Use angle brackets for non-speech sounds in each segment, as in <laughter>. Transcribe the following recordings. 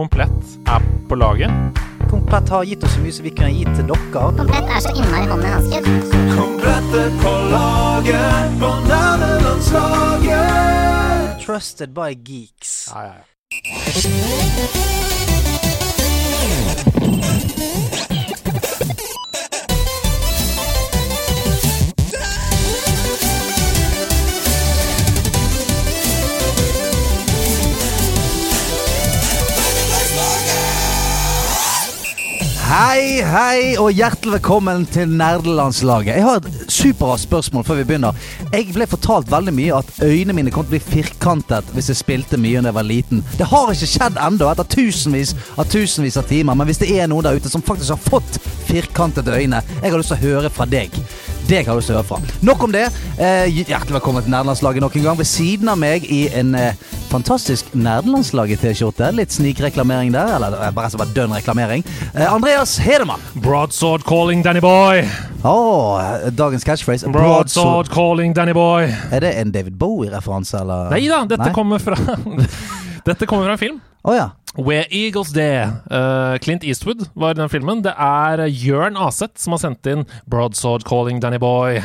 Komplett er på laget. Komplett har gitt oss så mye som vi kunne gi til dere. Komplett er så innmari hånd i hanske. Trusted by geeks. Ja, ja, ja. Hei, hei, og hjertelig velkommen til Nerdelandslaget. Jeg har et superraskt spørsmål før vi begynner. Jeg ble fortalt veldig mye at øynene mine kom til å bli firkantet hvis jeg spilte mye da jeg var liten. Det har ikke skjedd ennå, etter tusenvis av tusenvis av timer. Men hvis det er noen der ute som faktisk har fått firkantede øyne, jeg har lyst til å høre fra deg. Deg har jeg lyst til å høre fra. Nok om det. Eh, hjertelig velkommen til Nerdelandslaget nok en gang. Ved siden av meg i en eh, fantastisk Nerdelandslaget-T-skjorte. Litt snikreklamering der, eller eh, bare, bare dønn reklamering. Eh, Andreas Hedemann. Broadsword calling Danny boy. Åh, dagens catchphrase. Broadsword calling Danny boy. Er det en David Bowie-referanse, eller? Nei da, dette Nei? kommer fra Dette kommer fra en film. Å ja. Where Eagles Day. Eh, Clint Eastwood var i den filmen. Det er Jørn Aseth som har sendt inn Broadsword calling Danny boy.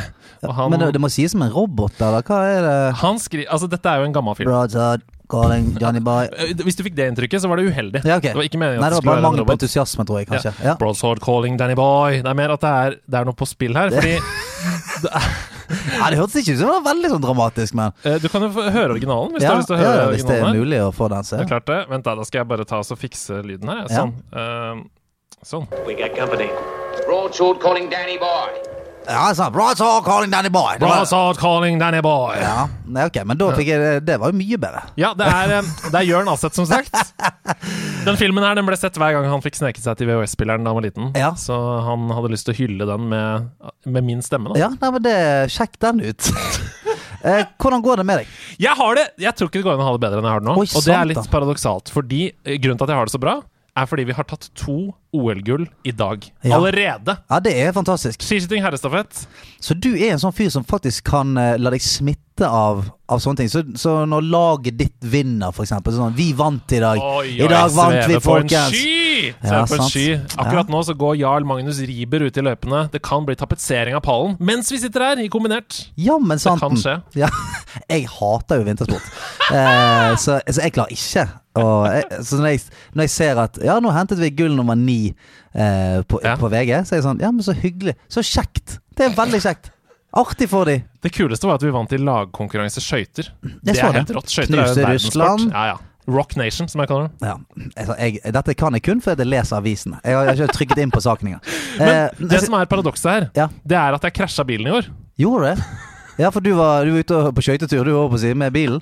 Og han, Men det, det må sies som en robot, eller hva er det? han skri Altså, dette er jo en gammel film. Broadsword, calling, Johnny Boy. Eh, Hvis du fikk det inntrykket, så var det uheldig. Ja, ok. Det var ikke meningen Nei, at det det var skulle bare være en mangel på robot. entusiasme, tror jeg, kanskje. Ja. Broadsword calling Danny boy. Det er mer at det er, det er noe på spill her. Fordi ja, det hørtes ikke ut som det var veldig sånn dramatisk, men eh, Du kan jo få høre originalen hvis du ja, har lyst til å ja, høre ja, hvis det er originalen. her. mulig å få den, så. Det er klart det. Vent, da, da skal jeg bare ta oss og fikse lyden her. jeg. Ja. Sånn. Eh, sånn. We got company. Broadsword calling Danny Boy. Ja, altså, sant. Broadsword, calling, Johnny Boy. Det var- Broadsword calling Danny boy. Ja, Ja, nei, ok, men da fikk jeg det. Det var jo mye bedre. det er, eh, det er Jørn Aseth, som <laughs> sagt. Den filmen her den ble sett hver gang han fikk sneket seg til VHS-spilleren da han var liten. Ja. Så han hadde lyst til å hylle den med, med min stemme. Da. Ja, nei, men det Sjekk den ut. <laughs> eh, hvordan går det med deg? Jeg har det! Jeg tror ikke det går an å ha det bedre enn jeg har det nå. Oi, og det sant er litt da. paradoksalt, fordi eh, grunnen til at jeg har det så bra, er fordi vi har tatt to OL-gull i dag. Ja. Allerede! Ja, det er fantastisk. Skiskyting, herrestafett. Så du er en sånn fyr som faktisk kan eh, la deg smitte av, av sånne ting. Så, så når laget ditt vinner, for eksempel. Sånn, vi vant i dag. Oi, I oi, dag vant sveve vi, på en folkens. sky! Ja, Sveve på en sant. sky. Akkurat nå så går Jarl Magnus Riiber ut i løypene. Det kan bli tapetsering av pallen mens vi sitter her i kombinert. Jammen Det kan santen. skje. <laughs> Ja, jeg hater jo vintersport, eh, så, så jeg klarer ikke å jeg- Så når jeg, når jeg ser at Ja, nå hentet vi gull nummer ni eh, på, Ja. på VG, så er jeg sånn Ja, men så hyggelig. Så kjekt. Det er veldig kjekt. Artig for de. Det kuleste var at vi vant i lagkonkurranse skøyter. Det så er helt det. rått. Skøyter er jo Knuste en Russland. verdenssport. Ja, ja. Rock Nation, som jeg kaller det. Ja, altså, jeg, dette kan jeg kun fordi jeg leser avisene. Jeg har jeg har ikke trykket inn på saken engang. Eh, <laughs> Men det altså, som er paradokset her, ja, det er at jeg krasja bilen i år. gjorde du det? Ja, for du var, du var ute på skøytetur du var på siden med bilen.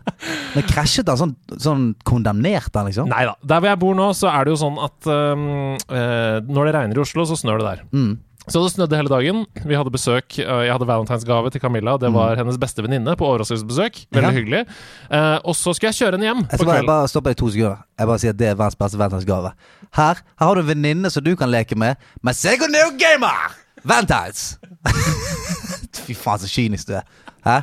Men krasjet den sånn, sånn kondemnert den, liksom? Nei da. Der hvor jeg bor nå, så er det jo sånn at øhm, øh, når det regner i Oslo, så snør det der. Mm. Så det snødde hele dagen. Vi hadde besøk. øh, Jeg hadde valentinsgave til Camilla. Det var hennes beste venninne på overraskelsesbesøk. Veldig Mm. Ja. hyggelig. Eh, og så skulle jeg kjøre henne hjem Jeg på skal bare, kvelden. bare stoppe deg to sekunder. Jeg bare sier at det er verdens beste valentinsgave. Her, her har du en venninne som du kan leke med, men se hvor neo gamer! Valentines! <laughs> Fy faen, så kynisk du er. Hæ?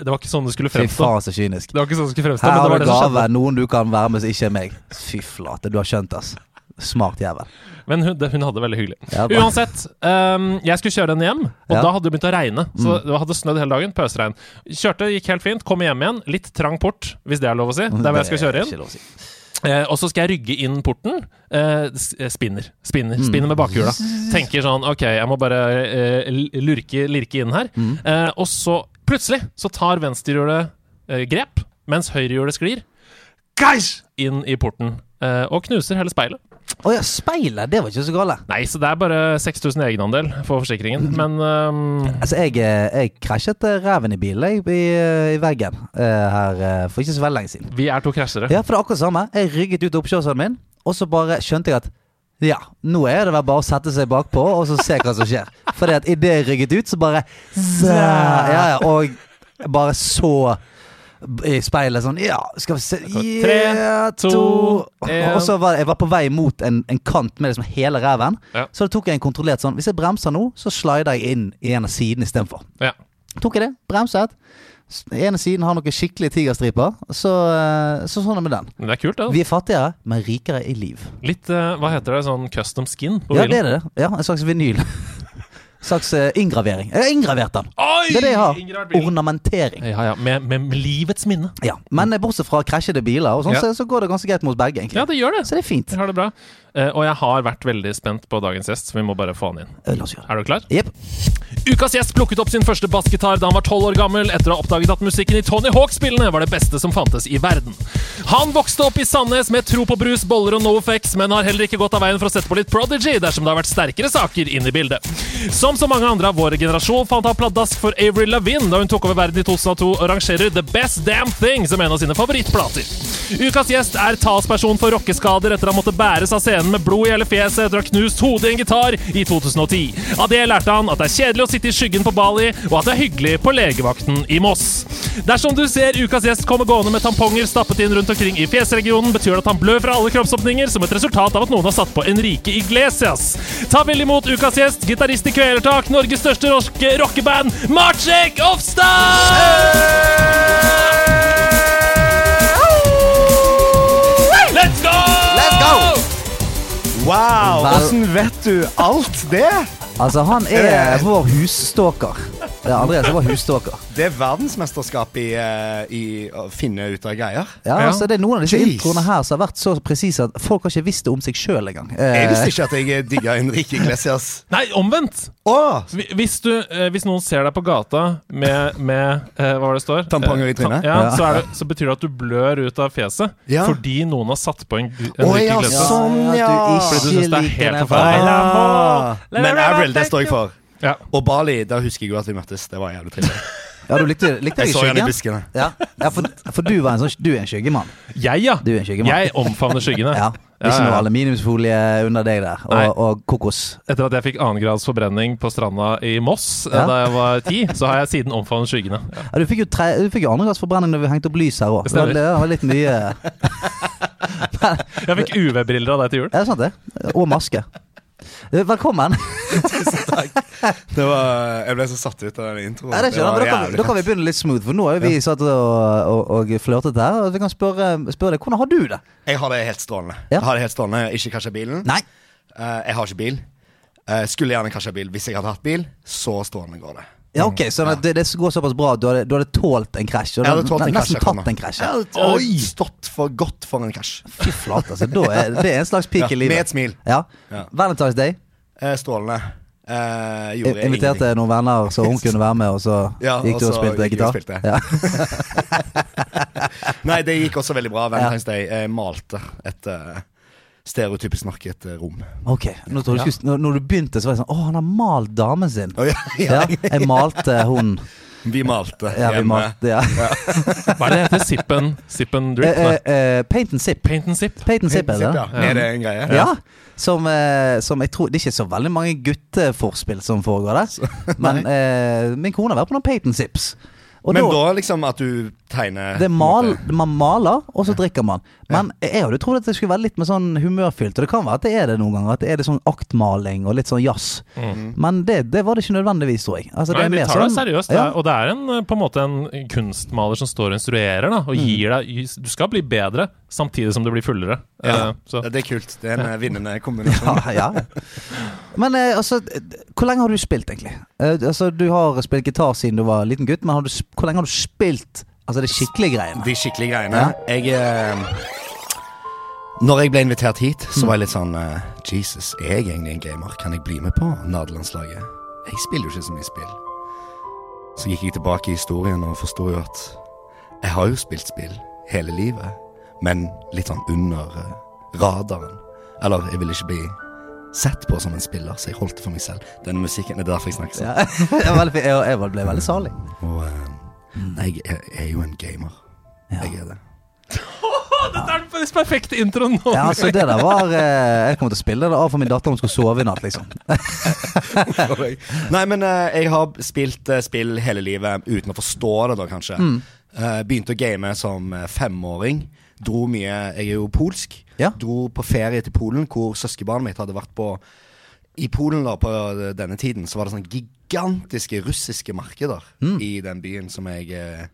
Det var ikke sånn det skulle Fy fremstå. faen, så kynisk. Det var ikke sånn det skulle fremstå, Her men det har var du det som gave. skjedde. Noen du kan være med som ikke er meg. Fy flate, du har skjønt, ass. Smart jævel. Men hun, det- hun hadde det veldig hyggelig. Ja, bra. Uansett, øhm, jeg skulle kjøre henne hjem, og Ja. Mm. da hadde det begynt å regne. Så det hadde snødd hele dagen. Pøsregn. Kjørte, gikk helt fint. Kom hjem igjen. Litt trang port, hvis det er lov å si. Mm, Der hvor jeg skal kjøre inn. Ikke lov å si. Eh, og så skal jeg rygge inn porten. Eh, s- eh, spinner. Spinner Mm. spinner med <laughs> bakhjula. Tenker sånn OK, jeg må bare eh, l- lurke, lirke inn her. Mm. Eh, og så plutselig så tar venstrehjulet eh, grep, mens høyrehjulet sklir. Guys! Inn i porten. Eh, og knuser hele speilet. Å ja, speilet, det var ikke så gale. Nei, så det er bare 6000 i egenandel for <laughs> forsikringen. Men ehm, Altså, jeg, eh, jeg krasjet eh, ræven i bilen jeg, i, eh, i veggen eh, her eh, for ikke så veldig lenge siden. vi er to krasjere. Ja, for det er akkurat det samme. Jeg rygget ut oppkjørselen min, og så bare skjønte jeg at ja, nå er det vel bare å sette seg bakpå og så se hva som skjer. Fordi at idet jeg rygget ut, så bare zæ, ja, ja, Og bare så i speilet sånn Ja, skal vi se Tre, Ja, to, en. Og så var jeg var på vei mot en, en kant med liksom hele ræven. Ja. Så da tok jeg en kontrollert sånn Hvis jeg bremser nå, så slider jeg inn i en av sidene istedenfor. Ja. Tok jeg det, bremset. S- Den ene siden har noen skikkelige tigerstriper, så, eh, så sånn er det med den. Men det er kult, det. Vi er fattigere, men rikere i liv. Litt, eh, hva heter det, sånn custom skin på Ja, bilen? det er det. Ja, En slags vinyl. <laughs> slags eh, inngravering. Jeg har inngravert den! Oi! Det er det jeg har. Ingrid har vært bilen. Ornamentering. Ja, ja, med, med livets minne. Ja. Men eh, bortsett fra krasjede biler, og sånn, Ja. så, så går det ganske greit mot begge, egentlig. Ja, det gjør det. Så det er fint. Jeg har det bra. Eh, og jeg har vært veldig spent på dagens gjest, så vi må bare få han inn. Eh, La oss gjøre det. Er du klar? Jepp. Ukas gjest plukket opp sin første bassgitar da han var tolv år gammel, etter å ha oppdaget at musikken i Tony Hawk-spillene var det beste som fantes i verden. Han vokste opp i Sandnes med tro på brus, boller og Nofex, men har heller ikke gått av veien for å sette på litt Prodigy dersom det har vært sterkere saker inn i bildet. Som så mange andre av vår generasjon fant han pladask for Avery Lavigne da hun tok over verden i 2002 og rangerer The Best Damn Thing som en av sine favorittplater. Ukas gjest er talsperson for rockeskader etter å ha måttet bæres av scenen med blod i hele fjeset etter å ha knust hodet i en gitar i 2010. Av det lærte han at det er kjedelig å sitte i skyggen på Bali, og at det er hyggelig på legevakten i Moss. Dersom du ser ukas gjest komme gående med tamponger stappet inn rundt omkring i fjesregionen, betyr det at han blør fra alle kroppsåpninger som et resultat av at noen har satt på Enrique Iglesias. Ta vel imot ukas gjest, gitarist i Kvelertak, Norges største norske rockeband, Marcek Ofstad! Let's go! Let's go! Wow! Vel- Åssen vet du alt det? Altså, han er vår husstalker. Det er Andreas som var husstalker. Det er verdensmesterskap i, eh, i å finne ut av greier. Ja, Ja. altså, det er noen av disse Jeez. introene her som har vært så presise at folk har ikke visst det om seg sjøl engang. Jeg Eh, visste ikke at jeg digga Henrik Iglesias. Nei, omvendt. Å! Hvi- Hvis, du, eh, hvis noen ser deg på gata med, med eh, hva var det det står? Tamponger i Eh, tam- trynet? Ja, Ja. Så, er det, så betyr det at du blør ut av fjeset Ja. fordi noen har satt på en, gl- en Å, riktig ja, gløtte. sånn. At Fordi du du synes det ikke er liker helt den forferdelig. faen. Ah. Men Avril, det står jeg for. Ja. Og Bali, der husker jeg jo at vi møttes. Det var jævlig trivelig. Ja, du likte, likte Jeg deg i så han i skyggen? buskene. Ja, ja for, for du, var en sånn, du er en skyggemann. Jeg, ja. Du er en skyggemann. Jeg omfavner skyggene. <laughs> Ja. Det er Ja, ikke ja. noe aluminiumsfolie under deg der, Nei. og, og kokos. Etter at jeg fikk annengrads forbrenning på stranda i Moss eh, Ja. da jeg var ti, så har jeg siden omfavnet skyggene. Ja. Ja, du fikk jo, tre- du fikk jo andregradsforbrenning da vi hengte opp lys her òg. Det Det, stemmer. det var litt mye Jeg fikk UV-briller av deg til jul. Er det sant, det? Og maske. Eh, Velkommen. Det var, jeg ble så satt ut av den introen. Ja, det skjønner, jeg, men da, kan, vi- da kan vi begynne litt smooth, for nå har jo vi satt og, og, og flørtet her. Og vi kan spørre, spørre deg hvordan har du det? Jeg har det helt strålende. Ja. Jeg har det helt strålende Ikke krasja bilen. Nei. Eh, jeg har ikke bil. Eh, skulle gjerne krasja bil hvis jeg hadde hatt bil. Så strålende går det. Ja, ok, så det, det går såpass bra at du hadde, du hadde tålt en krasj? og Du Jeg hadde tålt en ne- krasj. nesten jeg kommer. tatt en krasj? Jeg hadde- jeg hadde Stått for godt for en krasj. Fy flate, altså. Da er, det er en slags peak Ja, i livet. med et smil. Ja. Ja. Valentine's Day. Eh, strålende. Eh, Jeg gjorde inviterte ingenting. noen venner så hun kunne være med, og så <laughs> Ja, gikk du og og så spilte gikk jeg gitar? og spilte. Ja. <laughs> Nei, det gikk også veldig bra. Valentine's Day. Jeg malte et eh, stereotypisk nok et eh, rom. Ok, nå tror jeg du skulle, når, når du begynte, så var jeg sånn Å, han har malt damen sin! Å, ja, <laughs> <laughs> Ja, ja. jeg malte hun. Vi malte Ja, vi hjemme. malte, ja. Hva er det heter? Sip and, sip and Eh, drip? eh, Nei. eh, Paint and sip. Paint and sip? Paint and sip, er det? Ja. det? Er det en greie? Ja. Som, eh, som jeg tror Det er ikke så veldig mange gutteforspill som foregår der. <laughs> Men eh, min kone har vært på noen Paint and sips. Og Men da- da liksom at du tegner Det er mal, på en måte. man maler, og så drikker man. Men jeg hadde trodd at det skulle være litt mer sånn humørfylt, og det kan være at det er det noen ganger. At det er litt sånn aktmaling og litt sånn jazz. Men det, det var det ikke nødvendigvis, tror jeg. Altså, Nei, er de mer tar deg sånn- seriøst. Ja. da. Og det er en, eh, på en måte en kunstmaler som står og instruerer da, Mm. og gir deg Du skal bli bedre samtidig som du blir fullere. Ja. Eh, så. Det er kult. Det er en eh, vinnende kombinasjon. <laughs> Ja, ja. Men eh, altså, eh, hvor lenge har du spilt, egentlig? Eh, altså, du har spilt gitar siden du var liten gutt, men har du, sp- hvor lenge har du spilt altså, de skikkelige <laughs> greiene? De skikkelige greiene. Jeg eh, Når jeg ble invitert hit, så var jeg litt sånn eh, Jesus, er jeg egentlig en gamer? Kan jeg bli med på nerdelandslaget? Jeg spiller jo ikke så mye spill. Så gikk jeg tilbake i historien og forsto jo at jeg har jo spilt spill hele livet, men litt sånn under eh, radaren. Eller jeg ville ikke bli sett på som en spiller, så jeg holdt det for meg selv. Denne musikken det er derfor jeg snakker sånn. Ja. jeg, var veldig, jeg, jeg ble veldig salig. Og eh, nei, jeg er- jeg er jo en gamer. Jeg er det. Dette er den mest perfekte introen nå! Ja, altså, det der var eh, Jeg kommer til å spille det av for min datter om hun skulle sove i natt, liksom. Nei, men eh, jeg har spilt eh, spill hele livet uten å forstå det, da, kanskje. Mm. Eh, begynte å game som eh, femåring. Dro mye Jeg er jo polsk. Ja. Dro på ferie til Polen, hvor søskenbarnet mitt hadde vært på I Polen da, på Mm. denne tiden, så var det sånne gigantiske russiske markeder i den byen som jeg eh,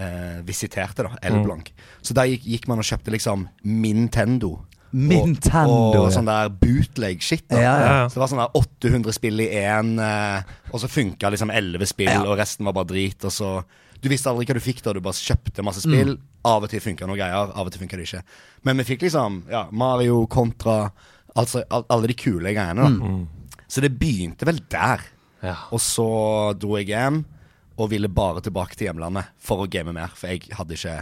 eh, visiterte, da. Mm. Elblank. Så der gikk, gikk man og kjøpte liksom Nintendo. Nintendo, Og, og ja. sånn der bootleg-shit. da. Ja, ja. Så det var sånn der 800 spill i én, eh, og så funka liksom 11 spill, og resten var bare drit. Og så Du visste aldri hva du fikk da, du bare kjøpte masse spill. Mm. Av og til funka noen greier, av og til funka det ikke. Men vi fikk liksom ja, Mario kontra Altså al alle de kule greiene, Mm. da. Så det begynte vel der. Mm. Ja. Og så dro jeg hjem og ville bare tilbake til hjemlandet for å game mer. For jeg hadde ikke,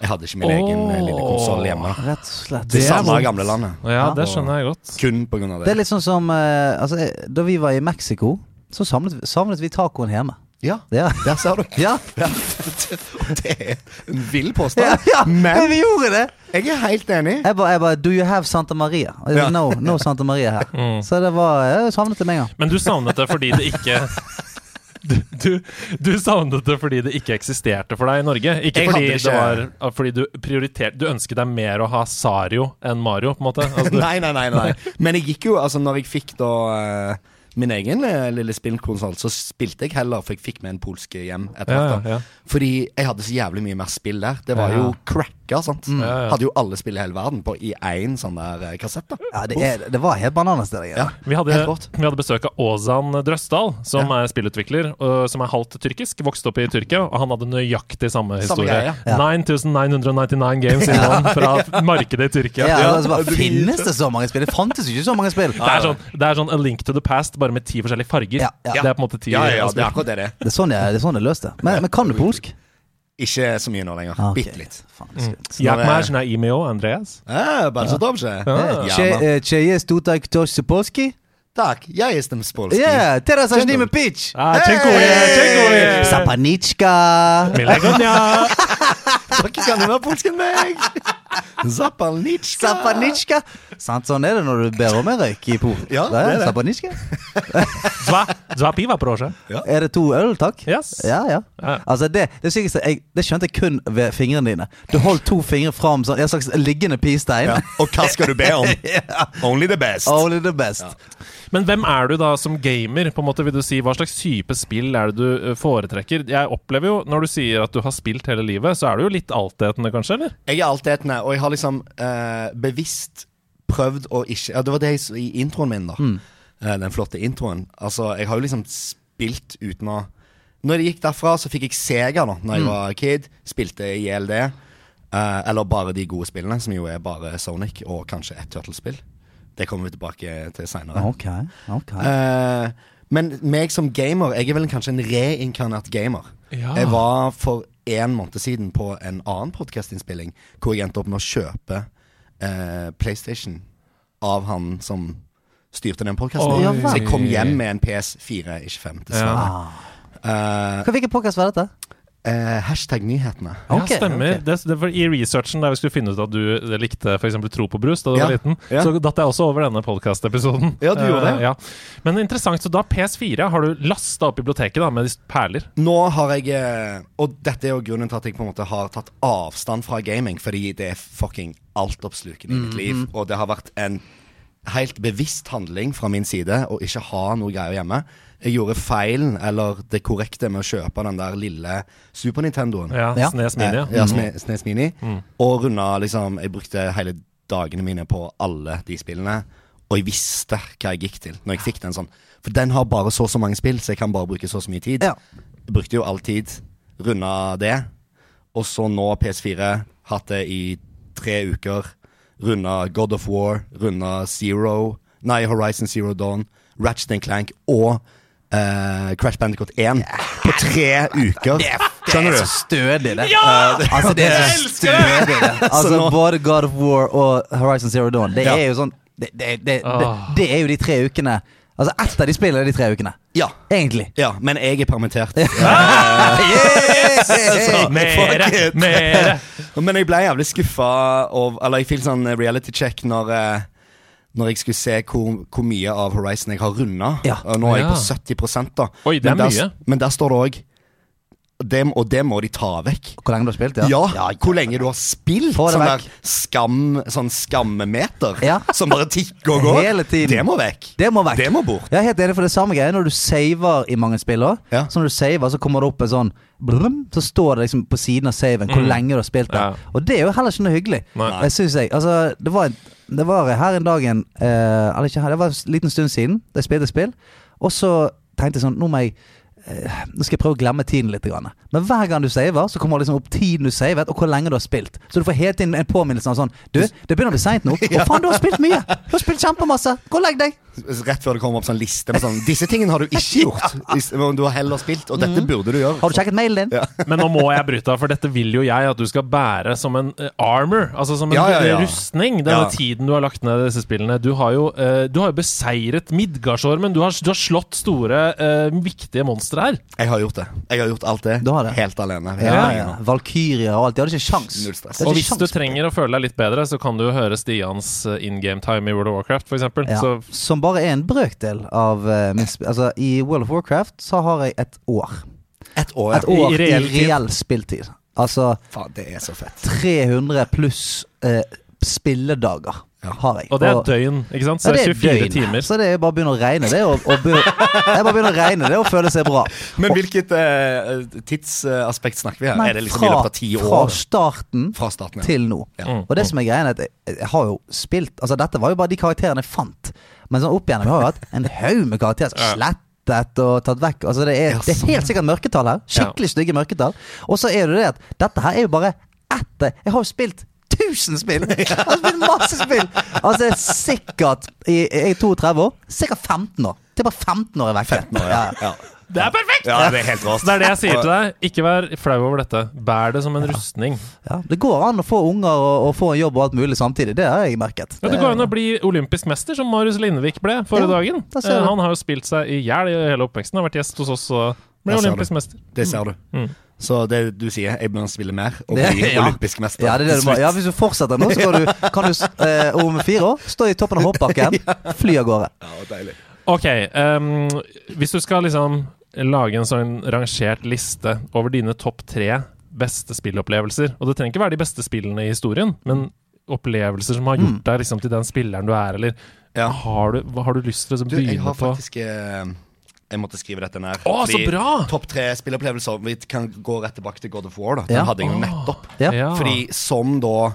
jeg hadde ikke min egen eh, lille konsoll hjemme. Rett og slett. Det samme vondt. gamle landet. Ja, det skjønner jeg godt. Kun på grunn Det av er det. litt sånn som eh, altså, eh, Da vi var i Mexico, så samlet, vi- savnet vi tacoen hjemme. Ja, <laughs> Ja. der ser du. Ja. Ja. <laughs> Det er en vill Ja, påstand. ja, <laughs> men Men vi gjorde det! jeg er helt enig. Jeg bare, jeg bare Do you have Santa Maria? Og jeg Ja. sa, No, <laughs> no Santa Maria her. Så det var Jeg savnet det med en gang. Men du savnet det fordi det ikke <laughs> du, du, du savnet det fordi det ikke eksisterte for deg i Norge. Ikke Jeg fordi, hadde det var, ikke- fordi du prioriterte Du ønsket deg mer å ha Sario enn Mario, på en måte. Altså, du, Nei, nei, nei. nei Men jeg gikk jo, altså når jeg fikk da eh, min egen eh, lille spillkonsoll, så spilte jeg heller, for jeg fikk med en polsk hjem etter Ja, hvert. da. ja. Fordi jeg hadde så jævlig mye mer spill der. Det var Ja. Mm. jo cracker, sant. Ja, ja. Hadde jo alle spill i hele verden på i én sånn der eh, kassett. da Ja, det, er, det var helt bananas, det der. Ja. Ja. vi, hadde, Helt rått. vi hadde besøk av Ozan Drøsdal, som er spillutvikler, og, som er halvt tyrkisk. Vokste opp i Tyrkia, og han hadde nøyaktig samme historie. greie, 9999 games innom fra markedet i Ja, Tyrkia. altså, bare, finnes det så mange spill? Det fantes jo ikke så mange spill. Det er, sånn, det er sånn A Link to the Past, bare med ti forskjellige farger. Ja, ja. Det er på en måte ti Ja, ja, ja, altså, det er akkurat det det er. Det er sånn jeg, det er sånn jeg løste. Men, men kan du polsk? Ikke så mye nå lenger. Ah, ok. Bitte litt. Faen, synd. Jeg Når det- mer kjenner Imeo, Andreas. Eh, Bardzo dobrze. Czy, Ja, man. e, Czy jest tutaj ktoś z Polski? Takk. Jeg er Stem Spolski. Yeah, teraz aż nie ma pitch. Ah, Hey! dziękuję, dziękuję. Zapaniczka. Miłego dnia! Dere kan jo være polsk enn meg. Zapalnitska. Zapaniczka. Sant, sånn er det når du ber om en røyk i Polen. Ja, det er det. Zapaniczka. Dwa, dwa piwa, proszę. Er det to øl, takk? Yes. Ja, ja. Ja. Altså, det, det sykeste jeg, Det skjønte jeg kun ved fingrene dine. Du holdt to fingre fram sånn, en slags liggende pistein. Ja. <laughs> Og hva skal du be om? Only the best. Only the best. Men hvem er du da som gamer? På en måte vil du si Hva slags type spill er det du eh, foretrekker? Jeg opplever jo, når du sier at du har spilt hele livet, så er du jo litt altetende, kanskje? eller? Jeg er altetende, og jeg har liksom eh, bevisst prøvd å ikke Ja, det var det jeg, s- i introen min, da. Eh, den flotte introen. Altså, jeg har jo liksom spilt uten å Når jeg gikk derfra, så fikk jeg Sega da Når jeg var kid. Spilte i JLD. eh, eller bare de gode spillene, som jo er bare Sonic og kanskje et Turtlespill. Det kommer vi tilbake til seinere. Ok, ok. Eh, men meg som gamer, jeg er vel kanskje en reinkarnert gamer. Ja. Jeg var for en måned siden på en annen podkastinnspilling hvor jeg endte opp med å kjøpe eh, PlayStation av han som styrte den podkasten. Oi. Så jeg kom hjem med en PS4, ikke 5, dessverre. Eh, Hva- Hvilken podkast var dette? eh, hashtag nyhetene. Ok, ja, stemmer. Det, det, for I researchen der vi skulle finne ut at du eh, likte f.eks. Tro på brus da du Ja, var liten, ja. så datt jeg også over denne podkastepisoden. Ja, du gjorde det. ja. Men interessant, så da PS4 har du lasta opp biblioteket da med de perler. Nå har jeg eh, Og dette er jo grunnen til at jeg på en måte har tatt avstand fra gaming, fordi det er fucking altoppslukende i mitt liv. Og det har vært en helt bevisst handling fra min side å ikke ha noe greier hjemme. Jeg gjorde feilen, eller det korrekte, med å kjøpe den der lille Super Nintendoen. Ja, Ja. Snes Mini. Eh, ja, Sme- Snes Mini. Og runda liksom Jeg brukte hele dagene mine på alle de spillene. Og jeg visste hva jeg gikk til når jeg fikk den sånn. For den har bare så og så mange spill, så jeg kan bare bruke så og så mye tid. Ja. Jeg brukte jo all tid. Runda det. Og så nå PS4. Hatt det i tre uker. Runda God of War. Runda Zero. Nei, Horizon Zero Dawn. Ratchet and Clank og eh, Crash Bandicoot 1 på tre uker. Skjønner du? Stødig, det. Ja! Altså, det er <laughs> så stødig, det. Altså, både God of War og Horizon Zero Dawn, det Ja. er jo sånn det, det, det, det, Ah. det er jo de tre ukene Altså, ett av de spillene er de tre ukene. Ja. Egentlig. Ja, men jeg er permittert. <laughs> Yeah! Mere! fuck it. Mere! Men jeg ble jævlig skuffa av Eller jeg fikk sånn reality check når eh, når jeg skulle se hvor, hvor mye av Horizon jeg har runda. Ja. Og nå er jeg Ja. på 70 da. Oi, det er men der, mye. Men der står det òg det, og det må de ta vekk. Hvor lenge du har spilt, Ja, ja? hvor lenge du har spilt Få det sånn vekk. der skam, sånn skammemeter Ja. som bare tikker og går. Hele tiden. Det må vekk. Det må vekk. Det må bort. Jeg er helt enig for det samme greia når du saver i mange spill òg. Ja. Så når du saver, så kommer det opp en sånn blum, Så står det liksom på siden av saven hvor lenge du har spilt det. Mm. Ja. Og det er jo heller ikke noe hyggelig. Nei. Jeg synes jeg Altså, det var, en- det var her en dag en eh, Eller ikke her, det var en liten stund siden da jeg spilte spill, og så tenkte jeg sånn Nå må jeg eh, nå skal jeg prøve å glemme tiden litt. Grann. Men hver gang du saver, så kommer det liksom opp tiden du savet, og hvor lenge du har spilt. Så du får hele tiden en påminnelse av sånn Du, det begynner å bli seint nå. <laughs> Å faen, du har spilt mye! Du har spilt kjempemasse! Gå og legg deg! Rett før det kommer opp sånn liste med sånn Disse tingene har du <laughs> ikke gjort. Dis- men Du har heller spilt, og dette burde du gjøre. Mm. Har du sjekket mailen din? Men nå må jeg bryte av, for dette vil jo jeg at du skal bære som en eh, armor. Altså som en Ja, ja, ja. rustning. Denne Ja. tiden du har lagt ned i disse spillene. Du har jo, eh, du har jo beseiret Midgardsormen. Du har, du har slått store, eh, viktige monstre her. Jeg har gjort det. Jeg har gjort alt det, Du har det. helt alene. Helt Ja, ja. alene. Valkyria og alt. De hadde ikke sjans. Null stress. De hadde Og hvis ikke du sjans. trenger å føle deg litt bedre, så kan du jo høre Stians eh, in game time i World of Warcraft, f.eks. eksempel ja. Så Som bare er en brøkdel av eh, min sp Altså, i World of Warcraft så har jeg et år. Et år. Et år i reell reell, tid. spilltid. Altså Faen, det er så fett. 300 pluss eh, spilledager har jeg. Og det er døgn, ikke sant? Så Ja, det er det 24 døgn. timer. Så det er bare å begynne å regne det, og, og be, <laughs> jeg bare begynner å regne det og føle seg bra. Men hvilket eh, tidsaspekt snakker vi her? Men er det liksom i fra, løpet av ti fra år? starten Fra starten, til nå. Ja. Og det som er greia, er at jeg, jeg har jo spilt Altså, dette var jo bare de karakterene jeg fant. Men sånn opp igjennom jeg har jo hatt en haug med karakterer som er slettet og tatt vekk. Altså, det er, det er sånn. helt sikkert mørketall her. Skikkelig stygge mørketall. Og så er det det at dette her er jo bare ett Jeg har jo spilt 1000 <laughs> spill! Jeg har spilt masse spill! Altså, jeg er sikkert i, Jeg er 32 år. Sikkert 15 år. Det er bare 15 år jeg er vekke. 15 år, ja. ja. Det er perfekt! ja, det er helt råst. Det er det jeg sier til deg. Ikke vær flau over dette. Bær det som en rustning. Ja, det går an å få unger og, og få en jobb og alt mulig samtidig. Det har jeg merket. Ja, det går an å bli olympisk mester, som Marius Lindvik ble forrige Eh. Ja, dagen. da ser Eh, du. Han har jo spilt seg i hjel i hele oppveksten. Har vært gjest hos oss og ble Der ser olympisk du. mester. Det ser du. Mm. Så det du sier, jeg bør spille mer og Det- bli ja. olympisk mester. Ja, det er det du må. ja, hvis du fortsetter nå, så kan du, kan du s- eh, om fire år stå i toppen av hoppbakken, fly av gårde. Ja, deilig. Ok, ehm, hvis du skal liksom lage en sånn rangert liste over dine topp tre beste spillopplevelser Og det trenger ikke være de beste spillene i historien, men opplevelser som har Mm. gjort deg liksom til den spilleren du er, eller Ja. har, du, hva har du lyst til å liksom Du, jeg begynne har på? faktisk eh, Jeg måtte skrive dette ned. Å, så fordi bra! Topp tre spilleopplevelser. Vi kan gå rett tilbake til God of War. da Den Ja. hadde jeg jo nettopp. Ja. Ja. Fordi som da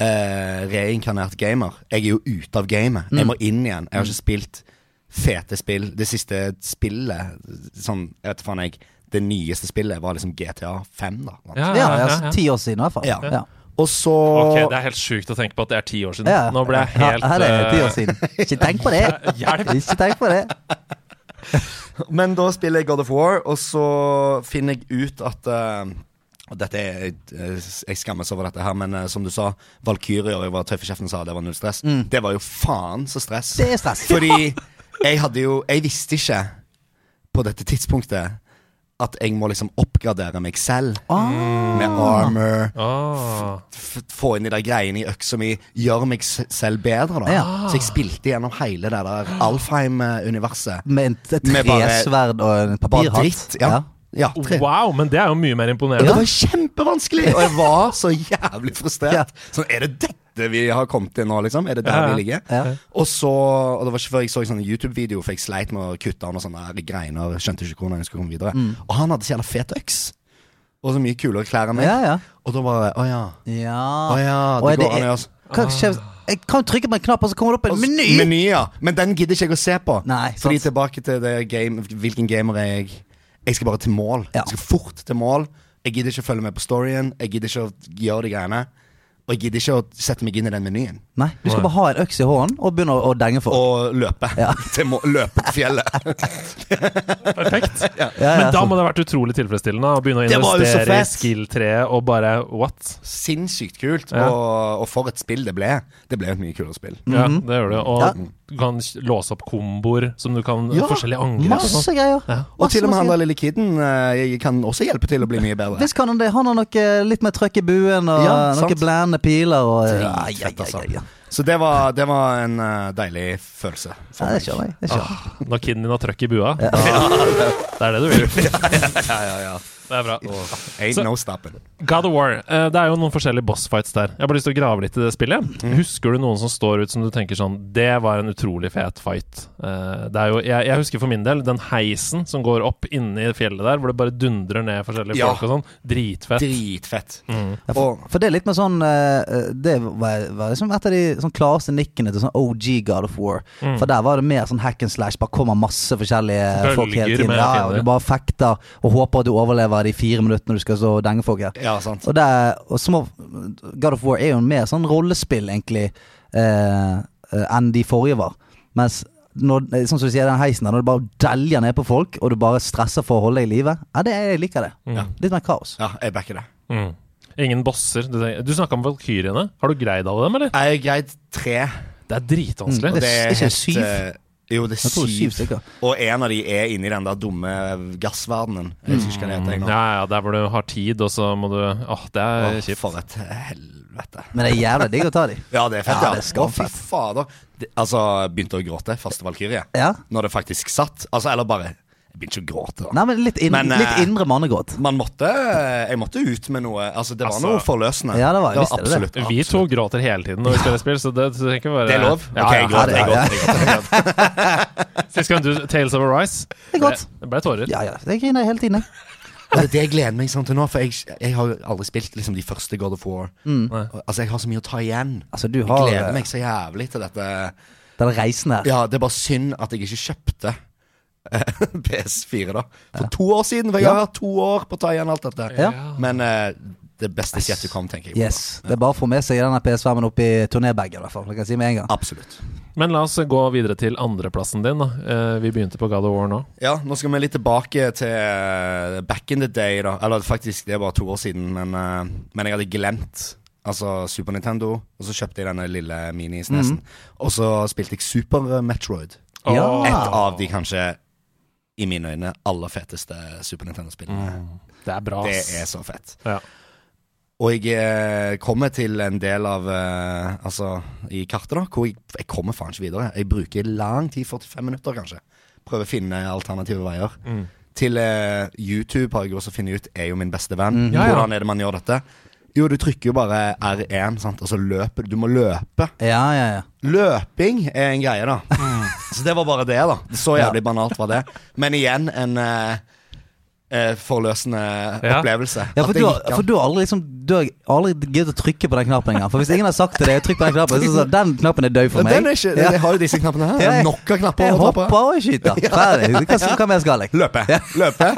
eh, reinkarnert gamer Jeg er jo ute av gamet. Mm. Jeg må inn igjen. Jeg har ikke spilt fete spill. Det siste spillet Sånn, jeg vet faen jeg Det nyeste spillet var liksom GTA 5, da. sant? Ja, Ja, ja, ja, altså, ja. ti år siden i hvert fall. Ja. Ja. Og så Ok, det er helt sjukt å tenke på at det er ti år siden. Ja. Nå ble jeg helt ja, her er det ti år eh, siden. Ikke tenk på det! <laughs> Hjelp. Ikke tenk på det. Men da spiller jeg God of War, og så finner jeg ut at eh, og dette er, eh, Jeg skammes over dette her, men eh, som du sa, Valkyrje og jeg var tøffesjefen sa det var null stress. Det var jo faen så stress. Mm. Det er stress. Fordi jeg hadde jo Jeg visste ikke på dette tidspunktet at jeg må liksom oppgradere meg selv Ah. med armor. ah. f- få inn de der greiene i øksa mi, gjøre meg s- selv bedre, da. Ja. Så jeg spilte gjennom hele det der Alfheim-universet. Med en- et Med bare- tresverd og en Bare papirhatt. dritt. Ja. ja. tre. Wow, men det er jo mye mer Og imponerende. det var kjempevanskelig! Og jeg var så jævlig Ja. frustrert. Sånn, er det dette vi har kommet til nå, liksom? Er det der Ja, ja. vi ligger? Ja. Og så Og det var ikke før jeg så en sånn YouTube-video, for jeg sleit med å kutte av noen sånne her greiner. Skjønte ikke hvordan jeg skulle komme videre. Og han hadde så jævla fet øks. Og så mye kulere klær enn meg. Ja, ja. Og da bare Å ja. Ja. Å ja, det Og er går an å gjøre. Hva skjer hvis- Jeg kan jo trykke på en knapp, og så kommer det opp en meny! Altså, Meny, ja. Men den gidder ikke jeg å se på. Nei, Fordi sant. tilbake til det game, hvilken gamer er jeg Jeg skal bare til mål. Ja. Jeg skal fort til mål. Jeg gidder ikke å følge med på storyen. Jeg gidder ikke å gjøre de greiene. Og jeg gidder ikke å sette meg inn i den menyen. Nei, du skal bare ha en øks i hånden og begynne å, å denge folk. Og løpe. <laughs> Til må løpe til fjellet. Perfekt. Ja, ja, Men da sant. må det ha vært utrolig tilfredsstillende å begynne å Det var jo så investere i fett. skill-treet og bare what? Sinnssykt kult. Ja. Og, og for et spill det ble. Det ble et mye kulere spill. Ja, det gjør du. Og Ja. du kan låse opp komboer som du kan Ja, Forskjellige angrep og Masse sånn. greier. Ja. Og til Masse, masse og med han greier. der lille kiden eh, kan også hjelpe til å bli mye bedre. Visst kan han det. Han har noe litt mer trøkk i buen og Ja, sant. noen blændende piler og eh, ja, ja, Dritfett, ja, altså. ja, ja. Så det var, det var en eh, deilig følelse. for Ja, det meg. skjønner Ah, jeg. Det skjønner <laughs> jeg. Når kiden din har trøkk i bua. Det er det du vil. Ja, ja, ja. Det er bra. <laughs> Og ain't Så- no stopping. God of War. eh, Det er jo noen forskjellige bossfights der. Jeg har bare lyst til å grave litt i det spillet. Mhm. Husker du noen som står ut som du tenker sånn Det var en utrolig fet fight. Eh, Det er jo, jeg, jeg husker for min del den heisen som går opp inni fjellet der, hvor det bare dundrer ned forskjellige Ja. folk og sånn. Dritfett. Dritfett. Mm. Ja, Og for, for det er litt mer sånn eh, Det var, var liksom et av de sånn klareste nikkene til sånn OG God of War. Mm. For der var det mer sånn hack and slash. Bare kommer masse forskjellige Bølger folk hele tiden. med Ja, ja, og fiender. du bare fekter og håper at du overlever de fire minuttene du skal så denge folk. Ja. Ja, sant. Og, det, og små, God of War er jo mer sånn rollespill, egentlig, eh, eh, enn de forrige var. Mens når, eh, sånn som du sier, den heisen der, når du bare deljer ned på folk, og du bare stresser for å holde deg i live, ja, det, jeg liker det. Litt mer kaos. Ja, jeg backer det. Mm. Ingen bosser. Du, tenker- du snakka om valkyrjene. Har du greid alle dem, eller? Jeg er greit tre. Det er dritvanskelig. Mm. Det er ikke helt, syv? eh, Jo, det Jeg tror er det er syv syv. stykker. Og en av de er inni den der dumme gassverdenen. Jeg husker ikke hva det heter. jeg nå. Mm. Ja, ja, der hvor du har tid, og så må du Åh, det er Åh, kjipt. For et helvete. Men det er jævla digg å ta de. Ja, det er fett, Ja, ja. det er Å, fy skamfett. fader. Det- Altså, begynte å gråte. Første Valkyrie. Ja. Når det faktisk satt. Altså, eller bare Jeg begynte ikke å gråte, da. Nei, men litt, inn, Men, eh, litt indre mannegråt. Man måtte eh, Jeg måtte ut med noe. Altså, det var Altså- noe forløsende. Ja, det var- visst er det absolutt. det. Vi to gråter hele tiden når vi spiller spill, så det trenger ikke være Det er lov? Ja, ok, ja. jeg gråter. Ja, Jeg ja. gråter, jeg gråter, jeg gråter. Sist gang du Tales of Arise, Det er godt. det ble tårer. Ja, ja. Jeg griner hele tiden, jeg. <laughs> Og det er det jeg gleder meg sånn til nå, for jeg, jeg har jo aldri spilt liksom, de første God of War. Nei. Og, Altså, jeg har så mye å ta igjen. Mm. Altså, du Jeg har gleder eh, meg så jævlig til dette. den reisen her. Ja, det er bare synd at jeg ikke kjøpte eh, <laughs> PS4 da for to år siden. For jeg Ja. har hatt to år på å ta igjen alt dette. Ja. Men eh, det beste shit du kom, tenker jeg. på. Yes. Det er bare å få med seg denne PS5-en opp i turnébagen, i hvert fall. Det kan jeg si med en gang. Absolutt. Men la oss gå videre til andreplassen din. Da. Eh, Vi begynte på God of War nå. Ja, nå skal vi litt tilbake til eh, back in the day, da. Eller faktisk, det er bare to år siden, men, eh, men jeg hadde glemt altså Super Nintendo. Og så kjøpte jeg denne lille minisnesen. E Og så spilte jeg Super eh, Metroid. Ja. Åh, Et av de kanskje, i mine øyne, aller feteste Super Nintendo-spillene. Det er bra, Det ass. er så fett. Ja. Og jeg eh, kommer til en del av eh, Altså, i kartet, da, hvor jeg, jeg kommer faen ikke videre. Jeg bruker lang tid, 45 minutter kanskje. Prøver å finne alternative veier. Mm. Til eh, YouTube har jeg også funnet ut er jo min beste venn. Mm. Ja, ja. Hvordan er det man gjør dette? Jo, du trykker jo bare R1, sant? og så løper du. Du må løpe. Ja, ja, ja. Løping er en greie, da. Mm. Så det var bare det, da. Så jævlig banalt var det. Men igjen en eh, eh, forløsende Ja. opplevelse. Ja, At for det du, har, gikk an. for du har aldri liksom Du har aldri giddet å trykke på den knappen engang. For hvis ingen har sagt til deg 'trykk på den knappen', så sånn, den knappen er død for Men meg. Den er ikke, Jeg har jo disse knappene her. Ja, jeg- Nok av knapper Jeg å ta hopper på. og skyter. Ferdig. Hva, hva mer skal jeg? Løpe. Løpe.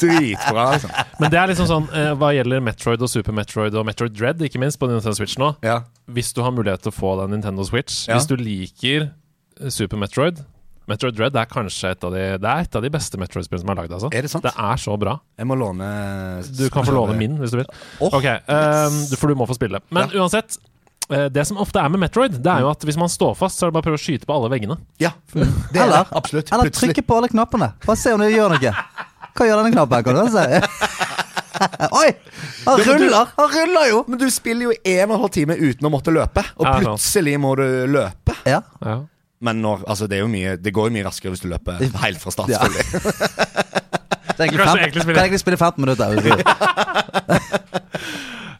Dritbra, liksom. Men det er liksom sånn eh, hva gjelder Metroid og Super Metroid og Metroid Dread, ikke minst, på Nintendo Switch nå. Ja. Hvis du har mulighet til å få deg en Nintendo Switch, Ja. hvis du liker eh, Super Metroid Metroid Dread er kanskje et av de, det er et av de beste Metroid-spillene som er lagd. Altså. Er det sant? Det er så bra. Jeg må låne Du kan få låne min hvis du vil. Åh, Ok, ehm, du- For du må få spille. Men uansett, eh, det som ofte er med Metroid, Det Mm. er jo at hvis man står fast, så er det bare å prøve å skyte på alle veggene. Ja. Det er Eller, det. Absolutt. eller Plutselig. trykke på alle knappene. Bare se om det gjør noe. Hva gjør denne knappen? Kan du se? Oi! Han Ja, men du- ruller! Han ruller jo! Men du spiller jo en og en halv time uten å måtte løpe, og Ja, sant. plutselig må du løpe. Ja. Ja. Men når, altså, det, er jo mye, det går jo mye raskere hvis du løper helt fra start. Ja. selvfølgelig. Det er egentlig Kanskje 15 egentlig spille- kan egentlig spille 15 minutter.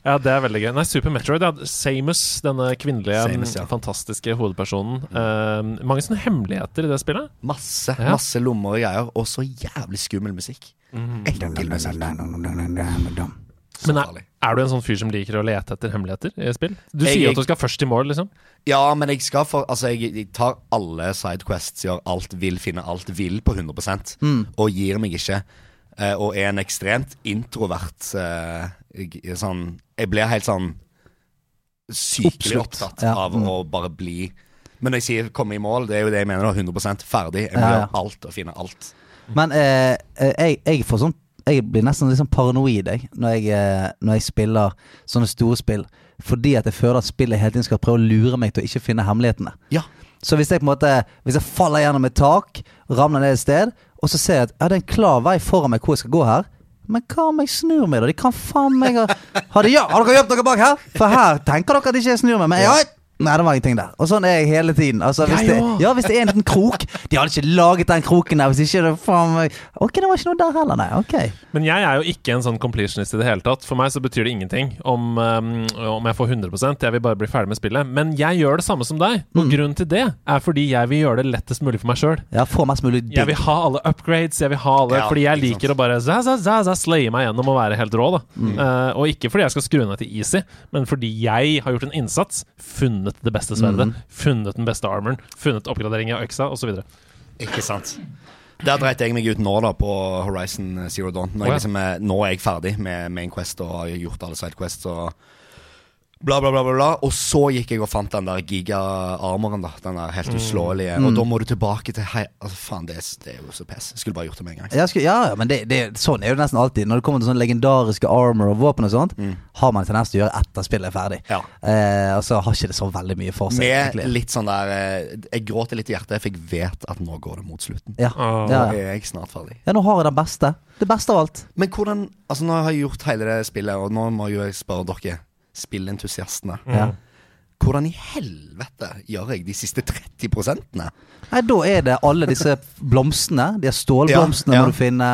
Ja, det er veldig gøy. Nei, Super Metroid, ja. Samus, denne kvinnelige, Samus, ja. Mm. fantastiske hovedpersonen. Eh, mange sånne hemmeligheter i det spillet. Masse Ja. masse lommer og greier, og så jævlig skummel musikk. Ekkel musikk. Men er, farlig. er du en sånn fyr som liker å lete etter hemmeligheter i spill? Du Jeg- sier jo at du skal først i mål, liksom. Ja, men jeg skal for Altså, jeg, jeg tar alle sidequests, gjør alt, vil finne alt, vil på 100 Mm. og gir meg ikke. eh, og er en ekstremt introvert eh, jeg, jeg- sånn Jeg blir helt sånn sykelig Oppslukt. opptatt Ja, av mm. å bare bli Men når jeg sier komme i mål, det er jo det jeg mener. da, 100 ferdig. Jeg må Ja, ja. gjøre alt og finne alt. Men eh, eh, jeg, jeg får sånn Jeg blir nesten litt sånn paranoid jeg, når, jeg, eh, når jeg spiller sånne store spill. Fordi at jeg føler at spillet hele tiden skal prøve å lure meg til å ikke finne hemmelighetene. Ja. Så hvis jeg på en måte Hvis jeg faller gjennom et tak, ramler ned et sted, og så ser jeg at ja, det er en klar vei foran meg hvor jeg skal gå her. Men hva om jeg snur meg, da? De kan faen meg ha Har de gjør- har dere gjemt noe bak her? For her tenker dere at ikke jeg snur meg, men jeg, Nei, det var ingenting der. Og sånn er jeg hele tiden. Altså, hvis, Jeg det, òg. ja, hvis det er en liten krok De hadde ikke laget den kroken der hvis ikke det faen meg- Ok, det var ikke noe der heller, nei. Ok. Men jeg er jo ikke en sånn completionist i det hele tatt. For meg så betyr det ingenting om, um, om jeg får 100 Jeg vil bare bli ferdig med spillet. Men jeg gjør det samme som deg. Og Mm. grunnen til det er fordi jeg vil gjøre det lettest mulig for meg sjøl. Ja, få mest mulig digg. Jeg vil ha alle upgrades, jeg vil ha alle Ja, fordi jeg ikke sant. Mm. liker å bare za, za, za, za, slaye meg gjennom og være helt rå. Da. Eh, og ikke fordi jeg skal skru ned til easy, men fordi jeg har gjort en innsats, funnet det beste sverdet, Mm. funnet den beste armoren, funnet oppgradering av øksa osv. Ikke sant. Der dreit jeg meg ut nå, da, på Horizon Zero Dawn. Når Å, ja. jeg liksom er, nå er jeg ferdig med Main Quest og har gjort alle side quests og bla, bla, bla, bla, bla. Og så gikk jeg og fant den der giga-armoren, da. Den der Mm. helt uslåelige. Og da må du tilbake til hei, altså, Faen, det er, det er jo så pes. Jeg skulle bare gjort det med en gang. Jeg skulle, ja, ja, men det, det, sånn er det nesten alltid. Når det kommer til sånne legendariske armor og våpen og sånt, har man en tendens til å gjøre etter spillet er ferdig. Mm. Ja. Eh, og så har ikke det så veldig mye for seg. Med egentlig. litt sånn der eh, Jeg gråter litt i hjertet, for jeg vet at nå går det mot slutten. ja. Åh. Ja, Nå ja. er jeg snart ferdig. ja, nå har jeg den beste. Det beste av alt. Men hvordan Altså, nå har jeg gjort hele det spillet, og nå må jo jeg spørre dere, spillentusiastene. Ja. Hvordan i helvete gjør jeg de siste 30 prosentene? Nei, da er det alle disse blomstene. De her stålblomstene Ja, ja. må du finne.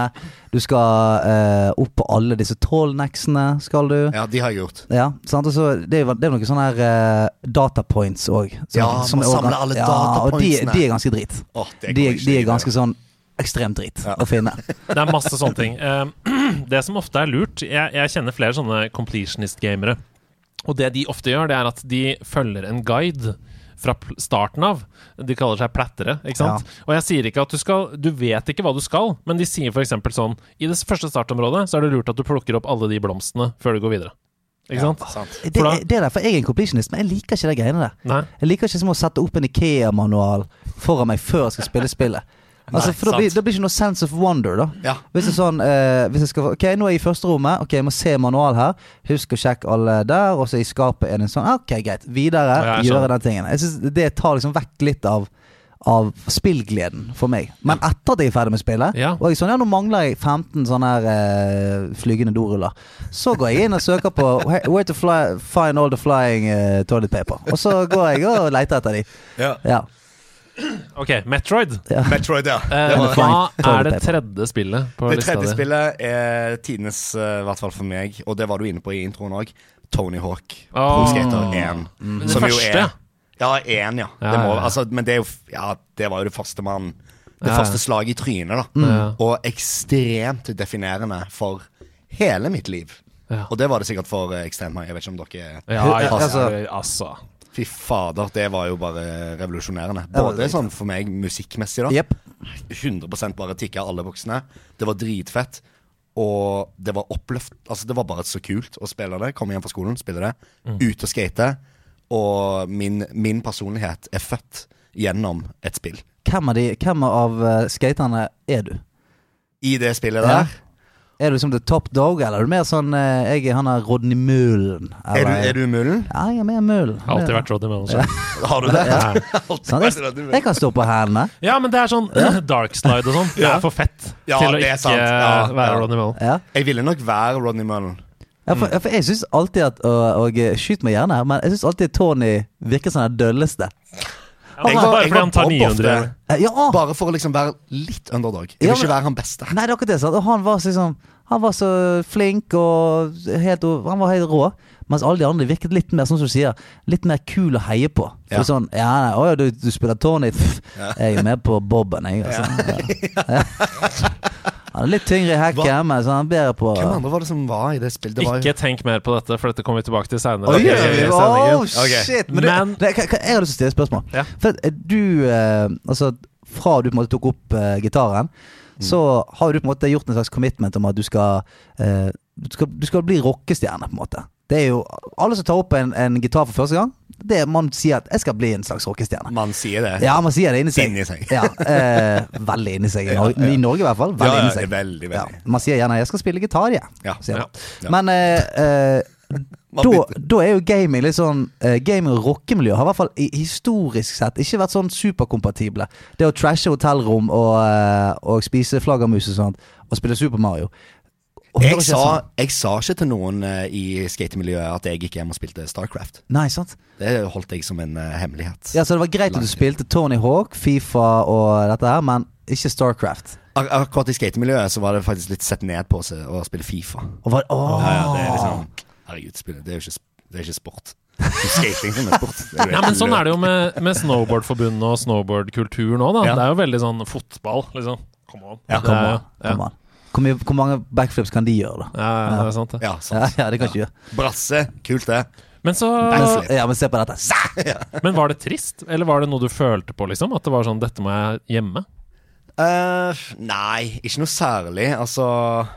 Du skal eh, opp på alle disse trollnecksene, skal du. Ja, de har jeg gjort. Ja, sant? Og så, det, er, jo- det er noen sånne her eh, datapoints òg. Ja, må samle alle Og datapointsene. de, de er ganske drit. Åh, De, det kan de, er, jeg ikke de er gjøre. ganske sånn ekstremt drit Ja. å <laughs> finne. Det er masse sånne ting. Eh, <clears throat> det som ofte er lurt Jeg, jeg kjenner flere sånne completionist-gamere. Og det de ofte gjør, det er at de følger en guide fra pl- starten av. De kaller seg plattere, ikke sant? Og jeg sier ikke at du skal Du vet ikke hva du skal, men de sier f.eks. sånn I det første startområdet så er det lurt at du plukker opp alle de blomstene før du går videre. Ikke sant? Ja, sant. Det, For da- det er derfor jeg er en completionist, men jeg liker ikke de greiene der. Nei. Jeg liker ikke som å sette opp en Ikea-manual foran meg før jeg skal spille spillet. Altså, <laughs> Nei, for da sant. blir det blir ikke noe sense of wonder, da. Ja. Hvis det er sånn eh, hvis jeg skal, Ok, nå er jeg i første rommet. Ok, Jeg må se manual her. Husk å sjekke alle der. Og så i skapet er det en sånn Ok, greit. Videre. Ja, sånn. jeg skjønner. gjøre den tingen. Jeg synes Det tar liksom vekk litt av av spillgleden for meg. Men etter at jeg er ferdig med spillet, Ja. og jeg sånn, ja, nå mangler jeg 15 sånne her eh, flygende doruller, så går jeg inn og søker på Where to fly, find all the flying eh, toilet paper. Og så går jeg og leter etter de. Ja. OK, Metroid. Metroid, ja. Eh, Det, var, hva Toilet er det paper. tredje spillet på det lista tredje di? spillet er tidenes, eh, i hvert fall for meg, og det var du inne på i introen òg, Tony Hawk. Åh. Pro Skater 1. Det første? Ja, 1, ja. Ja, Det ja, må, ja. altså, men det er jo f- Ja, det var jo det første man Det Ja, Mm. ja. første slaget i trynet, da. Mm. Ja. Og ekstremt definerende for hele mitt liv. Ja. Og det var det sikkert for eh, ekstremt mange. Jeg vet ikke om dere <laughs> Ja, Ja, altså- ja, altså. Fy fader, det var jo bare revolusjonerende. Ja, det Både er sånn for meg musikkmessig, da. Jepp. 100 bare tikka alle boksene. Det var dritfett. Og det var oppløft Altså, det var bare så kult å spille det. Komme hjem fra skolen, spille det. Mm. Ut og skate. Og min, min personlighet er født gjennom et spill. Hvem av, de, hvem av eh, skaterne er du? I det spillet Ja. der Er du som the top dog, eller er du mer sånn eh, Jeg er han der Rodney Mullen. Er du, er du mullen? Ja, jeg er mer Mullen. Har alltid vært Roddy Mellomsjø. Har du det? Ja. <laughs> Alltid Sånn, vært jeg, det, jeg du. kan stå på hælene. Ja, men det er sånn <laughs> dark slide og sånn. Det Ja. er for fett Ja, til å det er ikke sant. Ja, være ja. Ronny Mullen. Ja. Jeg ville nok være Rodney Mullen. Ja, for, Mm. ja, for jeg syns alltid at Og, og eh, skyt meg gjerne, her, men jeg syns alltid Tony virker som den dølleste. Ja, men bare fordi han tar Bob 900. ofte, Eh, Ja! Bare for å liksom være litt underdog. Jeg vil Ja, men- ikke være han beste. Nei, det er akkurat det. Sant? Og han var så liksom Han var så flink og helt, o- Han var helt rå. Mens alle de andre virket litt mer sånn som du sier Litt mer kul å heie på. For Ja. sånn Ja, nei, å, ja du, du spiller Tony. Pff, Jeg er med på Bobben, jeg. Altså. Ja. <laughs> Han er litt tyngre i Hva- hekken, men så han er bedre på Hvem andre var det som var i det spillet? Det var jo- Ikke tenk mer på dette, for dette kommer vi tilbake til seinere. Oi, Ok, oi, oi, sendingen. oh, Ok. shit! Men, du- Men- det, kan- kan- jeg har lyst til å stille et spørsmål. Ja. For at, eh, du eh, Altså, fra du på en måte tok opp eh, gitaren, Mm. så har du på en måte gjort en slags commitment om at du skal eh, du skal, du skal bli rockestjerne, på en måte. Det er jo Alle som tar opp en, en gitar for første gang, det er man sier at 'jeg skal bli en slags rockestjerne'. Man sier det. Ja, man sier det inni seg. Inni seg. Ja, eh, veldig inni <laughs> seg. I Norge, I Norge i hvert fall. Veldig Ja, ja, inni seg. veldig, veldig. Man sier gjerne 'jeg skal spille gitar', jeg. Ja, sier man. ja. Men eh, eh, Man da, bytter. da er jo gaming litt sånn eh, Gaming og rockemiljø har i hvert fall i, historisk sett ikke vært sånn superkompatible. Det å trashe hotellrom og, eh, og spise flaggermus og sånt, og spille Super Mario. Og hører Jeg ikke sa, sånn. jeg sa ikke til noen eh, i skatemiljøet at jeg gikk hjem og spilte Starcraft. Nei, sant? Det holdt jeg som en eh, hemmelighet. Ja, Så det var greit at du spilte Tony Hawk, Fifa og dette her, men ikke Starcraft. Ak akkurat i skatemiljøet så var det faktisk litt sett ned på seg å spille Fifa. Og var, åh. Ja, ja, det er liksom Herregud, spille, det er jo ikke, sp- det er ikke sport. <laughs> Skating som er sport. Det er jo Nei, men helt Sånn løp. er det jo med, med snowboardforbundet og snowboardkultur nå. da Ja. Det er jo veldig sånn fotball, liksom. Come on. Ja, det, come er- on. Ja. Kom an. Hvor, mye, hvor mange backflips kan de gjøre, da? Ja, ja, det er sant, det. Ja, Ja, sant. ja det kan ikke gjøre. Brasse, kult det. Men, så, Backflip. Ja, men se på dette. Sa! men var det trist, eller var det noe du følte på, liksom? At det var sånn 'dette må jeg hjemme'? Eh, nei, ikke noe særlig. Altså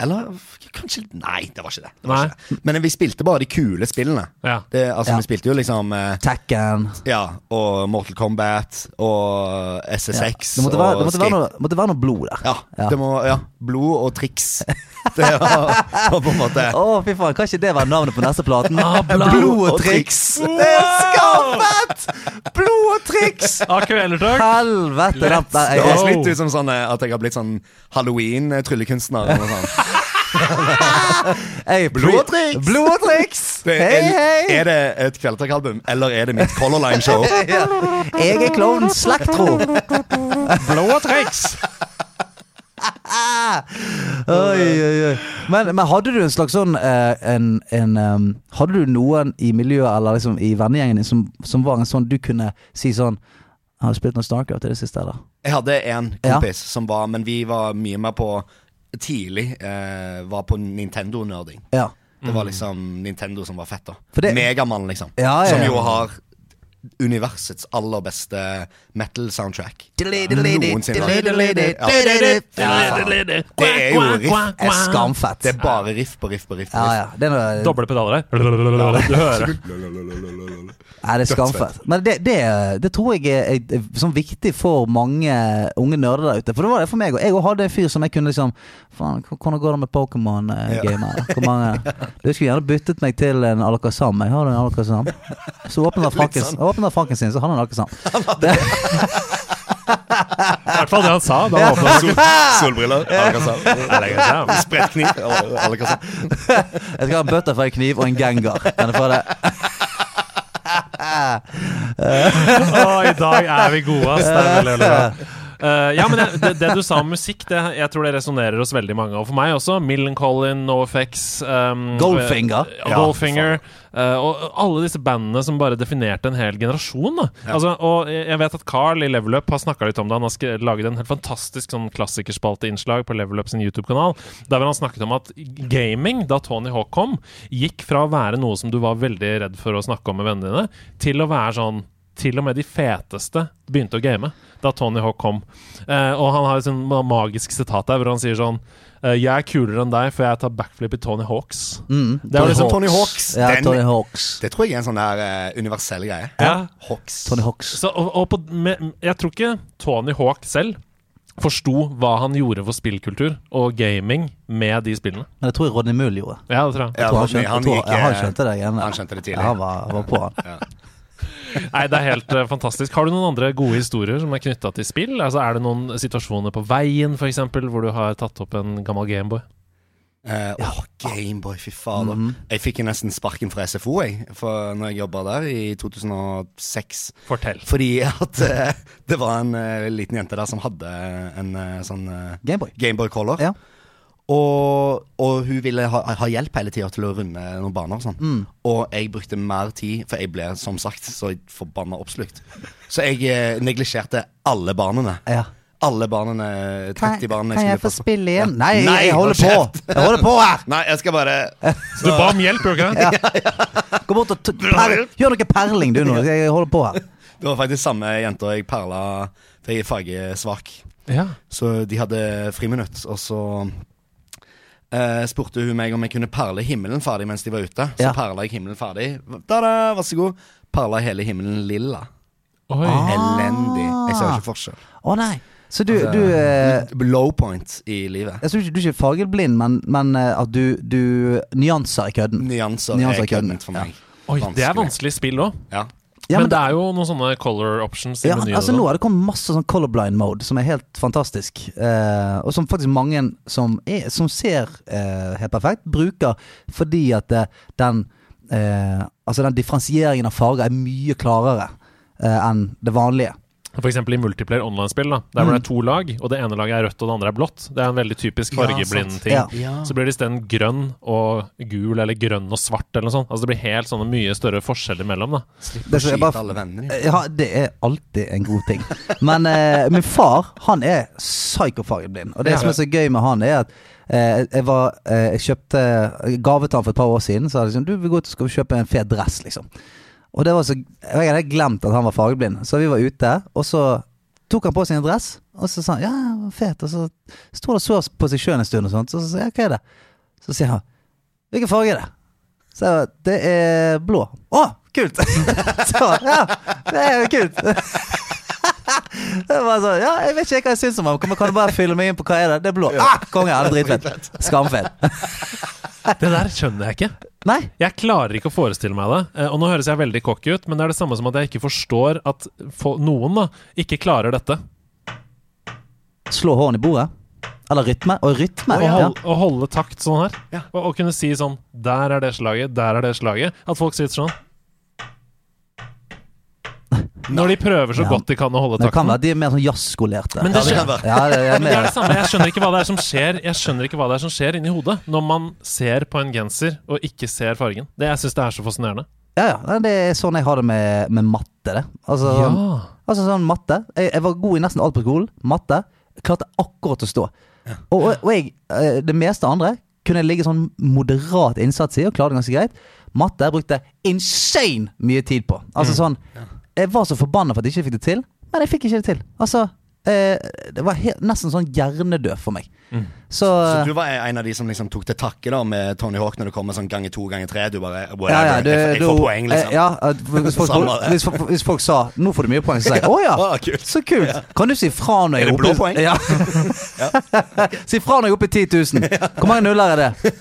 Eller f- kanskje Nei, det var ikke det. det, var Nei. ikke det. Men vi spilte bare de kule spillene. Ja. Det, altså, Ja. Vi spilte jo liksom eh, Tekken. Ja, og Mortal Kombat og Ja. SSX Det måtte være, og det måtte være, noe, det måtte være noe blod der. Ja, Ja. Det må, ja. Blod <laughs> og triks. Det var, var på en måte Å, fy faen, kan ikke det være navnet på neste platen? blod blod og triks! Det er skaffet! Blod og triks! Akvelertak! Helvete! den- Let's nei, jeg- Det go. høres litt ut som sånn eh, at jeg har blitt sånn halloween-tryllekunstner. eller noe sånt. jeg- Blod og triks! Blod og triks! Det Hei, er, hei! er det et Kvelertak-album, eller er det mitt Color <laughs> Line-show? Ja. Jeg er klovnen Slektro. Blå triks! <laughs> Oi, oi, oi. Men, men hadde du en slags sånn eh, en, en, em, Hadde du noen i miljøet eller liksom i vennegjengen din som, som var en sånn du kunne si sånn Har du spilt noe Starcraft i det siste, eller? Jeg hadde en Ja. kompis som var Men vi var mye mer på Tidlig eh, var på Nintendo-nerding. Ja. Det var liksom Nintendo som var fett, da. For det- Megamann, liksom. Ja, ja, ja. Som jo har universets aller beste metal-soundtrack. Det er jo riff. Det er skamfett. Det er bare riff på riff på riff. På ja, riff. ja. Det er noe, Doble pedaler her. Du hører. Nei, det er skamfett. Men det, det, det tror jeg er, er, er sånn viktig for mange unge nerder der ute. For det var det for meg òg. Jeg også hadde en fyr som jeg kunne liksom Faen, h- hvordan går det med Ja. Pokémon-gamer? Hvor mange Du skulle gjerne byttet meg til en Alakazam. Jeg har en Alakazam. Så åpner Franken, sånn. åpner Franken sin, så har han en Alakazam. I hvert fall det han sa. Da han åpnet. Sol, <laughs> solbriller. Alle kasser. Spredt kniv. <laughs> Alle kasser. Jeg skal ha en butterfly-kniv og en gengar. Kan jeg få det? Å, I dag er vi gode, ass. Det er veldig, veldig bra. Eh, ja, men det, det du sa om musikk, det, jeg tror det resonnerer hos veldig mange. Og for meg også. Millencolin, NoFX um, Goldfinger. Ja, Goldfinger eh, og alle disse bandene som bare definerte en hel generasjon. Da. Altså, og jeg jeg vet at Carl i Level Up har snakka litt om det. Han har skre- laget en helt fantastisk sånn klassikerspalteinnslag på Level Up sin YouTube-kanal. Der hvor han snakket om at gaming, da Tony Hawk kom, gikk fra å være noe som du var veldig redd for å snakke om med vennene dine, til å være sånn til og med de feteste begynte å game da Tony Hawk kom. Eh, og han har et sånn ma- magisk sitat der hvor han sier sånn eh, Jeg er kulere enn deg, for jeg tar backflip i Tony Hawks. det Tony er liksom Hawks. Tony Hawks. Mm. Ja, Den- Tony Hawks. Det tror jeg er en sånn der eh, universell greie. Ja. Hawks. Tony Hawks. Så, og, og på, med, jeg tror ikke Tony Hawk selv forsto hva han gjorde for spillkultur og gaming med de spillene. Men det tror jeg Rodney Mull gjorde. Ja, det tror jeg. Ja, Jeg tror han skjønte, Rodney, han jeg tror, gikk, jeg, han eh, skjønte det igjen. han skjønte det tidlig. Ja, Han var, var på han. Nei, det er helt eh, fantastisk. Har du noen andre gode historier som er knytta til spill? Altså, Er det noen situasjoner på veien, f.eks., hvor du har tatt opp en gammel Gameboy? Eh, åh, Gameboy, fy fader. Mhm. Jeg fikk jo nesten sparken fra SFO jeg, for når jeg jobba der i 2006. Fortell. Fordi at eh, det var en eh, liten jente der som hadde en eh, sånn eh, Gameboy. Gameboy Color. Ja. Og, og hun ville ha, ha hjelp hele tida til å runde noen baner og sånn. Og jeg brukte mer tid, for jeg ble som sagt så forbanna oppslukt. Så jeg eh, neglisjerte alle banene. Ja. Alle banene, 30 banene skulle passe på. igjen? Nei, liksom, Nei, jeg, jeg hold holder på! Jeg holder på her! Nei, jeg skal bare Du ba om hjelp, gjorde du ikke det? Gå bort og t per Gjør noe perling, du, nå. Jeg holder på her. Det var faktisk samme jenta jeg perla, for jeg er fargesvak. Ja. Så de hadde friminutt, og så eh, spurte hun meg om jeg kunne perle himmelen ferdig mens de var ute. Så Ja. perla jeg himmelen ferdig. Ta-da, vær så god. Perla hele himmelen lilla. Oi. Elendig. Jeg ser ikke forskjell. mm, Å nei. Så Ah. du, Altså, du eh, Low point i livet. Jeg tror ikke du er ikke fargeblind, men, men eh, at du, du nyanser i kødden. Nyanser, Nyanser er er kødden, køddent for meg. Oi, det er vanskelig spill òg. Ja. Ja, men, men det er jo noen sånne color options i Ja, menyen. altså og Nå sånn. har det kommet masse sånn colorblind mode, som er helt fantastisk. Eh, og som faktisk mange som, er, som ser eh, helt perfekt, bruker fordi at eh, den eh, Altså den differensieringen av farger er mye klarere eh, enn det vanlige. For eksempel i multiplayer online-spill, da, der hvor det er to lag, og det ene laget er rødt og det andre er blått. Det er en veldig typisk Ja, fargeblind sant. ting. Ja. Ah. Så blir det isteden grønn og gul, eller grønn og svart, eller noe sånt. Altså det blir helt sånne mye større forskjeller mellom, da. <laughs> Slipp Det å som jeg skyte bare- alle vennene dine. Eh, Ja, det er alltid en god ting. Men eh, min far, han er psykofargeblind. Og det som er så gøy med han, er at eh, jeg, var, eh, jeg kjøpte gave til han for et par år siden. Så hadde jeg sånn Du, vi går ut og skal kjøpe en fet dress, liksom. Og det var så, og jeg hadde glemt at han var fargeblind, så vi var ute. Og så tok han på seg en dress, og så sa han ja, den var fet. Og så sto han og så på seg sjøl en stund, og sånt, så sa jeg hva er det? Så sier han hvilken farge er det? Så jeg bare, det er blå. Å, kult! <laughs> så, ja, det er jo kult. <laughs> Det var sånn, ja, Jeg vet ikke hva jeg syns om ham. Kan kan du bare fylle meg inn på hva er det Det er blå. Ah, konge, han er dritfett. Skamfett. Det der skjønner jeg ikke. Nei, Jeg klarer ikke å forestille meg det. Eh, Og nå høres jeg veldig cocky ut, men det er det samme som at jeg ikke forstår at fo- noen da ikke klarer dette. slå hånden i bordet. Eller rytme. Og rytme. Å ja. holde, å holde takt sånn her. Ja. Og, og kunne si sånn Der er det slaget, der er det slaget. At folk sitter sånn. Når de prøver så Ja. godt de kan å holde Men det kan takten. være de er mer sånn jazzskolerte. Men det Ja, det kan skjer- være. Ja, det er Det er mer. det samme. Jeg skjønner ikke hva det er som skjer Jeg skjønner ikke hva det er som skjer inni hodet når man ser på en genser og ikke ser fargen. Det Jeg syns det er så fascinerende. Ja, ja. Nei, Det er sånn jeg har det med, med matte. Det. Altså, sånn, Ja. altså sånn matte. Jeg, jeg var god i nesten alt på skolen. Matte. Klarte akkurat å stå. Og, og, og jeg, eh, det meste andre kunne jeg ligge sånn moderat innsats i og klare det ganske greit. Matte jeg brukte insane mye tid på. Altså sånn Mm. Jeg var så forbanna for at jeg ikke fikk det til, men jeg fikk ikke det til. Altså eh, Det var helt, nesten sånn hjernedød for meg. Så, Mm. Så du var en av de som liksom tok til takke da med Tony Hawk når det kommer sånn ganger to, ganger tre? Du bare whatever, Ja, ja, du, jeg, får- jeg får du- poeng, liksom. eh, Ja, at hvis, folk, <laughs> Samme det. hvis, folk, hvis folk sa 'nå får du mye poeng', så <laughs> sier jeg 'å ja, Ah, kult. så kult'. Kan du si fra når Er jeg det blå oppe- poeng? <laughs> Ja. si fra når jeg er oppe i 10 000. Hvor mange nuller er <laughs> det?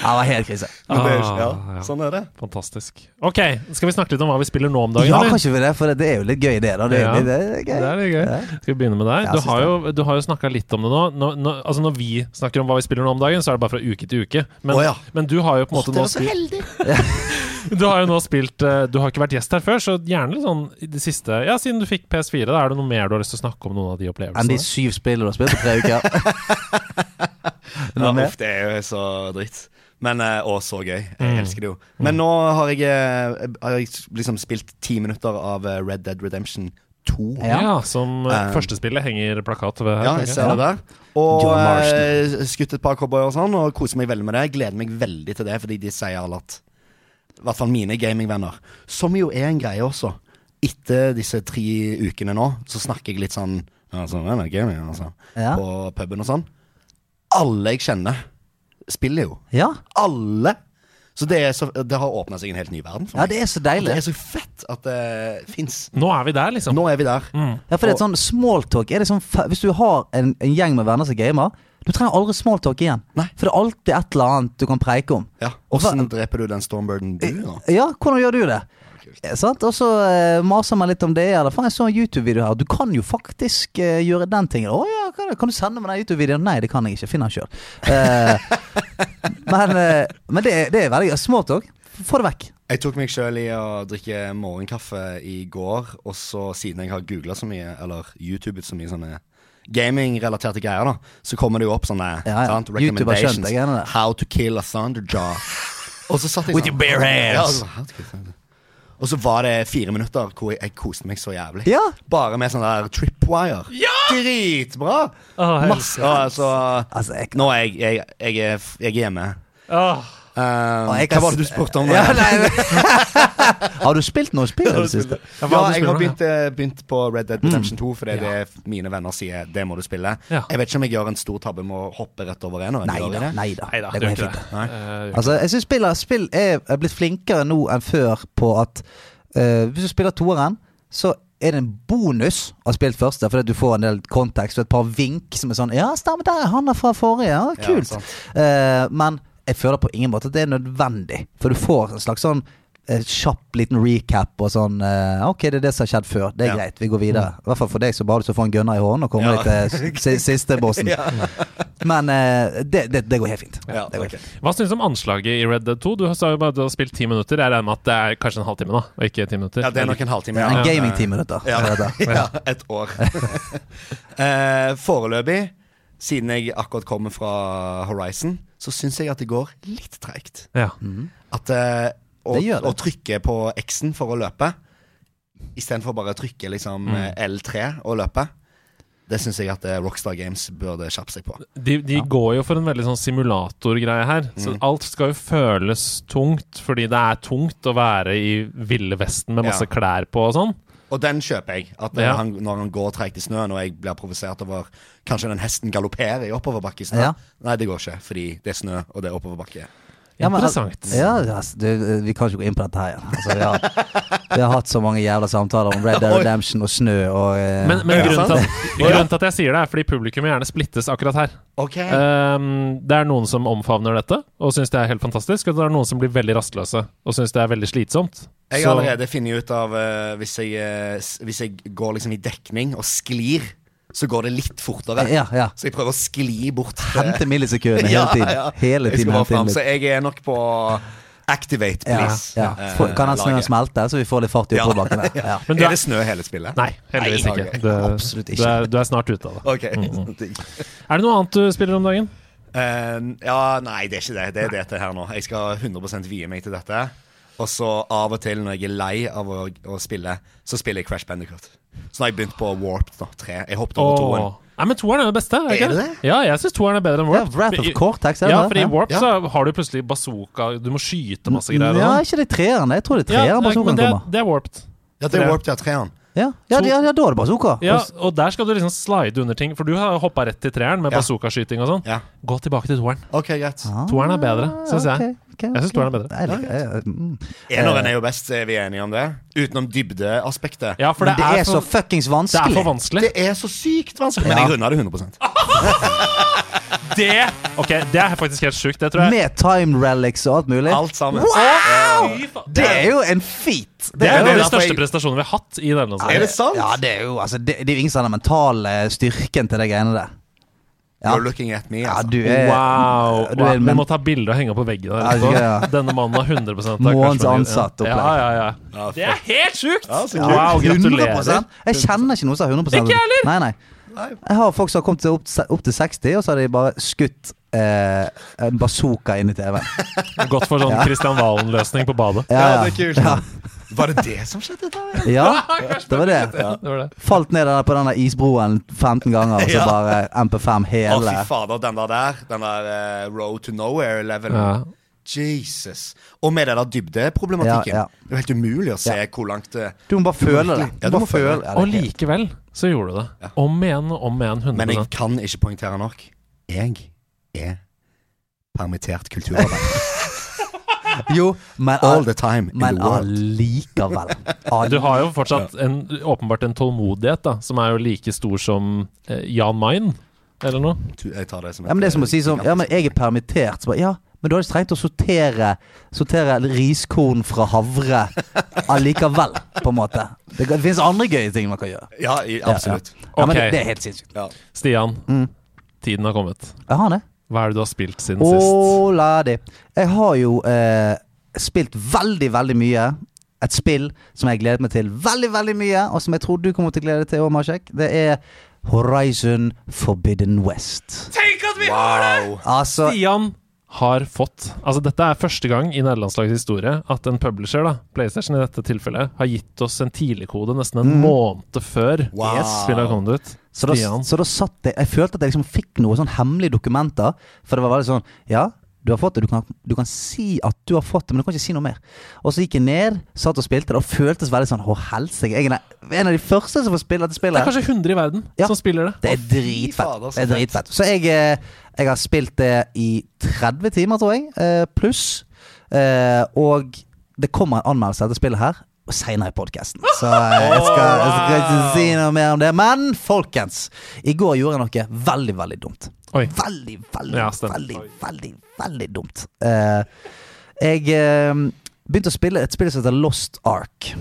Ja, det var helt krise. Men det er jo ikke- Ah, ja. ja, sånn er det. Fantastisk. Ok, Skal vi snakke litt om hva vi spiller nå om dagen? Ja, eller? kanskje vi det, for det er jo litt gøy, det. da Det, er Ja. litt- det er Det gøy. er litt gøy. Skal vi begynne med deg? Jeg Du synes har jo, du har jo snakka litt om det nå. Nå, nå. Altså Når vi snakker om hva vi spiller nå om dagen, så er det bare fra uke til uke. Men, Å ja. men du har jo på en måte nå spilt Du har jo nå spilt eh, Du har ikke vært gjest her før, så gjerne litt sånn i det siste Ja, siden du fikk PS4, da er det noe mer du har lyst til å snakke om noen av de Enn de opplevelsene? syv spillene du har spilt på tre <laughs> uker. Ja, Noe mer? uff, det er jo så dritt. Men eh, Å, så gøy. Jeg elsker det jo. Men nå har jeg, eh, har jeg liksom spilt ti minutter av eh, Red Dead Redemption 2. Ja, Ja. som uh, Um, førstespillet henger plakat ved her. Ja, tenker jeg ser det der. Og John Marston. eh, skutt et par cowboyer og sånn, og koser meg veldig med det. Jeg Gleder meg veldig til det, fordi de sier alle at I hvert fall mine gamingvenner. Som jo er en greie også. Etter disse tre ukene nå, så snakker jeg litt sånn ja, sånn er det gaming, altså, Ja. på puben og sånn. Alle jeg kjenner, spiller jo. Ja. Alle. Så det, er så, det har åpna seg en helt ny verden for ja, meg. det er så Og det deilig. er så fett at det fins. Nå er vi der, liksom. Nå er vi der. Ja, for det er et sånn smalltalk. Er det sånn, fe- hvis du har en, en gjeng med venner som gamer, du trenger aldri smalltalk igjen. Nei. For det er alltid et eller annet du kan preike om. Ja. Åssen dreper du den stormbirden du, da? Ja, hvordan gjør du det? Eh, Sant? Og så eh, maser man litt om det. Eller faen, jeg så en YouTube-video her. Du kan jo faktisk eh, gjøre den tingen. Å ja, kan, kan du sende meg den YouTube-videoen? Nei, det kan jeg ikke. Finn den sjøl. <laughs> men eh, men det, er- det er veldig gøy. Smalltalk. Få det vekk. Jeg tok meg sjøl i å drikke morgenkaffe i går, og så siden jeg har googla så mye, eller YouTubet så mye sånne gaming-relaterte greier, da, så kommer det jo opp sånne Ja, ja. sant, YouTube har skjønt det greiene der. How to kill a <laughs> thunderjaw. Og så satt jeg sånn. With your bare hands. Ja, altså, how to kill a thunder- og så var det fire minutter hvor jeg, jeg koste meg så jævlig. Ja. Bare med sånn der tripwire. Ja! Dritbra! Å, jeg Masse, altså, Altså, jeg- Nå er jeg, jeg, jeg, er, f- jeg er hjemme. Åh, Eh, jeg hva kan var det du s- spurte <laughs> om? Ja, da? nei, <laughs> har du spilt noe spill i det siste? Ja, Ja, hva er det du jeg har spiller begynt, eh, begynt på Red Dead Redemption 2 fordi det er f- mine venner sier det må du spille. Ja. Jeg vet ikke om jeg gjør en stor tabbe med å hoppe rett over en. og en Nei gjør jeg da. det? Nei da. Nei da, du Det går gjør helt ikke det. fint. Nei. Eh, Altså, jeg synes spill, spill er, er blitt flinkere nå enn før på at eh, hvis du spiller toeren, så er det en bonus å ha spilt første, fordi at du får en del kontekst og et par vink som er sånn Ja, stemmer der, han er fra forrige, ja, Ja, kult. sant. Eh, men jeg føler på ingen måte at det er nødvendig, for du får en slags sånn eh, kjapp liten recap og sånn eh, Ok, det er det som har skjedd før. Det er Ja. greit, vi går videre. I hvert fall for deg som bare har lyst til å få en gunner i hånden og komme Ja. deg til si- siste <laughs> bossen. Men eh, det, det, det går helt fint. Ja, det går helt ok. fint. Hva syns du om anslaget i Red Dead 2? Du sa jo bare at du har spilt ti minutter. Jeg regner med at det er kanskje en halvtime, da, og ikke ti minutter. Ja, det er nok en halvtime. En Ja. gaming-ti minutter. Ja, er dette. ja et år. <laughs> Eh, foreløpig, siden jeg akkurat kommer fra Horizon, så syns jeg at det går litt treigt. Ja. At eh, å, Det gjør det. å trykke på X-en for å løpe, istedenfor bare å trykke Mm. liksom eh, L3 og løpe, det syns jeg at eh, Rockstar Games burde kjappe seg på. De, de går jo for en veldig sånn simulatorgreie her. Så Mm. alt skal jo føles tungt, fordi det er tungt å være i Ville Vesten med masse Ja. klær på og sånn. Og den kjøper jeg. At eh, Ja. han, når han går treigt i snøen, og jeg blir provosert over Kanskje den hesten galopperer i oppoverbakke i snø. Ja. Nei, det går ikke, fordi det er snø, og det er oppoverbakke. Ja, men- Interessant. Ja, ja, s- du, eh, vi kan ikke gå inn på dette her. ja. Altså, vi, har, vi har hatt så mange jævla samtaler om Red Dead Redemption og snø og eh, Men, men Ja, grunnen, til sant. at, grunnen til at jeg sier det, er fordi publikum gjerne splittes akkurat her. Ok Eh, Ehm, det er noen som omfavner dette og syns det er helt fantastisk, og det er noen som blir veldig rastløse og syns det er veldig slitsomt. Jeg Så- har allerede funnet ut av eh, hvis, jeg, eh, s- hvis jeg går liksom i dekning og sklir, så går det litt fortere. Ja, ja. Så jeg prøver å skli bort. eh, Hente millisekundene hele tiden. Hele Jeg tiden skal hente inn bare fram, litt. så jeg er nok på activate, Ja, please. ja. eh, Få- Kan den snøen laget. smelte, så vi får litt fart i <laughs> Ja. oppoverbakken? der? Ja. Men du Er er- det snø hele spillet? Nei, heldigvis Nei, ikke. ok. Du, Absolutt ikke. Du er, du er snart ute av det. Ok. mm. <laughs> Digg. Er det noe annet du spiller om dagen? Eh, ja, nei, det er ikke det. Det er dette her nå. Jeg skal 100 vie meg til dette. Og så av og til, når jeg er lei av å, å spille, så spiller jeg Crash Bandicoot. Så nå har jeg begynt på Warped nå, tre. Jeg hoppet over toen. Åh. Nei, men toeren er det beste. Er, ikke Er det Ja, jeg syns toeren er bedre enn Ja, Warp. Wrath of Cortex, er det ja, det? for i Ja. Mm, Warp Ja. så har du plutselig bazooka, du må skyte masse greier. og Ja, sånn. ikke det treeren. Jeg tror det er Ja, treeren nei, men bazookaen det, kommer. det er warped. Ja, det Tre. er Warped, ja. Treeren. Ja, ja, ja, ja da er det bazooka. Ja, og der skal du liksom slide under ting, for du har hoppa rett til treeren med Ja. bazooka-skyting og sånn. Ja. Gå tilbake til toeren. OK, greit. Toeren er bedre, syns jeg. Jeg synes toeren er bedre. Jeg liker, jeg, mm. Eneren er jo best, er vi enige om det? Utenom dybdeaspektet. Ja, for Men det, er, så for, fuckings det er vanskelig. for vanskelig. Det er så sykt vanskelig. Men Ja. jeg runda det 100 Eh. Det Ok, det er faktisk helt sjukt. Det tror jeg. Med time relics og alt mulig. Alt sammen. Wow! Fy faen. Det er jo en feat! Det er jo derfor den største jeg- prestasjonen vi har hatt i denne Er landskampen. det sant? Ja, det er jo altså, det, det er jo ingen som har den mentale styrken til de greiene der. Ja. You're looking at me, Ja, altså. du er Wow. du er en Vi men- må ta bilde og henge opp på veggen. Ja, Der, det skal etterpå. Denne mannen har 100 av Månens Crash Bandicoot. ansatt opplegg. Ja, ja, ja. Ja, Det er helt sjukt! Ja, så kult. Wow, 100%. gratulerer. Jeg kjenner ikke noen som har 100 Ikke jeg heller. Nei, nei. Jeg har folk som har kommet til opp, opp til 60, og så har de bare skutt eh, en bazooka inn i TV-en. Godt for sånn Christian Valen-løsning på badet. Ja, Ja, det ja. er kult. <laughs> Var det det som skjedde <laughs> der? ja, Crash det var det. Det var det. Falt ned der på den der isbroen 15 ganger, og så Ja. bare MP5 Å, hele. fy fader, den der der. Den der eh, road to nowhere-levelen. Ja. Jesus. Og med den der dybdeproblematikken. Ja, ja. Det er jo helt umulig å se Ja. hvor langt eh, det Du må bare føle det. Ja, du må føle det. ja, Og det er helt- likevel så gjorde du det. Om igjen og om igjen. 100 Men jeg kan ikke poengtere nok. Jeg er permittert kulturarbeider. <laughs> Jo, men, All the time in men the world. <laughs> allikevel. Du har jo fortsatt en, åpenbart en tålmodighet da, som er jo like stor som eh, Jan Mayen, eller noe. Du, Jeg tar det som eh, Ja, men det er som å si sånn Ja, men jeg er permittert. Så bare, ja, men du hadde ikke trengt å sortere Sortere riskorn fra havre allikevel, på en måte. Det, det finnes andre gøye ting man kan gjøre. Ja, i- absolutt. Ja, ja Ok. men det, det er helt sinnssykt. Ja. Stian, Mm. tiden har kommet. Jeg har det. Hva er det du har spilt siden sist? Oladi. Jeg har jo eh, spilt veldig, veldig mye. Et spill som jeg gledet meg til veldig, veldig mye, og som jeg tror du kommer til å glede deg til òg, Marsek. Det er Horizon Forbidden West. Wow. Altså Stian har fått Altså Dette er første gang i nederlandslagets historie at en publisher, da PlayStation i dette tilfellet, har gitt oss en tidligkode nesten en måned før Wow. spillet har kommet ut. Mm. Så da, Stian. så da satt jeg Jeg følte at jeg liksom fikk noen sånn hemmelige dokumenter. For det var veldig sånn Ja, du har fått det. Du kan, du kan si at du har fått det, men du kan ikke si noe mer. Og så gikk jeg ned, satt og spilte det, og føltes veldig sånn Å, helsike. Jeg er den- en av de første som får spille dette Det er spillet. kanskje 100 i verden Ja. som spiller det. Det er Å, fy dritfett. fader, så Det er fett. dritfett. Så jeg, eh, jeg har spilt det i 30 timer, tror jeg, eh, pluss. Eh, Og det kommer en anmeldelse av dette spillet her. Og seinere i podkasten. Så eh, jeg skal, jeg skal ikke si noe mer om det. Men folkens, i går gjorde jeg noe veldig, veldig dumt. Oi. Veldig, veldig, Ja, stemmer. veldig, veldig, veldig dumt. Eh, jeg eh, Begynte å spille et spill som heter Lost Ark.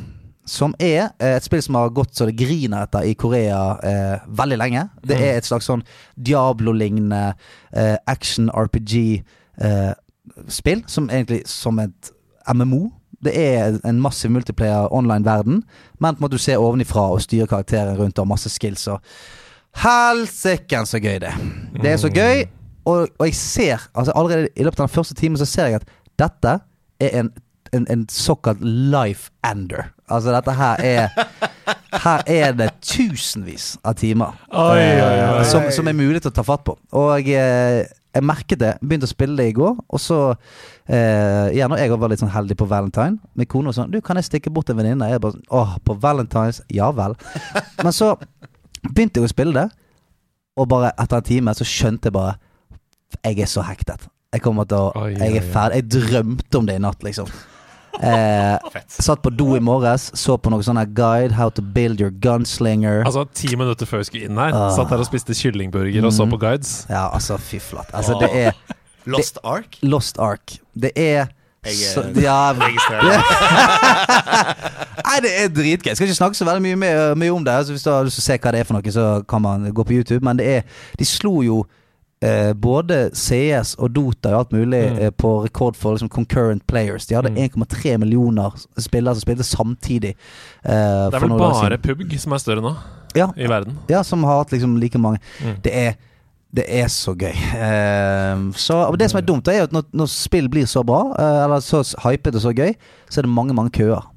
Som er eh, et spill som har gått så det griner etter i Korea eh, veldig lenge. Det Mm. er et slags sånn Diablo-lignende eh, action-RPG-spill, som egentlig som et MMO. Det er en massiv multiplayer online-verden, men på en måte du ser ovenifra og styrer karakteren rundt og har masse skills og Helsiken så gøy det er. Det er så gøy, og, og jeg ser altså Allerede i løpet av den første timen så ser jeg at dette er en, en, en såkalt life ender. Altså dette her er Her er det tusenvis av timer Oi, eh, oi, oi. Som, som er mulig til å ta fatt på. Og eh, jeg merket det. Begynte å spille det i går, og så eh, Igjen, og jeg var litt sånn heldig på valentine. Min kone var sånn Du, kan jeg stikke bort til en venninne? Jeg bare sånn Åh, på valentines? Ja <laughs> vel. Men så begynte jeg å spille det, og bare etter en time så skjønte jeg bare Jeg er så hektet. Jeg kommer til å Oi, Jeg oi, er oi. ferdig. Jeg drømte om det i natt, liksom. Eh, satt på do i morges, så på noe sånn her guide how to build your gunslinger. Altså, ti minutter før vi skulle inn her, Ah. Mm. satt her og spiste kyllingburger og så på guides. Ja, altså, fy flatt. Altså, det er Lost Ark? Lost Ark. Det er Jeg er- så, eh, ja, <laughs> Nei, det er dritgøy. Jeg skal ikke snakke så veldig mye, mer- mye om det. Altså, hvis du har lyst til å se hva det er for noe, så kan man gå på YouTube. Men det er De slo jo eh, både CS og Dota og alt mulig Mm. eh, på rekord for liksom, concurrent players. De hadde 1,3 millioner spillere som spilte samtidig. eh, Det er for vel noen dager siden. bare pubg som er større nå ja, i verden. ja, som har hatt liksom like mange. Det, er, det er så gøy. Eh, så, og det som er dumt, det er jo at når, når spill blir så bra, eh, eller så s- hypet og så gøy, så er det mange, mange køer.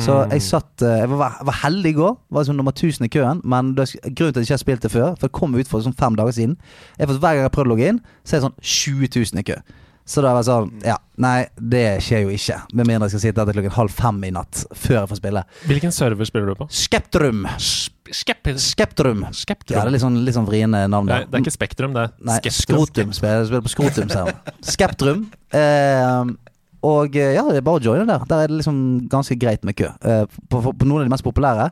Så jeg satt eh, Jeg var, var heldig i går. Var liksom nummer 1000 i køen. Men det, grunnen til at jeg ikke har spilt det før, for det kom ut for sånn fem dager siden er for at Hver gang jeg har prøvd å logge inn, så er det sånn 20 000 i kø. Så da er jeg sånn Ja, nei, det skjer jo ikke. Med mindre jeg skal sitte her til klokken halv fem i natt før jeg får spille. Hvilken server spiller du på? Skeptrum. Skeptrum. Skeptrum. Ja, det er litt sånn, litt sånn vriene navn. Nei, da. det er ikke Spektrum, det Nei, er Skeptrum. Skrotum. Spiller, spiller på Skrotum, sier han. Skeptrum. Eh, og eh, ja, det er bare å joine der. Der er det liksom ganske greit med kø. Eh, på, på, på noen av de mest populære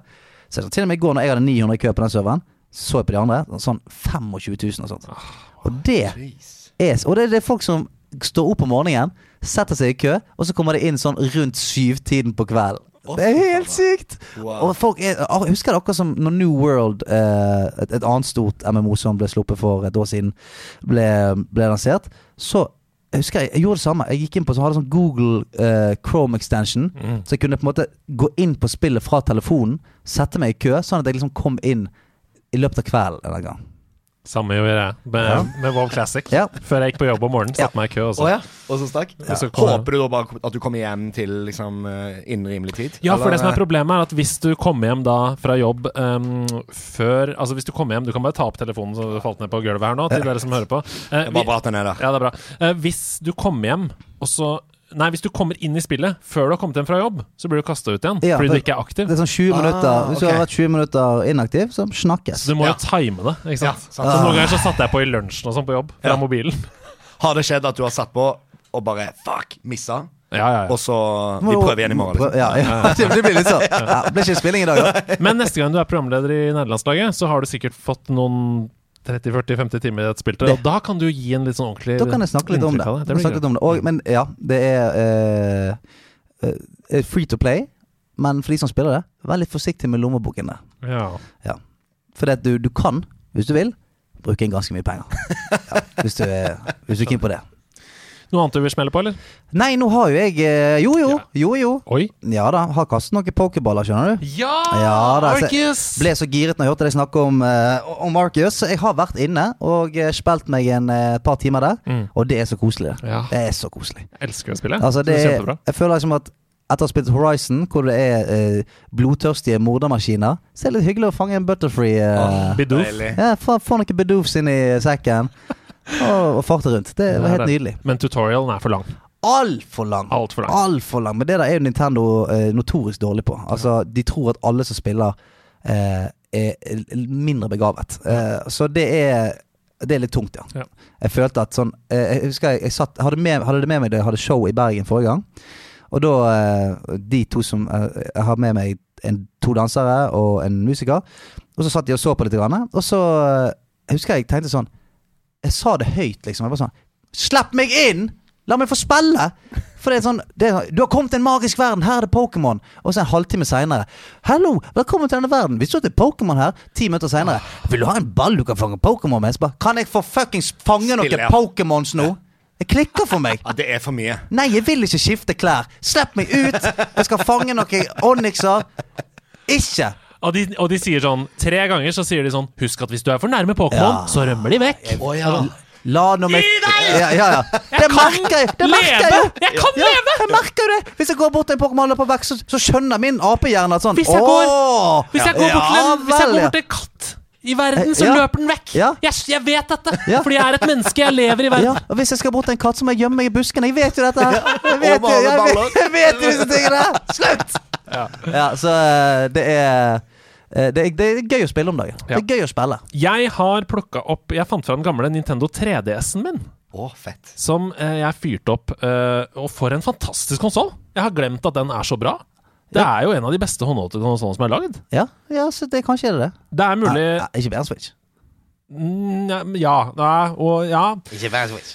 Så Til og med i går når jeg hadde 900 i kø på den serveren, så jeg på de andre. Sånn 25 000 og sånt. Ah, Og det er Og det, det er folk som står opp om morgenen, setter seg i kø, og så kommer de inn sånn rundt syvtiden på kvelden. Det er helt sykt! Og folk er, ah, jeg husker det akkurat som når New World, eh, et, et annet stort MMO som ble sluppet for et år siden, ble, ble lansert. Så jeg husker jeg, jeg gjorde det samme. Jeg gikk inn på så hadde jeg sånn Google eh, Chrome extension. Mm. Så jeg kunne på en måte gå inn på spillet fra telefonen, sette meg i kø, sånn at jeg liksom kom inn i løpet av kvelden en eller annen gang. Samme gjorde jeg med, Ja. med WoW Classic. Ja. Før jeg gikk på jobb om morgenen, satte meg i kø. Også. ja. Og så stakk? Så kom jeg. Håper du da bare at du kommer hjem til liksom eh, innen rimelig tid? Ja, for Eller- eh, det som er problemet er at hvis du kommer hjem da fra jobb ehm, før Altså hvis du kommer hjem Du kan bare ta opp telefonen som falt ned på gulvet her nå, til dere som hører på. Eh, Det vi- var bra at den er der. Ja, det er bra. Eh, hvis du kommer hjem, og så Nei, hvis du kommer inn i spillet før du har kommet hjem fra jobb, så blir du kasta ut igjen Ja, fordi du det- ikke er aktiv. Det er sånn 20 minutter Hvis du ok. har vært 20 minutter inaktiv, så snakkes. Så du må jo time det. ikke sant? Ja, sant. Så Noen ganger så satte jeg på i lunsjen og sånn på jobb fra Ja. mobilen. Har det skjedd at du har satt på og bare fuck, missa? Ja, ja, Og ja. så Vi prøver igjen i morgen. Prøv- Liksom. Ja, <laughs> ja. Det blir litt sånn. Ja, det blir ikke spilling i dag, da. Men neste gang du er programleder i nederlandslaget, så har du sikkert fått noen 30-40-50 timer i dette spiltet. Og da kan du gi en litt sånn ordentlig Da kan jeg snakke litt om det. inntrykk av Jeg kan blir snakke litt om det. Og, men ja, det er eh, eh, free to play. Men for de som spiller det, vær litt forsiktig med lommeboken. der. gøy. Ja. Ja. For det at du, du kan, hvis du vil, bruke inn ganske mye <laughs> penger. Ja, hvis du er hvis du er keen på det. Noe annet du vil smelle på, eller? Nei, nå har jo jeg eh, Jo, jo. Jo, jo. Oi. Ja da. Har kastet noen pokerballer, skjønner du. Ja! Ja, da, så- Markus! Ble så giret når jeg hørte deg snakke om, eh, om Marcus. Så jeg har vært inne og eh, spilt meg en eh, par timer der, og det er så koselig. det. Mm. Ja. Det er så koselig. Jeg elsker å spille. Altså, det er, Kjempebra. jeg føler liksom at etter å ha spilt Horizon, hvor det er eh, blodtørstige mordermaskiner, så er det litt hyggelig å fange en butterfree. eh, Bidoof. Deilig. ja, Få få noen bedoofs inn i sekken. <laughs> Og, og farte rundt. Det var helt nydelig. Ah. Men tutorialen er for lang. Altfor lang. Alt for lang. Altfor lang. Men det der er jo Nintendo eh, notorisk dårlig på. Altså, De tror at alle som spiller, eh, er l- mindre begavet. Eh, så det er det er litt tungt, ja. Ja. Jeg følte at sånn eh, Jeg husker jeg, jeg satt, hadde, med, hadde det med meg da jeg hadde show i Bergen forrige gang. Og da eh, De to som eh, Jeg har med meg en, to dansere og en musiker. Og så satt de og så på litt. Grann, og så eh, jeg husker jeg tenkte sånn Jeg sa det høyt, liksom. Jeg var sånn Slipp meg inn! La meg få spille! For det er sånn det er, Du har kommet til en magisk verden. Her er det Pokémon. Og så en halvtime seinere. Hallo, velkommen til denne verden. Vi så til Pokémon her ti minutter seinere. Ah. Vil du ha en ball du kan fange Pokémon med? Så bare, Kan jeg få fuckings fange Stille, ja. noen Pokémons nå? Det klikker for meg. Ja, det er for mye. Nei, jeg vil ikke skifte klær. Slipp meg ut! Jeg skal fange noen onyxer. Ikke! Og de, og de sier sånn Tre ganger så sier de sånn Husk at hvis du er for nærme Pokémon, Ja. så rømmer de vekk. La nå meg Gi deg! Ja, ja, ja. Det merker jeg! Det merker jeg, leve! jo. Jeg kan ja, leve! Jeg merker jo det! Hvis jeg går bort til en Pokémon og løper vekk, så, så skjønner min apehjerne at sånn Hvis jeg går- «Åh!» Hvis jeg går bort til en, hvis jeg vel, går ja. bort til en katt i verden, så Ja. løper den vekk. Ja. Jeg, jeg vet dette, Ja. fordi jeg er et menneske. Jeg lever i ja, verden. og Hvis jeg skal bort til en katt, så må jeg gjemme meg i busken. Jeg vet jo dette her! Jeg vet jo, Over alle jeg baller. vet, jeg vet jo disse tingene her! Slutt! Ja, så eh, det er eh, det er, det er gøy å spille om dagen. Det Ja. er gøy å spille. Jeg har plukka opp Jeg fant fra den gamle Nintendo 3DS-en min. Å, fett. Som eh, jeg fyrte opp. Eh, og for en fantastisk konsoll! Jeg har glemt at den er så bra. Det er jo en av de beste håndholdte konsollene som er lagd. Ja, ja så det, kanskje er det det. Det er mulig Nei, nei, ikke bedre enn Switch. Mm, Ja, nei, og ja Ikke vær switch.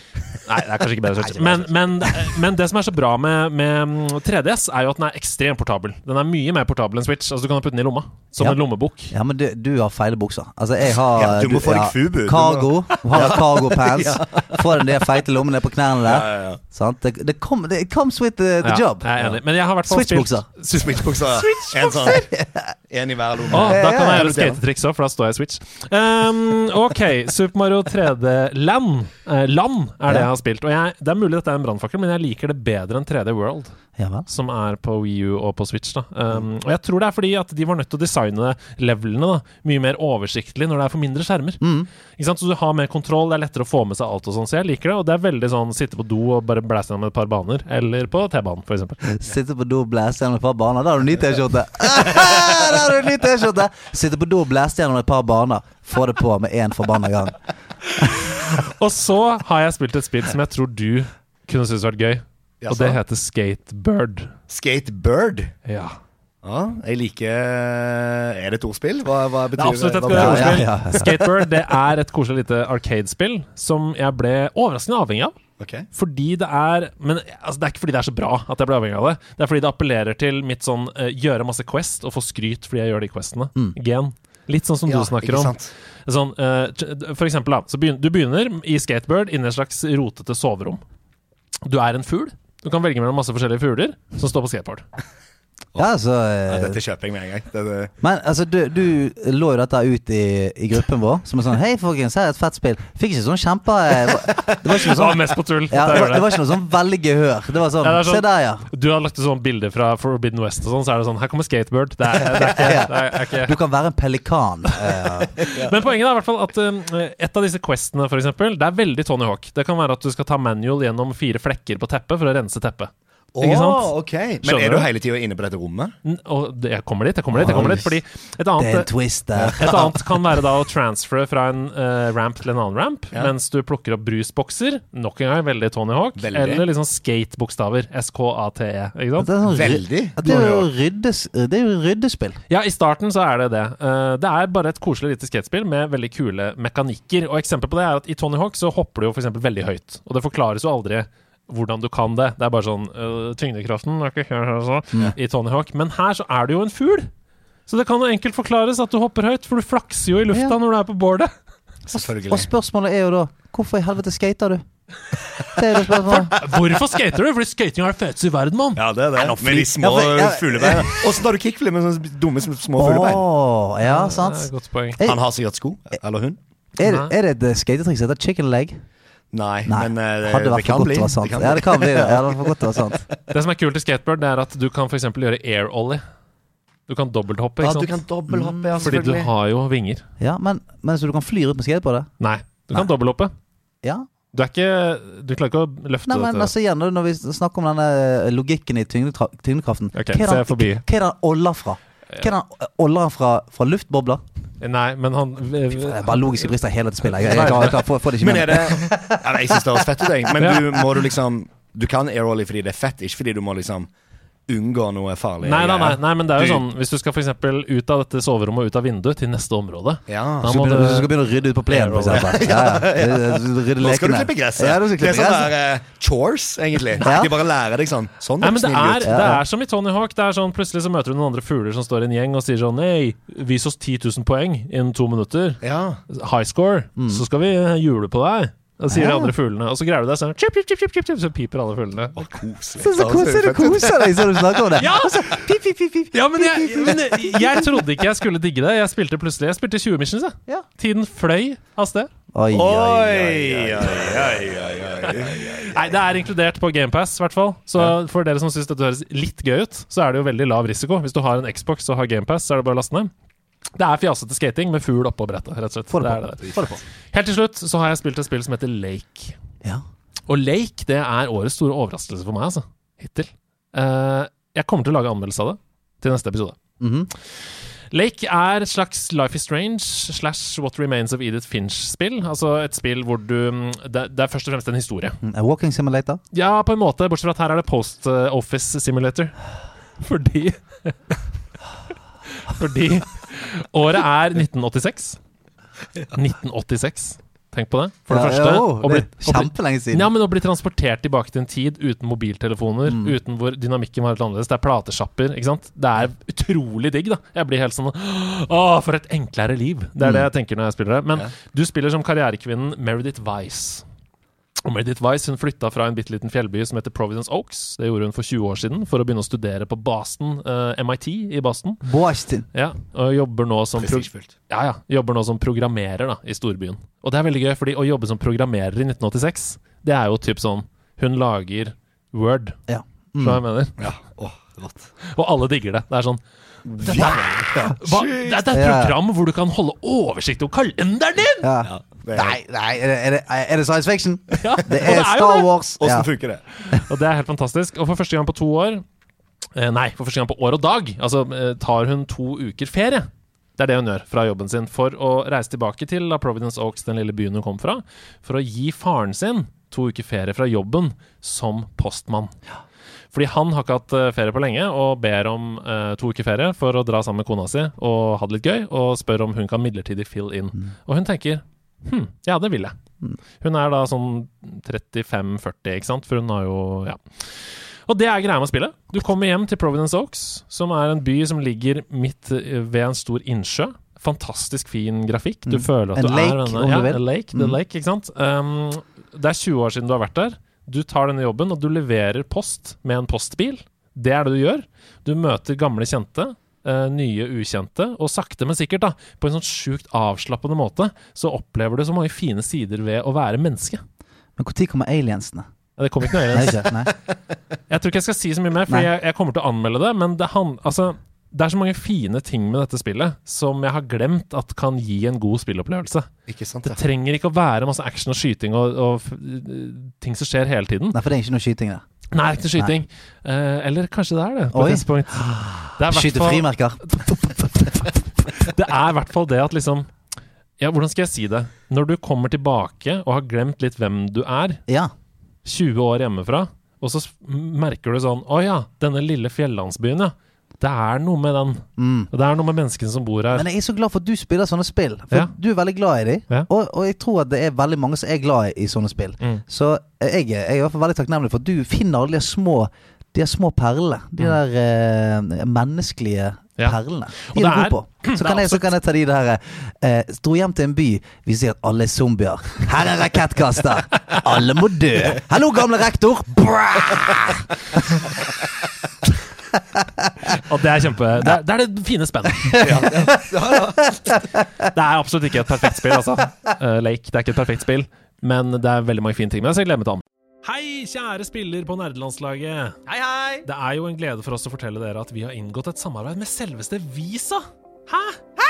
Nei, det er kanskje ikke bedre Switch. Men, men, men det som er så bra med, med mm, 3DS, er jo at den er ekstremt portabel. Den er mye mer portabel enn Switch. Altså Du kan putte den i lomma, som Ja. en lommebok. Ja, men du, du har feile bukser. Altså, jeg har Ja, du må få deg FUBU. Du må- Cargo. Hun har cargo <laughs> pants. Få den der feite lommen ned på knærne der. Ja, ja, ja. Sant? Det, det, kom, det it comes with the, the Ja, job. Jeg er enig. Men jeg har i hvert fall Switch-buksa. spilt Switchbukser. En sånn. En i hver Å, lomme. Ah, da kan jeg ja, gjøre skatetriks òg, for da står jeg i Switch. Ehm, ok, Super Mario 3D Land eh, Land er det Ja. jeg har spilt. Og jeg, Det er mulig dette er en brannfakkel, men jeg liker det bedre enn 3D World, Ja vel. som er på Wii U og på Switch. da Mm. Ehm, Og jeg tror det er fordi at de var nødt til å designe levelene da mye mer oversiktlig når det er for mindre skjermer. Mm. Ikke sant? Så du har mer kontroll, det er lettere å få med seg alt og sånn, så jeg liker det. Og det er veldig sånn sitte på do og bare blæse gjennom et par baner, eller på T-banen, for eksempel. Sitte på do og blæse gjennom et par baner. Da har du ny <laughs> T-skjorte! <laughs> Der har du ny T-skjorte! Sitte på do og blæse gjennom et par baner. Få det på med én forbanna gang. Og så har jeg spilt et spill som jeg tror du kunne synes vært gøy. Og Jaså? det heter Skatebird. Skatebird. Ja. Ja, jeg liker eh, Er det et ordspill? Hva, hva Det er betyr absolutt et hva gøy betyr ja, ordspill. ja, ja. Skatebird det er et koselig lite arcade-spill som jeg ble overraskende avhengig av. Ok. Fordi det er Men altså, det er ikke fordi det er så bra at jeg ble avhengig av det. Det er fordi det appellerer til mitt sånn eh, gjøre masse quest og få skryt fordi jeg gjør de questene. Gen. Litt sånn som Ja, du snakker ikke om. sant? Sånn, eh, t- for eksempel, da. Så begyn- du begynner i Skatebird inne i et slags rotete soverom. Du er en fugl. Du kan velge mellom masse forskjellige fugler som står på skateboard. Ja, altså Ja, eh, dette kjøper jeg med en gang. Det, det. Men altså, du, du lå jo dette ut i, i gruppen vår som er sånn Hei, folkens, her er et fett spill. Fikk ikke sånn kjempe... eh, Det var ikke Det noe var sånn mest på tull. ja, Der det, var var, det det. var ikke noe <laughs> sånn veldig gehør. Det var sånn, Ja, det er sånn- Se der, ja. Du har lagt ut sånn bilder fra Forbidden West, og sånn, så er det sånn Her kommer Skatebird. Det er, det er ikke, det er, det er Du kan være en pelikan. <laughs> eh, ikke. Men poenget er i hvert fall at eh, et av disse questene, for eksempel, det er veldig Tony Hawk. Det kan være at du skal ta manual gjennom fire flekker på teppet for å rense teppet. Ikke sant? Å, ok. Men Skjønner er du du? hele tida inne på dette rommet? N- Og det- jeg kommer dit, jeg kommer dit, jeg kommer dit. Fordi et annet det er en twist der. Et annet kan være da å transfere fra en eh, ramp til en annen ramp, Ja. mens du plukker opp brusbokser. Nok en gang veldig Tony Hawk. Veldig. Eller liksom skate-bokstaver. S-K-A-T-E. E, Ikke Det sant? er, sånn, ry- Veldig. det er jo ryddes, det er jo ryddespill. Ja, i starten så er det det. Eh, det er bare et koselig lite skatespill med veldig kule mekanikker. Og eksempel på det er at i Tony Hawk så hopper du jo f.eks. veldig høyt. Og det forklares jo aldri hvordan du kan det. Det er bare sånn øh, Tyngdekraften er ikke her, altså, i Tony Hawk. Men her så er du jo en fugl. Så det kan jo enkelt forklares at du hopper høyt, for du flakser jo i lufta Ja. når du er på bordet. Og Selvfølgelig. spørsmålet er jo da Hvorfor i helvete <laughs> skater du? Det er jo spørsmålet. Hvorfor skater du? Fordi skating er det feteste i verden, mann! Ja, det er det. Med de Ja, små for- ja, fuglebær. Åssen har du kickflip med sånne dumme sm- små fuglebein? Åh, ja, Det er et sant. godt poeng. Eh, Han har sikkert sko. Eller hun. Er, er det et skatetriks som heter chicken leg? Nei, Nei, men eh, hadde vært det, det for kan godt bli. til å være sant. Ja, det kan bli det. Ja, det hadde vært for godt til å være sant. Det som er kult i skateboard, det er at du kan for eksempel gjøre air ollie. Du kan dobbelthoppe, Ja, ikke du sant? kan dobbelthoppe, ja, Fordi du selvfølgelig. har jo vinger. Ja, men, men så du kan fly rundt med skateboardet? Nei, du kan dobbelthoppe. Ja. Du er ikke Du klarer ikke å løfte Nei, men dette. altså igjen, når vi snakker om denne eh, logikken i tyngdetra- tyngdekraften Ok, Hva er så den- jeg er forbi. Hva er det han oller fra? Hva er det han eh, oller fra, fra luftbobler? Nei, men han eh, Det er bare logiske brister i hele dette spillet. Jeg, jeg, jeg, klarer- jeg, klarer- får- får det ikke Men med er det ja, men Jeg syns det høres fett ut, jeg. Men Ja. du må du liksom Du kan air ollie fordi det er fett, ikke fordi du må liksom unngå noe farlig. Nei, nei, nei, nei, men det er jo Du- sånn Hvis du skal for eksempel ut av dette soverommet og ut av vinduet til neste område Ja. Da Du må begynner- du skal du begynne å rydde ut på plenen, for eksempel. <laughs> Ja, ja. Rydde Nå skal du lekene. klippe gresset. Ja, du skal det klippe er gresset. sånn der, eh, chores, egentlig. Ja. De bare lærer deg sånn. Sånn, Nei, men det snill er, gutt. det er som i Tony Hawk. Det er sånn, Plutselig så møter du noen andre fugler som står i en gjeng og sier sånn Hei, vis oss 10 000 poeng innen to minutter. Ja. High score. Mm. Så skal vi eh, jule på deg. Da sier de andre fuglene. Og så greier du deg sånn chip, chip, chip, chip, chip, chip, Så piper alle fuglene. Å, koselig. Så, så koselig du koser deg så du snakker om det. <laughs> Ja! Og så pip, pip, pip, pip. Ja, men jeg, men jeg, jeg trodde ikke jeg skulle digge det. Jeg spilte plutselig Jeg spilte 20 missions, jeg. Ja. Tiden fløy av sted. Oi, oi, oi. Oi, oi, oi, oi, oi. Nei, det er inkludert på GamePass, i hvert fall. Så for dere som syns dette høres litt gøy ut, så er det jo veldig lav risiko. Hvis du har en Xbox og har GamePass, så er det bare å laste ned. Det er fjasete skating med fugl oppå brettet, rett og slett. Få det Det på. er det. Helt til slutt så har jeg spilt et spill som heter Lake. Ja. Og Lake det er årets store overraskelse for meg, altså. Hittil. Eh, jeg kommer til å lage anmeldelse av det til neste episode. Mhm. Lake er et slags Life is Strange slash What Remains of Edith Finch-spill. Altså et spill hvor du mm, det, det er først og fremst en historie. Mm, A Walking simulator. Ja, på en måte, bortsett fra at her er det Post eh, Office Simulator. <laughs> Fordi <laughs> Fordi året er 1986. 1986. Tenk på det, for det Ja, første. ja, å, å bli- det å er bli- Kjempelenge siden. ja, men å bli transportert tilbake til en tid uten mobiltelefoner, uten hvor dynamikken var helt annerledes. Det er platesjapper, ikke sant. Det er utrolig digg, da. Jeg blir helt sånn Å, for et enklere liv. Det er det jeg tenker når jeg spiller det. Men du spiller som karrierekvinnen Meredith Vice. Og Meredith Vice hun flytta fra en bitte liten fjellby som heter Providence Oaks. Det gjorde hun for 20 år siden for å begynne å studere på Boston, eh, MIT i Boston. Boston. Ja, og jobber nå som pro- Prestisjefullt. ja, ja. Jobber nå som programmerer da, i storbyen. Og det er veldig gøy, fordi å jobbe som programmerer i 1986, det er jo typ sånn Hun lager Word, Ja. skjønner du hva jeg mener? Ja. Å, rått. Og alle digger det. Det er sånn dette er, hva, det er et Ja. program hvor du kan holde oversikt over kalenderen din! Ja. Ja. det er- Nei, nei, er det, er det, er det science fiction? Ja, Det og er jo Star Wars. Åssen Ja. funker det? Og det er helt fantastisk. Og for første gang på to år eh, Nei, for første gang på år og dag Altså eh, tar hun to uker ferie. Det er det hun gjør fra jobben sin for å reise tilbake til La Providence Oaks, den lille byen hun kom fra, for å gi faren sin to uker ferie fra jobben som postmann. Fordi han har ikke hatt eh, ferie på lenge og ber om eh, to uker ferie for å dra sammen med kona si og ha det litt gøy, og spør om hun kan midlertidig fill in. Mm. Og hun tenker hm, ja, det vil jeg. Hun er da sånn 35-40, ikke sant? For hun har jo ja. Og det er greia med spillet. Du kommer hjem til Providence Oaks, som er en by som ligger midt eh, ved en stor innsjø. Fantastisk fin grafikk. Du føler at Mm. En du lake, er ved om ja, du vil. en lake, Mm. the lake, ikke sant? Um, det er 20 år siden du har vært der. Du tar denne jobben, og du leverer post med en postbil. Det er det du gjør. Du møter gamle kjente, eh, nye ukjente, og sakte, men sikkert, da, på en sånn sjukt avslappende måte, så opplever du så mange fine sider ved å være menneske. Men når kommer aliensene? Ja, Det kommer ikke noe Nei, annet. ikke, nei. Jeg tror ikke jeg skal si så mye mer, for Nei. jeg, jeg kommer til å anmelde det. Men det, han, altså, det er så mange fine ting med dette spillet som jeg har glemt at kan gi en god spillopplevelse. Ikke sant, Det det? trenger ikke å være masse action og skyting og, og f- ting som skjer hele tiden. nei, for det er ikke noe skyting der. Nei, ikke skyting. Eh, eller kanskje det er det, på Oi. Ah, et tidspunkt. Det er i hvert Skyte fall- frimerker. Det er i hvert fall det at liksom Ja, hvordan skal jeg si det? Når du kommer tilbake og har glemt litt hvem du er, Ja. 20 år hjemmefra, og så s- merker du sånn Å ja, denne lille fjellandsbyen, ja. Det er noe med den. Mm. Og det er noe med menneskene som bor her. Men jeg er så glad for at du spiller sånne spill. For Ja. du er veldig glad i dem. Ja. Og, og jeg tror at det er veldig mange som er glad i, i sånne spill. Mm. Så eh, jeg, er- jeg er i hvert fall veldig takknemlig for at du finner alle de små de her små perlene. De der eh, Mm. menneskelige Ja. perlene. Og De er du det god på. Så kan, jeg, så kan jeg ta de der eh, Dro hjem til en by. Vi ser at alle er zombier. Her er rakettkaster. Alle må dø. Hallo, gamle rektor. Brrr. Og det er kjempe Det er det, er det fine spennet. Det er absolutt ikke et perfekt spill, altså. Eh, Lake, det er ikke et perfekt spill. Men det er veldig mange fine ting med det, så jeg gleder meg til ham. Hei, kjære spiller på nerdelandslaget. Hei, hei! Det er jo en glede for oss å fortelle dere at vi har inngått et samarbeid med selveste Visa. Hæ? Hæ?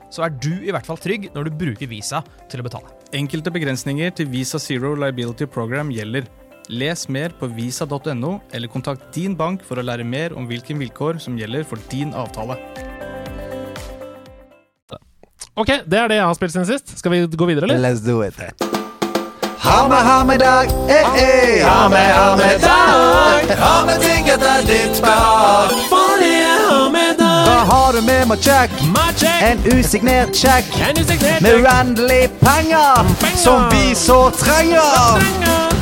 så er du i hvert fall trygg når du bruker Visa til å betale. Enkelte begrensninger til Visa Zero Liability Program gjelder. Les mer på visa.no, eller kontakt din bank for å lære mer om hvilke vilkår som gjelder for din avtale. Ok, det er det jeg har spilt siden sist. Skal vi gå videre, eller? Let's do it. Ha med, ha med dag, eh, eh. Ha med, ha med dag. Ha med ting etter ditt behag. Hva har du med meg, check? En usignert check med uendelig penger som vi så trenger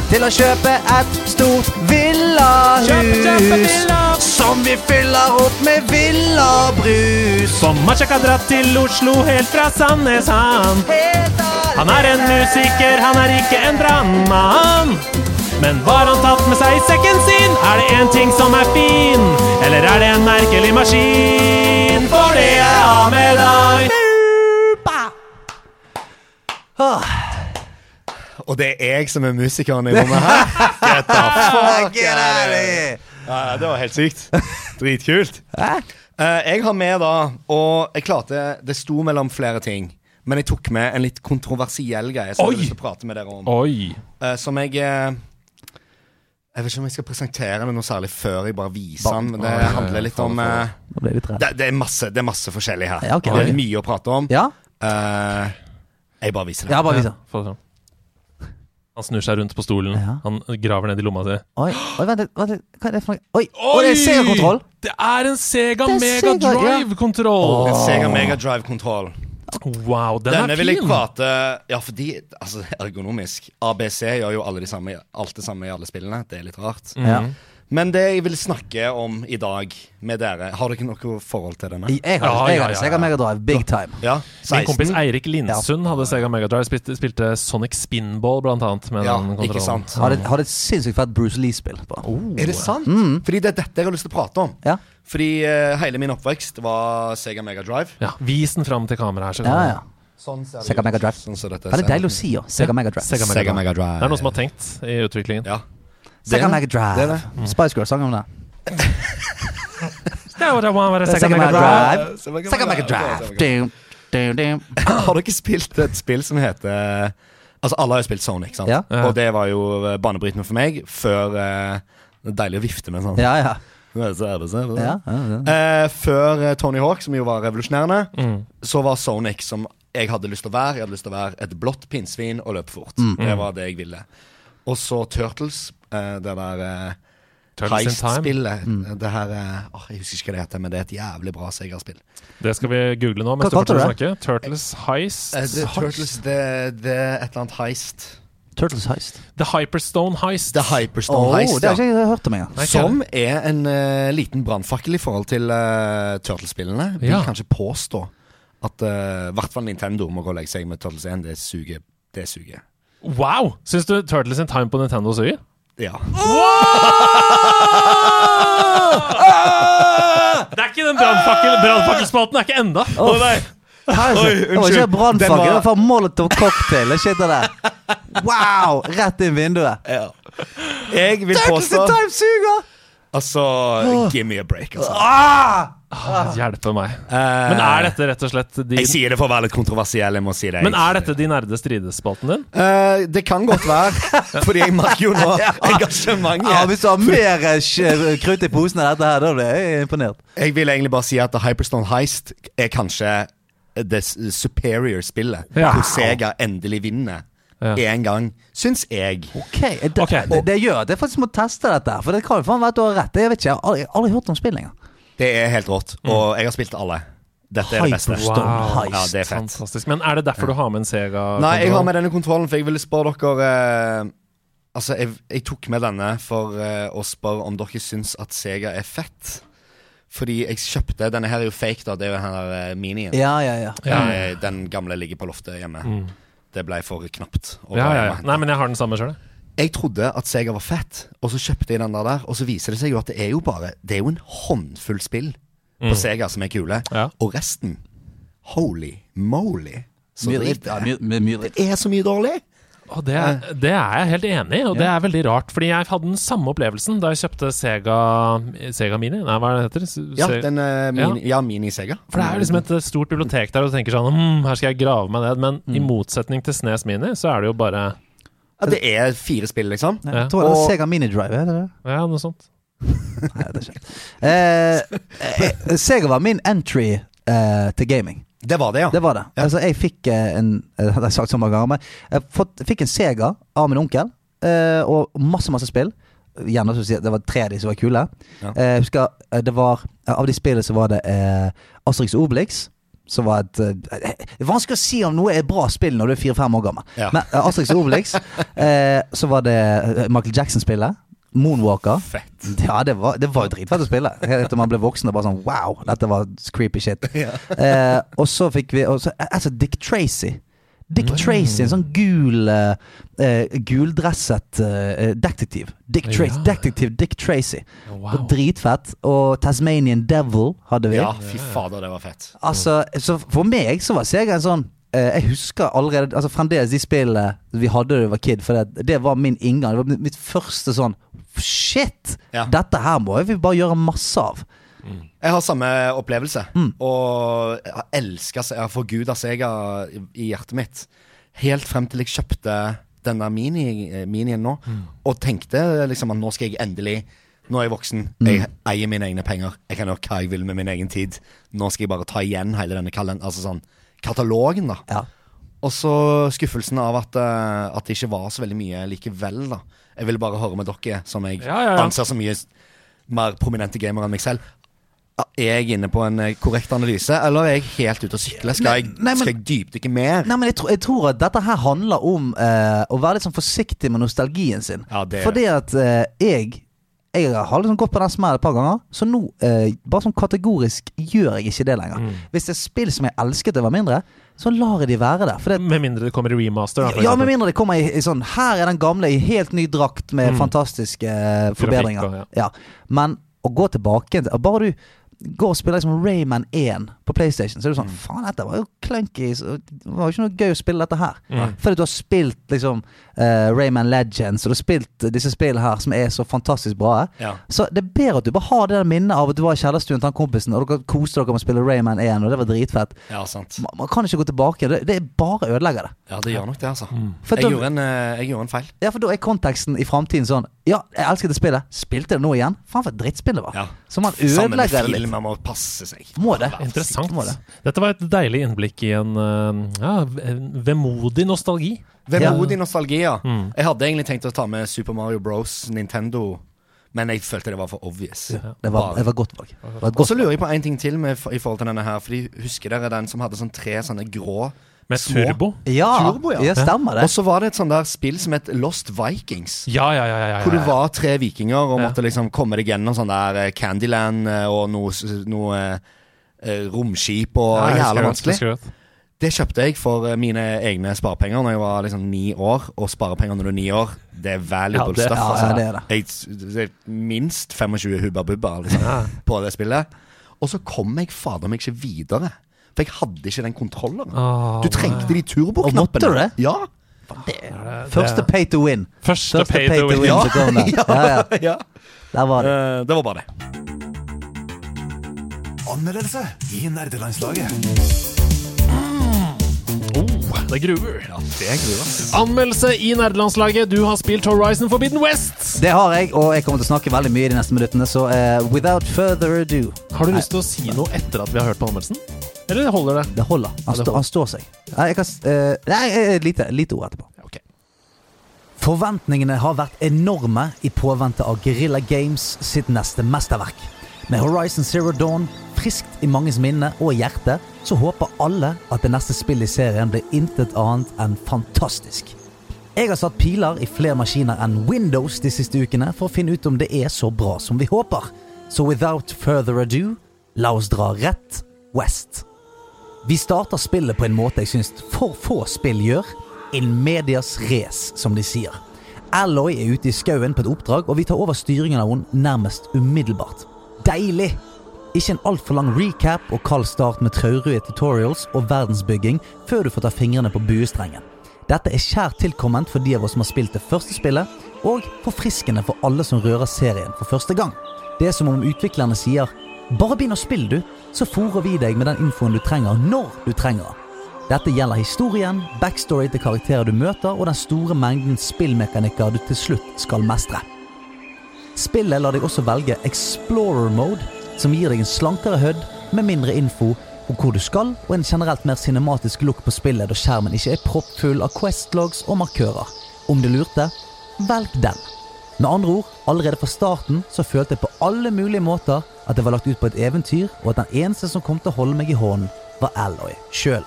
til å kjøpe et stort villahus som vi fyller opp med villabrus. Sommersjekk har dratt til Oslo helt fra Sandnes han. Helt Han er en musiker, han er ikke en brannmann. Men hva har han tatt med seg i sekken sin? Er det en ting som er fin? Eller er det en merkelig maskin? For det jeg har med deg. Og det er jeg som er musikeren i rommet her. Get the fuck Get out out of of here. Ja, det var helt sykt. Dritkult. Eh, jeg har med, da, og jeg klarte Det sto mellom flere ting. Men jeg tok med en litt kontroversiell greie som jeg har lyst til å prate med dere om. Oi. Eh, som jeg eh, Jeg vet ikke om jeg skal presentere den noe særlig før jeg bare viser den. men Det handler litt om eh, Da ble vi trett. det, det, er masse, det er masse forskjellig her. Ja, ok. Det er mye å prate om. Ja? Eh, jeg bare viser det. Ja, bare vis det. Han snur seg rundt på stolen. Ja. Han graver ned i lomma si. Oi, oi, vent litt. Vent litt. Hva er det for noe? Oi, Oi! Mm. det er seerkontroll. Det er en Sega Det er Mega Sega, ja. Drive-kontroll! En Sega Mega Drive-kontroll. Wow, den Denne er vil jeg fin! kvate Ja, fordi altså, ergonomisk ABC gjør jo alle de samme, alt det samme i alle spillene. Det er litt rart. Mm. Ja. Men det jeg vil snakke om i dag med dere Har dere noe forhold til denne? Jeg har, Ja, jeg ja, har ja, Sega ja. Mega Drive, big time. Ja, Min kompis 16? Eirik Lindsund hadde Sega Mega Drive, spilte, spilte Sonic Spinball blant annet med Ja, den kontrollen. ikke sant? Hadde, hadde et sinnssykt fett Bruce Lee-spill på. Er det sant? Mm. Fordi det er dette jeg har lyst til å prate om. Ja. Fordi eh, hele min oppvekst var Sega Mega Drive. Ja, Vis den fram til kameraet her. så Ja, kan- ja. Sånn ser Sega Mega Drive. Sånn ser dette Veldig ser deilig å ut. si, ja. Sega Mega Drive. Sega Mega Sega Drive. Mega Drive. Det er noen som har tenkt i utviklingen. Ja. Sega Det- Mega Drive. Mm. det er Spice Girls sang om det. Det var det, var det Sega Mega Drive. Sega Mega Drive. Dum, Har dere spilt et spill som heter Altså, alle har jo spilt Sonic, sant? Ja. Ja. Og det var jo eh, banebrytende for meg før eh, Det er deilig å vifte med sånn. Ja, ja. <laughs> Så er det, så er det. ja, ja. Eh, før eh, Tony Hawk, som jo var revolusjonerende, Mm. så var Sonic som jeg hadde lyst til å være. Jeg hadde lyst til å være et blått pinnsvin og løpe fort. Mm. Det var det jeg ville. Og så Turtles. Eh, det der eh, Turtles in Time. heist-spillet. Det her eh, åh, Jeg husker ikke hva det heter, men det er et jævlig bra segerspill. Det skal vi google nå. mens Hva du fortsetter kalte å snakke. Turtles Heist. Eh, det, Turtles, det, det er et eller annet heist. Turtles Heist. The Hyperstone Heist. The Hyperstone Åh, Heist, det ja. har ikke jeg hørt om engang. Nei, ikke Som er en eh, liten brannfakkel i forhold til eh, Turtles-spillene. Vil Ja. kanskje påstå at eh, i hvert fall Nintendo må gå og legge seg med Turtles 1. Det suger. Det suger. Wow! Syns du Turtles in Time på Nintendo suger? Ja. Det er ikke den brannfakkel, brannfakkelspalten! er ikke enda! Her er ikke- <laughs> Oi, det var ikke unnskyld. Den brannfakkel, var- det var Molotov cocktail. Det skjedde der. Wow! Rett inn vinduet. Jeg vil Turtles in påstå time suger! Altså, give me a break, altså. Ah! Hjelpe meg. Eh, Men er dette rett og slett de Jeg sier det for å være litt kontroversiell. Jeg må si det. Men er dette de nerde strides-spalten din? Eh, Det kan godt <laughs> være, fordi jeg merker jo nå engasjementet. Ah! Ja, hvis du har mer eh, sj- krutt i posen enn dette her, da blir jeg imponert. Jeg vil egentlig bare si at The Hyperstone Heist er kanskje det s- superior spillet. Ja. Hvor Sega endelig vinner Ja. én gang, syns jeg. Ok, det, Ok. Det, det gjør at jeg faktisk må teste dette. her, For det kan jo faen være at du har rett. Jeg vet ikke, jeg har aldri, aldri hørt om spill lenger. Det er helt rått. Og jeg har spilt alle. Dette er det beste. Hyperstone Wow. Heist. Ja, det er fett. Fantastisk. Men er det derfor du har med en Sega? Nei, jeg har med denne kontrollen, for jeg ville spørre dere eh, Altså, jeg, jeg tok med denne for eh, å spørre om dere syns at Sega er fett. Fordi jeg kjøpte Denne her er jo fake, da. Det er jo den her eh, minien. Ja, ja, ja. Ja. Mm. Eh, Den gamle ligger på loftet hjemme. Det ble for knapt. Ja, å dra ja, hjem ja. og hente. Nei, men jeg har den samme sjøl. Jeg trodde at Sega var fett, og så kjøpte jeg den der der. Og så viser det seg jo at det er jo bare Det er jo en håndfull spill på Sega som er kule. Mm. Ja. Og resten Holy moly. Så Mye dritt. drit det Ja, er. mye, mye, mye dritt. Det er så mye dårlig. Og det, er- det er jeg helt enig i, og det er veldig rart. Fordi jeg hadde den samme opplevelsen da jeg kjøpte Sega, Sega Mini. Nei, hva er det det heter? Se- Ja, den eh, mini, ja. mini-Sega. For det er jo liksom et stort bibliotek der, og du tenker sånn hm, Her skal jeg grave meg ned. Men Mm. i motsetning til Snes Mini, så er det jo bare Ja, det er fire spill, liksom. Ja, Ja. Jeg tror det er Og- Sega Minidrive, er det det? Ja, noe sånt. Nei, det er ikke det. Eh, <laughs> eh, Sega var min entry eh, til gaming. Det var det, ja. Det var det. Altså, jeg fikk eh, en Det har jeg sagt så mange ganger, men jeg fått, fikk en Sega av min onkel, eh, og masse, masse spill. Gjerne som du sier, det var tre av de som var kule. Ja. Eh, jeg husker eh, det var Av de spillene så var det eh, Asterix og Obelix. Som var et eh, Det er vanskelig å si om noe er bra spill når du er fire-fem år gammel. Ja. Men eh, Asterix og <laughs> Obelix, eh, så var det eh, Michael Jackson-spillet. Moonwalker. Fett. Ja, det var, det var jo dritfett å spille. Helt etter man ble voksen og bare sånn Wow, dette var creepy <laughs> shit. Eh, og så fikk vi og så, altså Dick Tracy. Mm. Dick Tracy, en sånn gul eh, eh, guldresset eh, detektiv. Dick Tracy, Ja. Detektiv Dick Tracy. Wow. Og dritfett. Og Tasmanian Devil hadde vi. Ja, fy fader, det var fett. Altså, så for meg så var Sega en sånn eh, Jeg husker allerede Altså fremdeles de spillene vi hadde da jeg var kid, for det, det var min inngang. Det var mitt- mitt første sånn Shit! Ja. Dette her må jeg bare gjøre masse av. Jeg har samme opplevelse. Og jeg har elska Jeg har forguda Sega i, i hjertet mitt. Helt frem til jeg kjøpte denne mini, eh, minien nå, og tenkte liksom at nå skal jeg endelig Nå er jeg voksen, jeg eier mine egne penger, jeg kan gjøre hva jeg vil med min egen tid. Nå skal jeg bare ta igjen hele denne kalen, altså sånn, katalogen, da. Ja. Og så skuffelsen av at, eh, at det ikke var så veldig mye likevel, da. Jeg ville bare høre med dere, som jeg Ja, ja, ja. anser som mye s- mer prominente gamere enn meg selv. Er jeg inne på en eh, korrekt analyse, eller er jeg helt ute å sykle? Skal jeg, nei, men- skal jeg dypdykke mer? Nei, men jeg, tror- jeg tror at dette her handler om eh, å være litt sånn forsiktig med nostalgien sin. Ja, det er Fordi at eh, jeg jeg har liksom gått på den smellen et par ganger, så nå, eh, bare sånn kategorisk, gjør jeg ikke det lenger. Mm. Hvis det er spill som jeg elsket da jeg var mindre, så lar jeg de være der. For det, Med mindre det kommer i remaster. Da, for Ja, eksempel. med mindre det kommer i, i sånn Her er den gamle i helt ny drakt med Mm. fantastiske eh, forbedringer. og- ja. Men å gå tilbake til- Bare du går og spiller liksom Rayman 1 på PlayStation. Så er du Mm. sånn Faen, dette var jo clunky. så Det var jo ikke noe gøy å spille dette her. Fordi du har spilt liksom eh, Rayman Legends, og du har spilt eh, disse spillene her som er så fantastisk bra. Ja. Så det er bedre at du bare har det der minnet av at du var i kjellerstuen til han kompisen, og dere koste dere med å spille Rayman 1, og det var dritfett. Ja, sant. Man, man kan ikke gå tilbake. Det, det er bare ødelegger det. Ja, det gjør nok det, altså. Mm. For Jeg da- gjorde en, eh, jeg gjorde en feil. Ja, for da er konteksten i framtiden sånn Ja, jeg elsket det spillet. Spilte det nå igjen? Faen, for et drittspill det var. Ja. Så man Sammen med ødelegger det litt. film, man må passe seg. Må det. Interessant. Må det. Dette var et deilig innblikk i en eh, ja, en vemodig nostalgi. Vemodig nostalgi, ja. Mm. Jeg hadde egentlig tenkt å ta med Super Mario Bros, Nintendo, men jeg følte det var for obvious. Det var, det var godt valg. Det var et Og godt så lurer jeg på en ting til med, i forhold til denne her, fordi husker dere den som hadde sånn tre sånne grå Med små turbo. ja, Turbo, ja. ja, stemmer det. Og så var det et sånt der spill som het Lost Vikings. Ja, ja, ja. ja, ja, Hvor det ja. var tre vikinger og Ja. måtte liksom komme deg gjennom sånn der eh, Candyland eh, og noe, s- noe eh, romskip og Ja, jeg husker jævla det, vanskelig. husker det. Det kjøpte jeg for eh, mine egne sparepenger Når jeg var liksom ni år. Og sparepenger når du er ni år, det er Ja, valuable det- stuff. ja, altså. ja, det er det. Jeg, s- det er minst 25 hubba bubba liksom, på det spillet. Og så kom jeg fader meg ikke videre. For jeg hadde ikke den kontrolleren. Åh, du trengte de turboknappene. Og måtte du det? Ja. Første pay to win. Første Første pay to win. Ja. som kom der. Ja, <laughs> ja. ja. Der var det. Eh, det var bare det. Anmeldelse i nerdelandslaget. Oh, det gruer. Ja, det er gruer. Anmeldelse i nerdelandslaget. Du har spilt Horizon Forbidden West. Det har jeg, og jeg kommer til å snakke veldig mye de neste minuttene, så eh, without further ado Har du lyst til å si noe etter at vi har hørt på anmeldelsen? Eller holder det? Det holder. Han, det stå, han står seg. Nei, jeg kan, s- eh, nei eh, lite, lite ord etterpå. Ok. Forventningene har vært enorme i påvente av Guerrilla Games sitt neste mesterverk. Med Horizon Zero Dawn friskt i manges minne og hjerte, så håper alle at det neste spillet i serien blir intet annet enn fantastisk. Jeg har satt piler i flere maskiner enn Windows de siste ukene for å finne ut om det er så bra som vi håper. Så without further ado, la oss dra rett west. Vi starter spillet på en måte jeg syns for få spill gjør. In medias race, som de sier. Alloy er ute i skauen på et oppdrag, og vi tar over styringen av henne nærmest umiddelbart. Deilig! Ikke en altfor lang recap og kald start med traurige tutorials og verdensbygging før du får ta fingrene på buestrengen. Dette er kjært tilkomment for de av oss som har spilt det første spillet, og forfriskende for alle som rører serien for første gang. Det er som om utviklerne sier 'bare begynn å spille, du', så fôrer vi deg med den infoen du trenger når du trenger den. Dette gjelder historien, backstory til karakterer du møter, og den store mengden spillmekanikker du til slutt skal mestre. Spillet lar deg også velge Explorer Mode, som gir deg en slankere HUD med mindre info om hvor du skal, og en generelt mer cinematisk look på spillet da skjermen ikke er proppfull av questlogs og markører. Om du lurte, velg den. Med andre ord, allerede fra starten så følte jeg på alle mulige måter at jeg var lagt ut på et eventyr, og at den eneste som kom til å holde meg i hånden, var Alloy sjøl.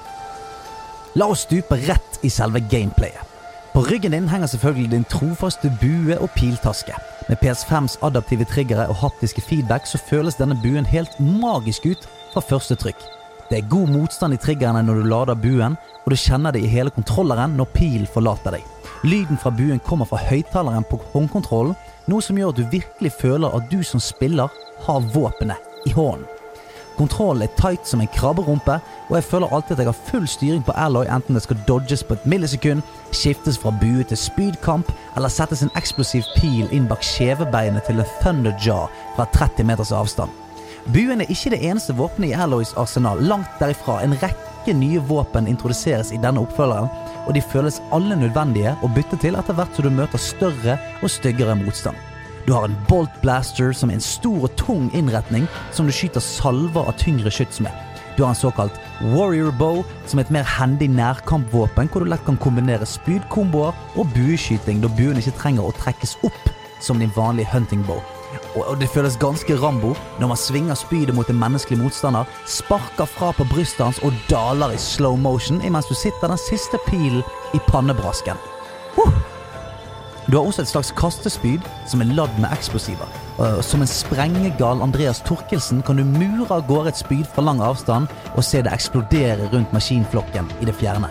La oss stupe rett i selve gameplayet. På ryggen din henger selvfølgelig din trofaste bue og piltaske. Med PS5s adaptive triggere og haptiske feedback så føles denne buen helt magisk ut fra første trykk. Det er god motstand i triggerne når du lader buen, og du kjenner det i hele kontrolleren når pilen forlater deg. Lyden fra buen kommer fra høyttaleren på håndkontrollen, noe som gjør at du virkelig føler at du som spiller har våpenet i hånden. Kontrollen er tight som en krabberumpe, og jeg føler alltid at jeg har full styring på Alloy, enten det skal dodges på et millisekund, skiftes fra bue til spydkamp, eller settes en eksplosiv pil inn bak skjevebeinet til en thunderjaw fra 30 meters avstand. Buen er ikke det eneste våpenet i Alloys arsenal, langt derifra. En rekke nye våpen introduseres i denne oppfølgeren, og de føles alle nødvendige å bytte til etter hvert som du møter større og styggere motstand. Du har en bolt blaster som er en stor og tung innretning som du skyter salver av tyngre skyts med. Du har en såkalt warrior bow, som er et mer handy nærkampvåpen hvor du lett kan kombinere spydkomboer og bueskyting da buen ikke trenger å trekkes opp som din vanlige hunting bow. Og og det føles ganske Rambo når man svinger spydet mot en menneskelig motstander, sparker fra på brystet hans og daler i slow motion imens du sitter den siste pilen i pannebrasken. Du har også et slags kastespyd som er ladd med eksplosiver. Og som en sprengegal Andreas Torkelsen kan du mure av gårde et spyd fra lang avstand og se det eksplodere rundt maskinflokken i det fjerne.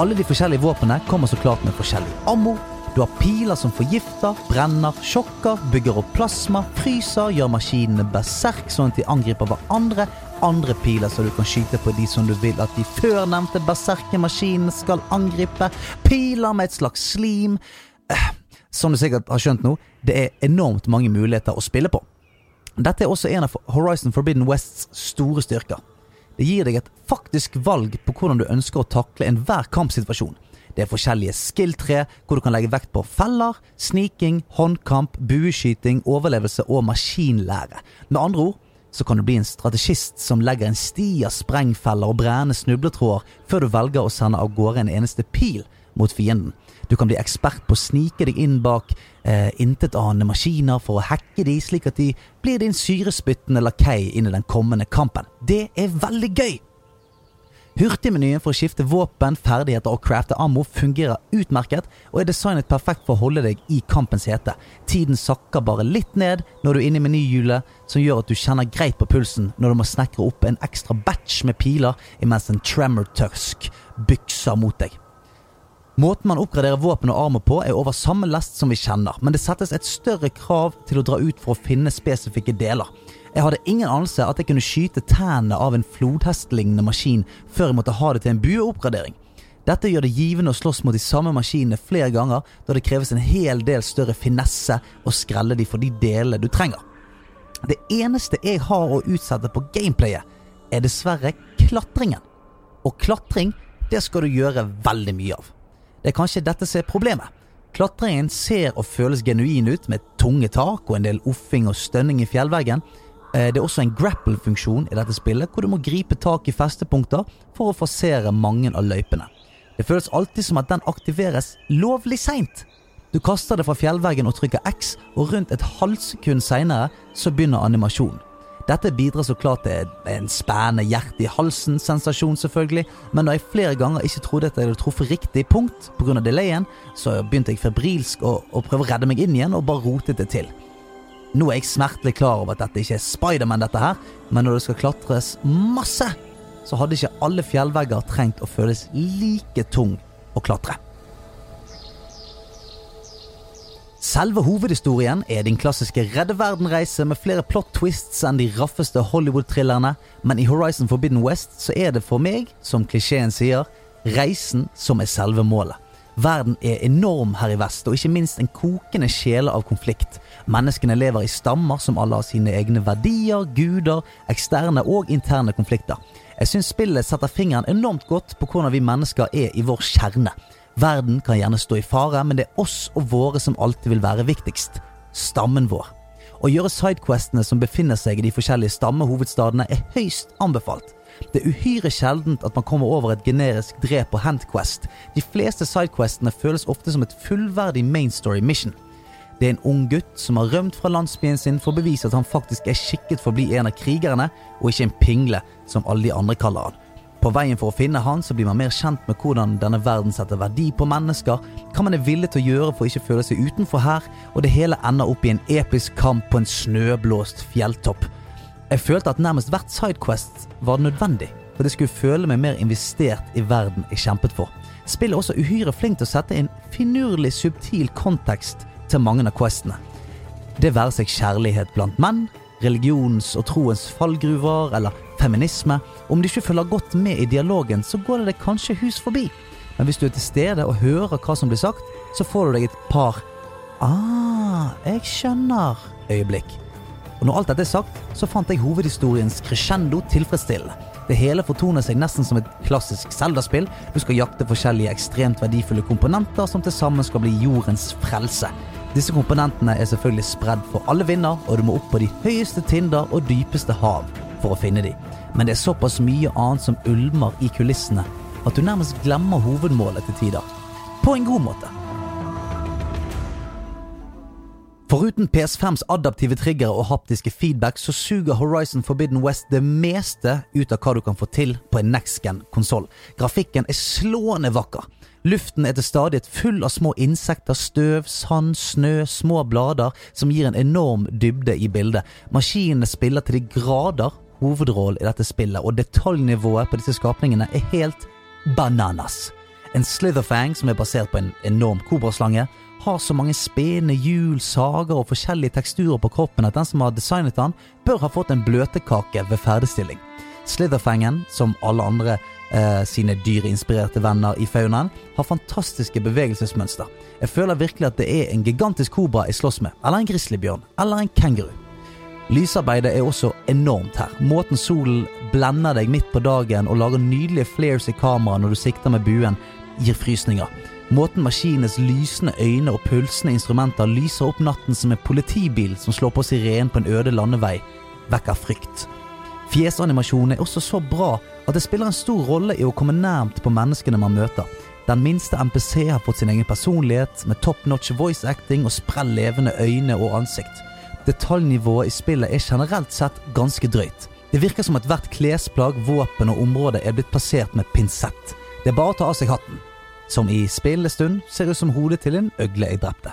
Alle de forskjellige våpnene kommer så klart med forskjellig ammo. Du har piler som forgifter, brenner, sjokker, bygger opp plasma, fryser, gjør maskinene berserk sånn at de angriper hverandre, andre piler som du kan skyte på de som du vil at de førnevnte berserkemaskinene skal angripe. Piler med et slags slim. Eh, Som du sikkert har skjønt nå, det er enormt mange muligheter å spille på. Dette er også en av Horizon Forbidden Wests store styrker. Det gir deg et faktisk valg på hvordan du ønsker å takle enhver kampsituasjon. Det er forskjellige skill-tre, hvor du kan legge vekt på feller, sniking, håndkamp, bueskyting, overlevelse og maskinlære. Med andre ord så kan du bli en strategist som legger en sti av sprengfeller og brennende snubletråder før du velger å sende av gårde en eneste pil mot fienden. Du kan bli ekspert på å snike deg inn bak eh, intetanende maskiner for å hacke de, slik at de blir din syrespyttende lakei inn i den kommende kampen. Det er veldig gøy! Hurtigmenyen for å skifte våpen, ferdigheter og crafte ammo fungerer utmerket og er designet perfekt for å holde deg i kampens hete. Tiden sakker bare litt ned når du er inne i menyhjulet, som gjør at du kjenner greit på pulsen når du må snekre opp en ekstra batch med piler imens en tremor tusk bykser mot deg. Måten man oppgraderer våpen og armer på, er over samme lest som vi kjenner, men det settes et større krav til å dra ut for å finne spesifikke deler. Jeg hadde ingen anelse at jeg kunne skyte tennene av en flodhestlignende maskin før jeg måtte ha det til en bueoppgradering. Dette gjør det givende å slåss mot de samme maskinene flere ganger, da det kreves en hel del større finesse å skrelle de for de delene du trenger. Det eneste jeg har å utsette på gameplayet, er dessverre klatringen. Og klatring, det skal du gjøre veldig mye av. Det er kanskje dette som er problemet. Klatringen ser og føles genuin ut, med tunge tak og en del offing og stønning i fjellveggen. Eh, Det er også en grapple-funksjon i dette spillet, hvor du må gripe tak i festepunkter for å forsere mange av løypene. Det føles alltid som at den aktiveres lovlig seint. Du kaster det fra fjellveggen og trykker X, og rundt et halvt sekund seinere så begynner animasjonen. Dette bidrar så klart til en spennende hjerte i halsen-sensasjon, selvfølgelig, men når jeg flere ganger ikke trodde at jeg hadde truffet riktig punkt pga. delayen, så begynte jeg febrilsk å, å prøve å redde meg inn igjen, og bare rotet det til. Nå er jeg smertelig klar over at dette ikke er Spiderman, dette her, men når det skal klatres masse, så hadde ikke alle fjellvegger trengt å føles like tung å klatre. Selve hovedhistorien er din klassiske redde verden-reise med flere plot twists enn de raffeste Hollywood-thrillerne, men i Horizon Forbidden West så er det for meg, som klisjeen sier, reisen som er selve målet. Verden er enorm her i vest, og ikke minst en kokende sjele av konflikt. Menneskene lever i stammer som alle har sine egne verdier, guder, eksterne og interne konflikter. Jeg syns spillet setter fingeren enormt godt på hvordan vi mennesker er i vår kjerne. Verden kan gjerne stå i fare, men det er oss og våre som alltid vil være viktigst. Stammen vår. Å gjøre sidequestene som befinner seg i de forskjellige stammehovedstadene, er høyst anbefalt. Det er uhyre sjeldent at man kommer over et generisk drep og handquest. De fleste sidequestene føles ofte som et fullverdig mainstory mission. Det er en ung gutt som har rømt fra landsbyen sin for å bevise at han faktisk er skikket for å bli en av krigerne, og ikke en pingle, som alle de andre kaller han. På veien for å finne han så blir man mer kjent med hvordan denne verden setter verdi på mennesker, hva man er villig til å gjøre for å ikke føle seg utenfor her, og det hele ender opp i en episk kamp på en snøblåst fjelltopp. Jeg følte at nærmest hvert sidequest var nødvendig, for det skulle føle meg mer investert i verden jeg kjempet for. Spillet er også uhyre flink til å sette en finurlig, subtil kontekst til mange av questene. Det være seg kjærlighet blant menn, religionens og troens fallgruver eller feminisme. Om du ikke følger godt med i dialogen, så går det deg kanskje hus forbi. Men hvis du er til stede og hører hva som blir sagt, så får du deg et par Ah, jeg skjønner øyeblikk. Og når alt dette er sagt, så fant jeg hovedhistoriens crescendo tilfredsstillende. Det hele fortoner seg nesten som et klassisk Zelda-spill. Du skal jakte forskjellige ekstremt verdifulle komponenter som til sammen skal bli jordens frelse. Disse komponentene er selvfølgelig spredd for alle vinder, og du må opp på de høyeste tinder og dypeste hav for å finne de. Men det er såpass mye annet som ulmer i kulissene at du nærmest glemmer hovedmålet til tider. På en god måte. Foruten PS5s adaptive triggere og haptiske feedback, så suger Horizon Forbidden West det meste ut av hva du kan få til på en nextgen-konsoll. Grafikken er slående vakker. Luften er til stadighet full av små insekter, støv, sand, snø, små blader, som gir en enorm dybde i bildet. Maskinene spiller til de grader hovedrollen i dette spillet, og detaljnivået på disse skapningene er helt bananas. En slitherfang som er basert på en enorm kobraslange, har så mange spene, hjul, sager og forskjellige teksturer på kroppen at den som har designet den, bør ha fått en bløtkake ved ferdigstilling. Slitherfangen, som alle andre eh, sine dyrinspirerte venner i faunaen, har fantastiske bevegelsesmønster. Jeg føler virkelig at det er en gigantisk kobra jeg slåss med, eller en grizzlybjørn, eller en kenguru. Lysarbeidet er også enormt her. Måten solen blender deg midt på dagen og lager nydelige flares i kameraet når du sikter med buen, gir frysninger. Måten maskinenes lysende øyne og pulsende instrumenter lyser opp natten som en politibil som slår på sirenen på en øde landevei, vekker frykt. Fjesanimasjonen er også så bra at det spiller en stor rolle i å komme nærmt på menneskene man møter. Den minste MPC har fått sin egen personlighet, med top notch voice acting og sprell levende øyne og ansikt. Detaljnivået i spillet er generelt sett ganske drøyt. Det virker som at hvert klesplagg, våpen og område er blitt plassert med pinsett. Det er bare å ta av seg hatten, som i spillestund ser ut som hodet til en øgle jeg drepte.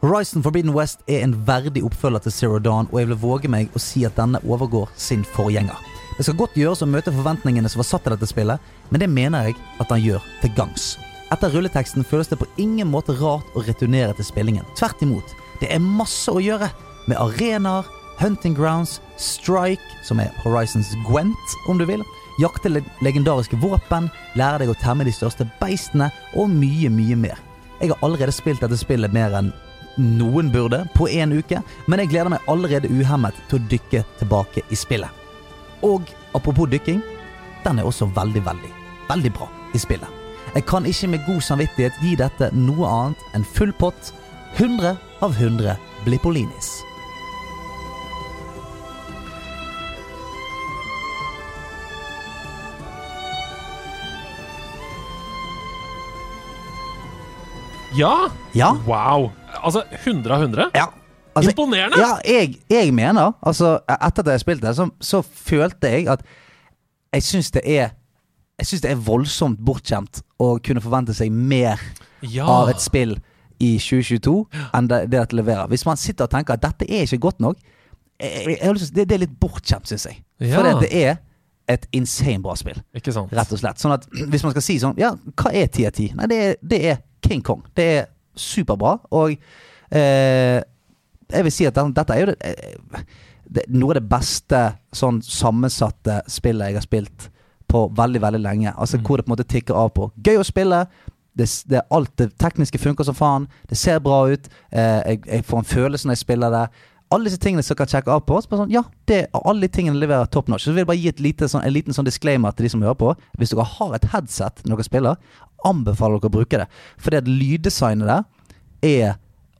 Horizon Forbidden West er en verdig oppfølger til Zero Dawn, og jeg vil våge meg å si at denne overgår sin forgjenger. Det skal godt gjøres å møte forventningene som var satt til dette spillet, men det mener jeg at han gjør til gangs. Etter rulleteksten føles det på ingen måte rart å returnere til spillingen. Tvert imot. Det er masse å gjøre, med arenaer, hunting grounds, strike, som er Horizons Gwent, om du vil, jakte le legendariske våpen, lære deg å temme de største beistene, og mye, mye mer. Jeg har allerede spilt dette spillet mer enn noen burde på én uke, men jeg gleder meg allerede uhemmet til å dykke tilbake i spillet. Og apropos dykking, den er også veldig, veldig, veldig bra i spillet. Jeg kan ikke med god samvittighet gi dette noe annet enn full pott. 100 av 100 Blippolinis. Ja! Ja. Wow! Altså 100 av 100? Ja. Altså, Imponerende! Ja, jeg, jeg mener Altså, etter at jeg spilte det, så, så følte jeg at jeg syns det er Jeg synes det er voldsomt bortskjemt å kunne forvente seg mer Ja. av et spill i 2022 enn det det at leverer. Hvis man sitter og tenker at dette er ikke godt nok, jeg, jeg, har lyst til å si- det, det er litt bortskjemt, syns jeg. Ja. For det er et insane bra spill, Ikke sant? rett og slett. Sånn at hvis man skal si sånn Ja, hva er 10 av 10? Nei, det er, det er King Kong. Det er superbra, og eh, jeg vil si at den, dette er jo det, eh, det, noe av det beste sånn sammensatte spillet jeg har spilt på veldig, veldig lenge. Altså Hvor det på en måte tikker av på. Gøy å spille. Det, s- det, alt det tekniske funker som faen. Det ser bra ut. Eh, jeg, jeg får en følelse når jeg spiller det. Alle disse tingene som kan sjekke av på. Så bare sånn, ja, det, alle de tingene leverer top notch. Så vil jeg bare gi et lite, sånn, en liten sånn disclaimer til de som hører på. Hvis dere har et headset når dere spiller, anbefaler dere å bruke det. Fordi at lyddesignet der er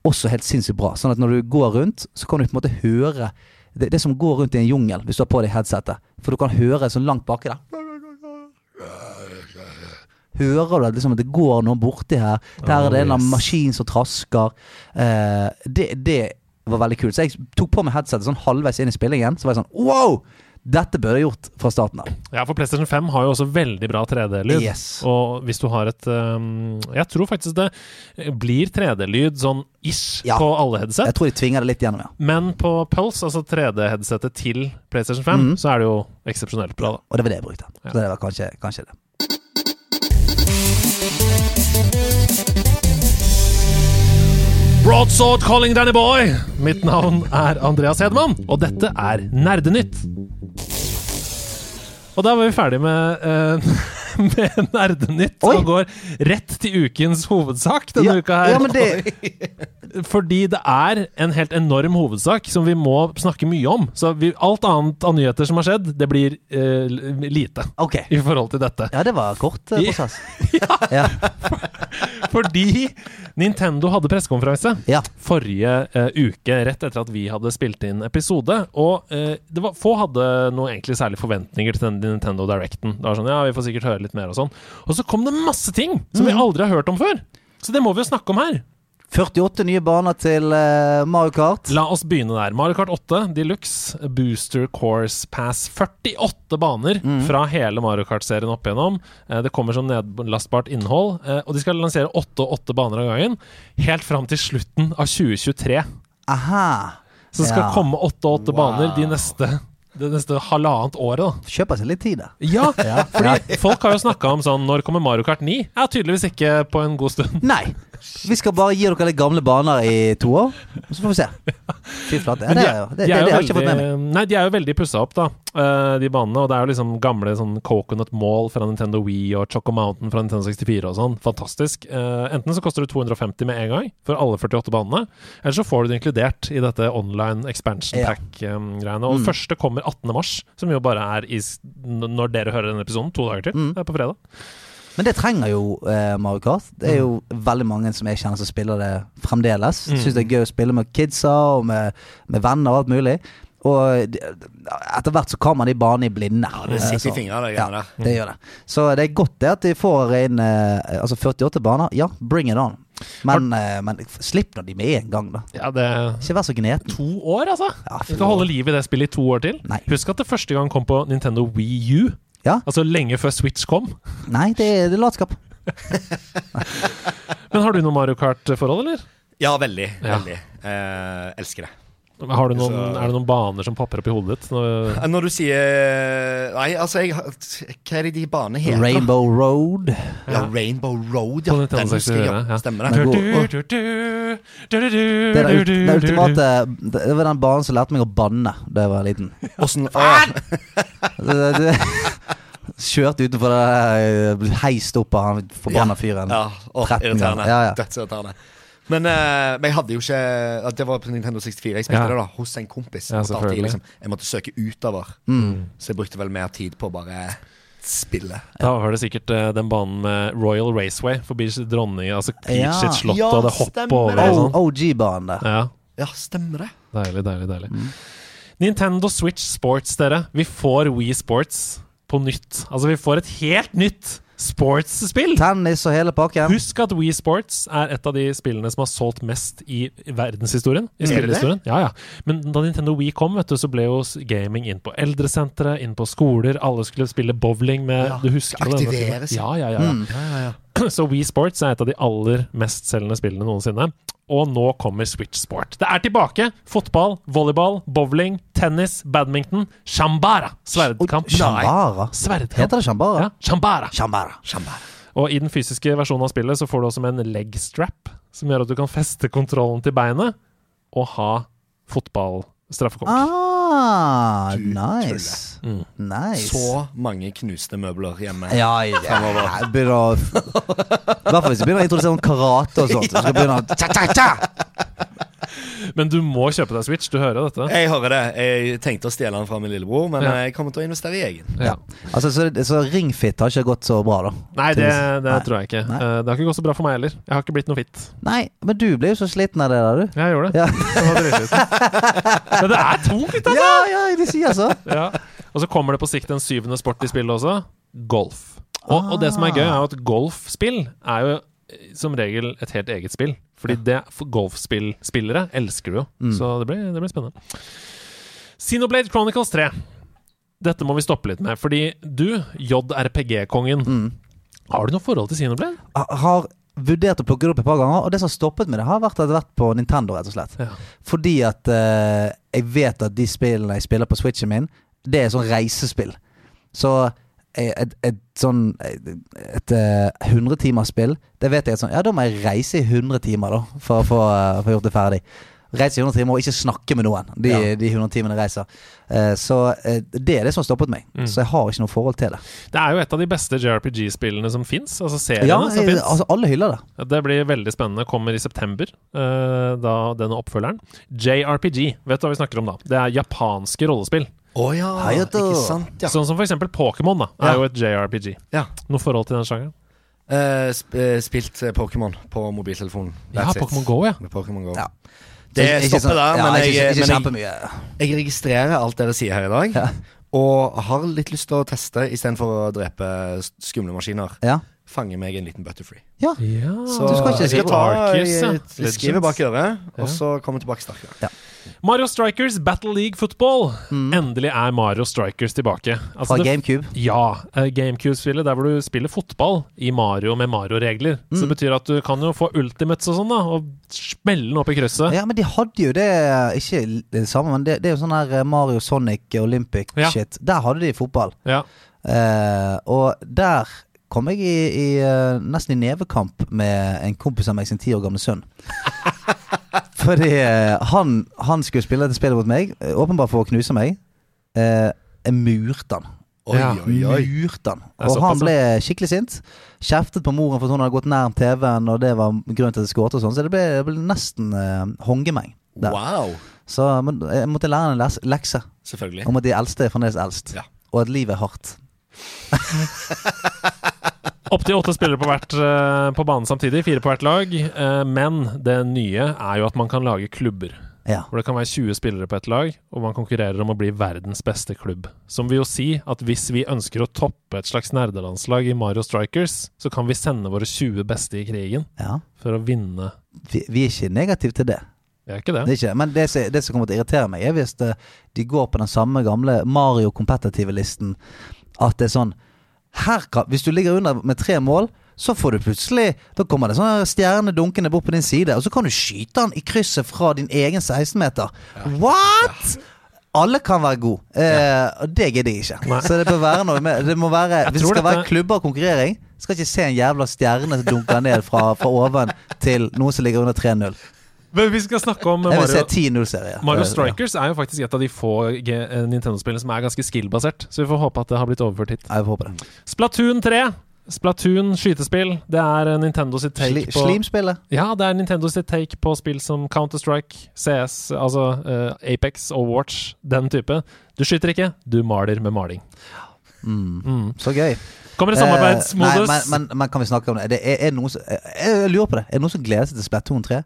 også helt sinnssykt bra. Sånn at når du går rundt, så kan du på en måte høre det, det som går rundt i en jungel, hvis du har på deg headsetet. For du kan høre sånn langt baki der. Hører du at liksom, at det går noen borti her? Der er det en eller annen maskin som trasker. Eh, det, det var veldig kult. Så jeg tok på meg headsetet sånn halvveis inn i spillingen. Så var jeg sånn wow! Dette burde jeg gjort fra starten av. Ja, for PlayStation 5 har jo også veldig bra 3D-lyd. Yes. Og hvis du har et um, Jeg tror faktisk det blir 3D-lyd sånn ish Ja. på alle headset. Jeg tror de tvinger det litt gjennom, ja. Men på Pulse, altså 3D-headsetet til PlayStation 5, Mm. så er det jo eksepsjonelt bra, da. Og det var det jeg brukte. Så det var kanskje, kanskje det. Broadsword calling Danny Boy! Mitt navn er Andreas Hedman, og dette er Nerdenytt. Og der var vi ferdig med, eh, <laughs> med Nerdenytt, Oi. og går rett til ukens hovedsak denne ja, uka her. ja, men <laughs> det, Fordi det er en helt enorm hovedsak som vi må snakke mye om. Så vi, alt annet av nyheter som har skjedd, det blir eh, lite ok. i forhold til dette. Ja, det var kort eh, Ja. prosess. Ja. Fordi Nintendo hadde pressekonferanse Ja. forrige eh, uke, rett etter at vi hadde spilt inn episode. Og eh, det var, få hadde noe egentlig særlig forventninger til den Nintendo Directen. Det var sånn, ja, vi får sikkert høre litt mer Og sånn Og så kom det masse ting som vi aldri har hørt om før! Så det må vi jo snakke om her. 48 nye baner til eh, Mario Kart. La oss begynne der. Mario Kart 8 Deluxe Booster Course Pass. 48 baner fra hele Mario Kart-serien opp igjennom. Eh, Det kommer som nedlastbart innhold, eh, og de skal lansere 8 og 8 baner av gangen. Helt fram til slutten av 2023. Aha. Så det skal Ja. komme 8 og 8 baner de neste, det neste halvannet året, da. Kjøper seg litt tid, da. <laughs> Ja, Ja. <laughs> fordi folk har jo snakka om sånn Når kommer Mario Kart 9? Ja, tydeligvis ikke på en god stund. Nei. Vi skal bare gi dere litt gamle baner i to år, og så får vi se. Fy flate. Ja, Men de det, er- er jo- det, de det, det er har jo jeg ikke fått med meg. veldig- Nei, de er jo veldig pussa opp, da, eh, de banene. Og det er jo liksom gamle sånn Coconut Mall fra Nintendo Wii og Choco Mountain fra Nintendo 64 og sånn. Fantastisk. Eh, enten så koster det 250 med en gang for alle 48 banene, eller så får du det inkludert i dette online expansion Ja. pack-greiene. og Mm. første kommer 18. mars, som jo bare er i, s- n- når dere hører denne episoden, to dager til. Mm. Det er på fredag. Men det trenger jo eh, Mario Kart. Det er jo veldig mange som jeg kjenner som spiller det fremdeles. Mm. Syns det er gøy å spille med kidsa og med, med venner og alt mulig. Og de- etter hvert så kommer de banene i blinde. Det Eh, sitter så- i fingrene, det Ja, greiene der. det gjør det. Så det er godt det at de får inn eh, altså 48 baner. Ja, bring it on. Men, eh, men slipp nå de med en gang, da. Ja, det Ikke vær så gneten. To år, altså! Ja, Vi skal holde liv i det spillet i to år til. Nei. Husk at det første gang kom på Nintendo Wii U. Ja. Altså lenge før Switch kom. Nei, det er, det er latskap. Men har du noe Mario Kart-forhold, eller? Ja, veldig. Ja. veldig eh, Elsker det. Har du noen, Så- er det noen baner som popper opp i hodet ditt? Sånn, øh, Nå- Eh, Når du sier Nei, altså jeg, har- Hva er det de banene heter? da? Rainbow Road. Ja, Rainbow Road, ja. På Nintendo Den husker jeg, 64, ja. ja. Stemmer Men det. god. Det er den, ult- den ultimate Det var den banen som lærte meg å banne da jeg var liten. Åssen ah, Det- det- <laughs> Kjørte utenfor det der, eh, heist opp av han forbanna fyren. Ja, å, 13 irriterende. ganger. Ja, ja. Dødsirriterende. Men, eh, men jeg hadde jo ikke ja, Det var på Nintendo 64. Jeg Ja. spilte det da hos en kompis. Ja, Jeg måtte alltid, selvfølgelig. liksom, jeg måtte søke utover, Mm. så jeg brukte vel mer tid på å bare spille. Da var det sikkert eh, den banen med Royal Raceway forbi dronningen, altså Ja. Peach sitt slott, Ja, og det hoppet stemmer over det. og O- sånn. OG-banen der. Ja, Ja, stemmer det. deilig, deilig, deilig. Mm. Nintendo Switch Sports, dere. Vi får Wii Sports på nytt. Altså, vi får et helt nytt sportsspill! Tennis og hele pakken. Husk at Wii Sports er et av de spillene som har solgt mest i verdenshistorien. I Er det spillhistorien. Ja, ja. Men da Nintendo Wii kom, vet du, så ble jo s- gaming inn på eldresentre, inn på skoler. Alle skulle spille bowling med Ja, Du husker jo denne aktivere filmen? seg. Ja, ja, ja. ja. Mm. <clears throat> Så Wii Sports er et av de aller mestselgende spillene noensinne. Og nå kommer Switch Sport. Det er tilbake! Fotball, volleyball, bowling, tennis, badminton, shambara! Sverdkamp. Shambara. Heter Sverdkamp. det Shambara? Ja, shambara. Shambara. Og i den fysiske versjonen av spillet så får du også med en leg strap, som gjør at du kan feste kontrollen til beinet og ha fotballstraffekonk. Ah, Du nice. Mm. Nice. Så mange knuste møbler hjemme. Ja, ja, Fremover. jeg begynner å I hvert fall hvis du begynner å introdusere sånn karate og sånt. Så skal jeg begynne å ta-ta-ta! Men du må kjøpe deg Switch, du hører dette? Jeg hører det. Jeg tenkte å stjele den fra min lillebror, men Ja. eh, jeg kommer til å investere i egen. Ja. Altså, så, så ringfit har ikke gått så bra, da. Nei, det, det Nei. tror jeg ikke. Nei. Eh, Det har ikke gått så bra for meg heller. Jeg har ikke blitt noe fit. Nei, men du ble jo så sliten av det der, du. Jeg gjorde det. Ja. Det var dritsliten. <laughs> Men det er tungt, dette! Ja, ja, de sier altså. så. Ja. Og så kommer det på sikt en syvende sport i spillet også. Golf. Og, og det som er gøy, er jo at golfspill er jo eh, som regel et helt eget spill. Fordi det for golfspillspillere elsker du jo. Mm. Så det blir, det blir spennende. Xenoblade Chronicles 3. Dette må vi stoppe litt med, fordi du, JRPG-kongen Mm. Har du noe forhold til Xenoblade? Ha- Har vurdert å plukke det opp et par ganger, og det som har stoppet med det, har vært at det har vært på Nintendo, rett og slett. Ja. Fordi at eh, jeg vet at de spillene jeg spiller på Switchen min, det er sånn reisespill. Så eh, et, et sånn et, et eh, 100 timers spill, det vet jeg at sånn Ja, da må jeg reise i 100 timer, da, for å få eh, få gjort det ferdig. Reise i 100 timer og ikke snakke med noen, de, Ja. de 100 timene jeg reiser. Eh, så eh, det er det som har stoppet meg. Mm. Så jeg har ikke noe forhold til det. Det er jo et av de beste JRPG-spillene som fins. Altså seriene Ja, som eh, fins. altså alle hyller det. Det blir veldig spennende. Kommer i september, eh, da denne oppfølgeren. JRPG, vet du hva vi snakker om da? Det er japanske rollespill. Å ja, Hayato. Ah, ikke sant, ja. Sånn som for eksempel Pokémon, da. Er Ja. jo et JRPG. ja. Noe forhold til den sjangeren? Eh, sp eh, spilt eh, Pokémon på mobiltelefonen. Ja, That's it. Pokémon Go, ja. Med Pokémon Go. Ja. Det Ikke- ikke stopper sånn- der, ja, men, ikke, jeg, ikke men jeg, kjempemye. jeg registrerer alt dere sier her i dag. Og har litt lyst til å teste istedenfor å drepe s- skumle maskiner. Ja. Fange meg en liten butterfree. ja. Ja. Så Du skal ikke jeg skrive ta Arceus, ja. jeg- jeg skriver bak øret, Ja. og så kommer jeg tilbake sterkere. Mario Strikers Battle League Football. Mm. Endelig er Mario Strikers tilbake. Altså, Fra det- GameCube. Ja. eh, GameCube-spillet der hvor du spiller fotball i Mario med Mario-regler. Så Mm. det betyr at du kan jo få ultimates og sånn, da, og smelle den opp i krysset. Ja, men de hadde jo det Ikke det samme, men det, det er jo sånn her Mario Sonic Olympic Ja. shit. Der hadde de fotball. Ja. Eh, og der kom jeg i, i eh, nesten i nevekamp med en kompis av meg sin ti år gamle <laughs> sønn. Fordi eh, han, han skulle spille dette spillet mot meg, eh, åpenbart for å knuse meg. Eh, jeg murte han. Oi, Ja. oi, oi. Murte han. Det er Og såpass, han ble skikkelig sint. Kjeftet på moren for at hun hadde gått nærm TV-en, og det var grunnen til at jeg skåret og sånn. Så det ble, det ble nesten eh, hongemeng. der. Wow. Så men, jeg måtte lære han en les- lekse Selvfølgelig. om at de eldste er fremdeles eldst. Ja. Og at livet er hardt. Opptil åtte spillere på, hvert, eh, på banen samtidig, fire på hvert lag. Eh, Men det nye er jo at man kan lage klubber. Ja. Hvor det kan være 20 spillere på ett lag, og man konkurrerer om å bli verdens beste klubb. Som vil jo si at hvis vi ønsker å toppe et slags nerdelandslag i Mario Strikers, så kan vi sende våre 20 beste i krigen ja. for å vinne. Vi, vi er ikke negative til det. Det er ikke det er det. ikke, det. men det, som- det som kommer til å irritere meg, er hvis eh, de går på den samme gamle Mario kompetitive-listen. At det er sånn her kan, Hvis du ligger under med tre mål, så får du plutselig Da kommer det sånne stjerner dunkende bort på din side, og så kan du skyte han i krysset fra din egen 16-meter. What?! Alle kan være gode, eh, og det gidder jeg ikke. Så det bør være noe med det må være, Hvis det tror skal være dette- klubber og konkurrering, skal ikke se en jævla stjerne som dunker ned fra, fra oven til noen som ligger under 3-0. Men vi skal snakke om Jeg vil Mario. se 10-0-serie. Mario Strikers er jo faktisk et av de få G- eh, Nintendo-spillene som er ganske skill-basert, så vi får håpe at det har blitt overført hit. Ja, Jeg håper det. Splatoon 3. Splatoon skytespill. Det er eh, Nintendo sitt take Sli- på Slimspillet. Ja, det er Nintendo sitt take på spill som Counter-Strike, CS, altså eh, Apex og Watch, den type. Du skyter ikke, du maler med maling. Mm. Så gøy. Kommer i Eh, nei, samarbeidsmodus. men, men, men kan vi snakke om det? det er, er det noen som, jeg, jeg lurer på det. Er det noen som gleder seg til Splatoon 3?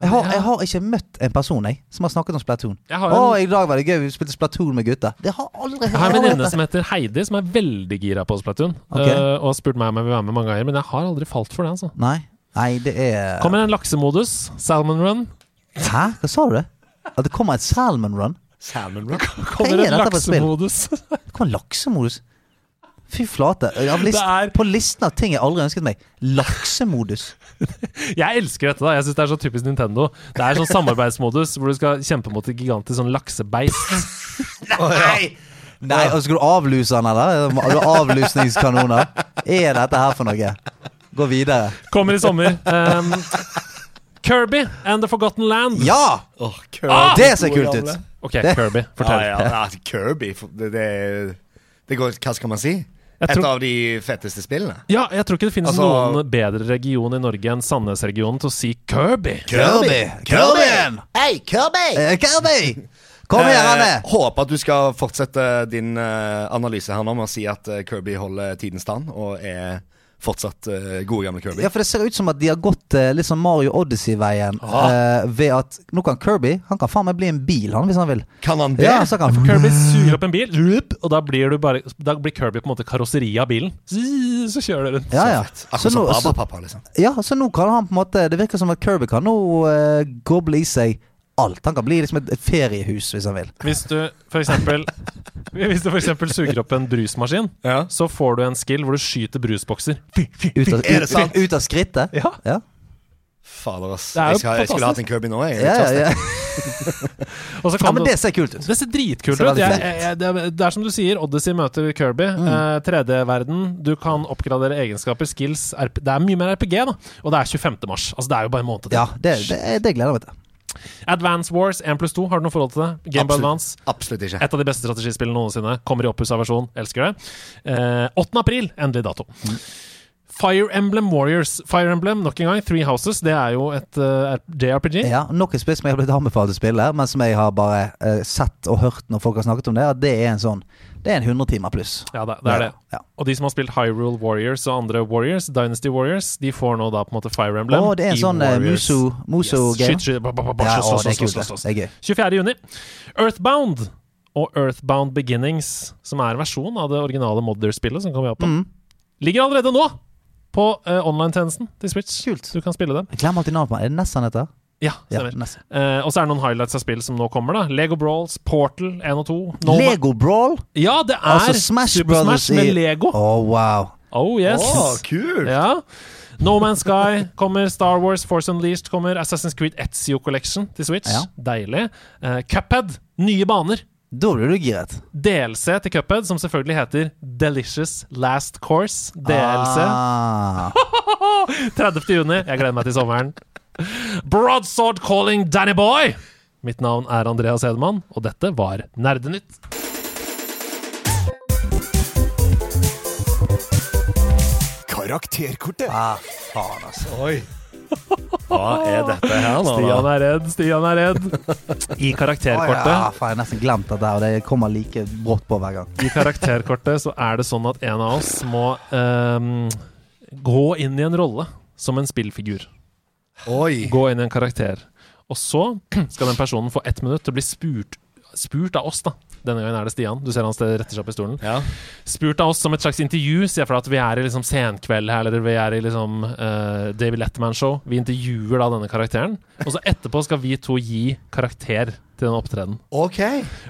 Jeg har, jeg har ikke møtt en person jeg, som har snakket om Splatoon. Jeg Å, har en, i dag var det gøy, vi spilte Splatoon med gutta. Det har aldri jeg har en aldri- venninne som heter Heidi, som er veldig gira på Splatoon. Ok. eh, og har spurt meg om jeg vil være med mange ganger, men jeg har aldri falt for det. altså Nei, nei, det er Kommer en laksemodus, Salmon Run. Hæ? Hva sa du? det? At det kommer et Salmon Run? Salmon Rock. Kommer Hei, en dette var et spill. laksemodus. Det kommer laksemodus. Fy flate. Av list, Det er- På listen av ting jeg aldri ønsket meg. Laksemodus. Jeg elsker dette, da. Jeg synes Det er så typisk Nintendo. Det er sånn samarbeidsmodus hvor du skal kjempe mot et gigantisk sånn laksebeist. Nei! <laughs> Nei, og Skal du avluse han, eller? Har du avlusningskanoner? Er dette her for noe? Gå videre. Kommer i sommer. Um, Kirby and The Forgotten Land. Ja! Oh, Det ser kult ut. Ok, Kirby, fortell. Ja, ja, ja, Kirby. for Det, det, det går, hva skal man si? Jeg Et tror- av de fetteste spillene. Ja, jeg tror ikke det finnes Altså- noen bedre region i Norge enn Sandnes-regionen til å si Kirby. Kirby! Kirbyen! Hei, Kirby! Eh, Kirby! Eh, Kom her, Anne. Eh, håper at du skal fortsette din eh, analyse her nå med å si at eh, Kirby holder tidens stand og er fortsatt eh, gode gamle Kirby. Ja, for Det ser ut som at de har gått eh, litt sånn Mario Odyssey-veien. eh, ved at nå kan Kirby Han kan faen meg bli en bil, han, hvis han vil. Kan han det? Ja, altså, så kan han Kirby suger opp en bil, loop, og da blir, du bare, da blir Kirby på en måte karosseriet av bilen. Zzz, Så kjører du rundt. ja, ja. Så Akkurat nå, som så, Barbapappa, liksom. ja, så nå kan han på en måte Det virker som at Kirby kan nå eh, goble i seg alt. Han kan bli liksom et, et feriehus, hvis han vil. Hvis du for eksempel Hvis du for eksempel suger opp en brusmaskin, Ja. så får du en skill hvor du skyter brusbokser. Ut <laughs> av, Er ut, det sant? ut, ut av skrittet. Ja. Fader, ass. Det er jo Jeg, skal, jeg fantastisk. skulle hatt en Kirby nå. Jeg, Ja, ja, ja. Og så ja, kan men du det ser kult ut. Det ser dritkult Ser ut. veldig Jeg, fett jeg, jeg, det, er, det er som du sier, Odyssey møter Kirby. Eh, 3D-verden. Du kan oppgradere egenskaper, skills RP, Det er mye mer RPG, da. Og det er 25. mars. Altså, det er jo bare en måned til. Ja, det, det, det gleder jeg meg til. Advance Wars 1 pluss 2, har du noe forhold til det? Game Boy Absolutt. Advance. Absolutt ikke. Et av de beste strategispillene noensinne. Kommer i oppussa versjon. Elsker det. Eh, 8. april, endelig dato. Mm. Fire Emblem Warriors. Fire Emblem, nok en gang, Three Houses. Det er jo et eh, JRPG. Ja, Nok et spill som jeg har blitt anbefalt å spille, men som jeg har bare eh, sett og hørt når folk har snakket om det, at det er en sånn Det er en 100 timer pluss. Ja, det, det er det. Ja. Og de som har spilt Hyrule Warriors og andre Warriors, Dynasty Warriors, de får nå da på en måte Fire Emblem. Å, det er en i sånn eh, Warriors. Muso- Muso-game. Skyt, skyt, ba, ba, ba, ba, ja, slåss, å, det slåss, er kult. slåss, det. slåss. Det er gøy. 24. juni. Earthbound og Earthbound Beginnings, som er en versjon av det originale Modder-spillet som kom i Mm. Japan, ligger allerede nå på eh, online-tjenesten til Switch. Kult. Du kan spille dem. Jeg glemmer alltid navnet på den. Er det Ness han heter? Ja, Ja, stemmer. Ness. Eh, og så er det noen highlights av spill som nå kommer. da Lego Brawls, Portal 1 og 2. No Ma- Lego Brawl? ja, det er Altså Smash Super Brothers Smash med i- Lego. Å, wow. Oh yes. kult! Ja. No Man's Sky kommer, Star Wars Force Unleashed kommer, Assassin's Creed Ezio Collection til Switch. Ja. Deilig. Eh, Cuphead, nye baner. Da blir du giret. DLC til Cuphead, som selvfølgelig heter Delicious Last Course. DLC. <laughs> Ah. 30. juni. Jeg gleder meg til sommeren. Broadsword calling Danny Boy! Mitt navn er Andreas Hedemann, og dette var Nerdenytt. Karakterkortet. Faen, altså. Hva er dette her nå? Stian er redd, Stian er redd. I Å, ja, karakterkortet, faen, jeg har nesten glemt dette, og det kommer like brått på hver gang. i karakterkortet så er det sånn at en av oss må ehm, gå inn i en rolle som en spillfigur. Oi. Gå inn i en karakter. Og så skal den personen få ett minutt til å bli spurt, spurt av oss, da. Denne gangen er det Stian. Du ser han ste- retter seg opp i stolen. Ja. Spurt av oss som et slags intervju. Sier for at vi er i liksom senkveld her, eller vi er i liksom eh, David Letterman-show. Vi intervjuer da denne karakteren. Og så etterpå skal vi to gi karakter til den opptredenen. OK.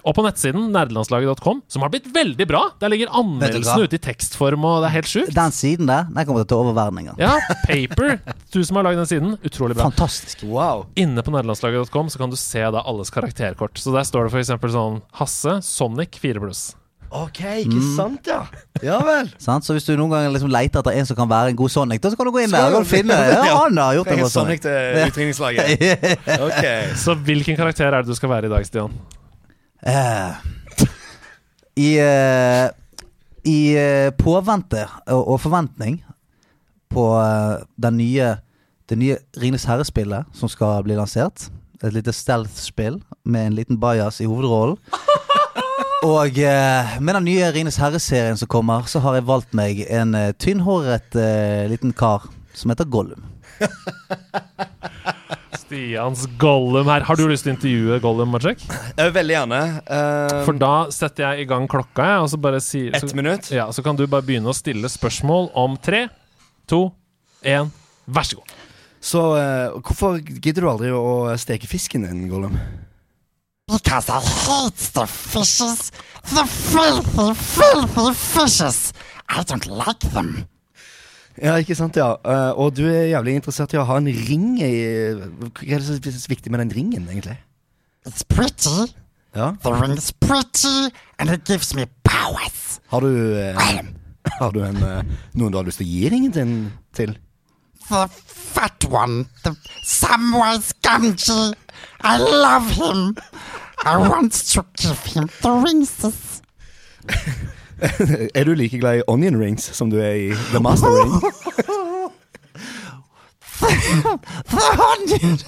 Og på nettsiden nerdelandslaget.com, som har blitt veldig bra. Der ligger anmeldelsene ute i tekstform, og det er helt sjukt. Den siden der, den kommer til å ta over verden en gang. Ja, Paper, du som har lagd den siden. Utrolig bra. Fantastisk. Wow. Inne på nerdelandslaget.com så kan du se da alles karakterkort. Så der står det f.eks. sånn Hasse, Sonic 4 pluss. OK, ikke Mm. sant, ja. Ja vel. Sant? Så hvis du noen ganger liksom leter etter en som kan være en god Sonic, da så kan du gå inn Skal der du og finne ja, han har gjort en Jeg er god Sonic. Sonic til <laughs> utringningslaget. OK. Så hvilken karakter er det du skal være i dag, Stian? Eh, I eh, I eh, påvente og, og forventning på eh, den nye det nye Ringenes herre-spillet som skal bli lansert. Et lite stealth-spill med en liten bajas i hovedrollen. Og eh, med den nye Ringenes herre-serien som kommer, så har jeg valgt meg en eh, tynnhåret eh, liten kar som heter Gollum. Stians Gollum her. Har du lyst til å intervjue Gollum, Maciek? Eh, Veldig gjerne. Eh, For da setter jeg i gang klokka, jeg, og så bare sier Ett minutt. Ja, så kan du bare begynne å stille spørsmål om tre, to, én. Vær så god. Så eh, hvorfor gidder du aldri å steke fisken din, Gollum? Because I hate the fishes. The filthy, filthy fishes. I don't like them. Ja, ikke sant, ja. Eh, og du er jævlig interessert i å ha en ring i Hva er det som er så viktig med den ringen, egentlig? It's pretty. Ja. The ring's pretty, and it gives me powers. Har du, eh, har du en, eh, noen du har lyst til å gi ringen din til? The fat one, the Samwise Gamgee. I love him. I want to give him the rings. Eh, Er du like glad i onion rings som du er i The Master Ring? The onion.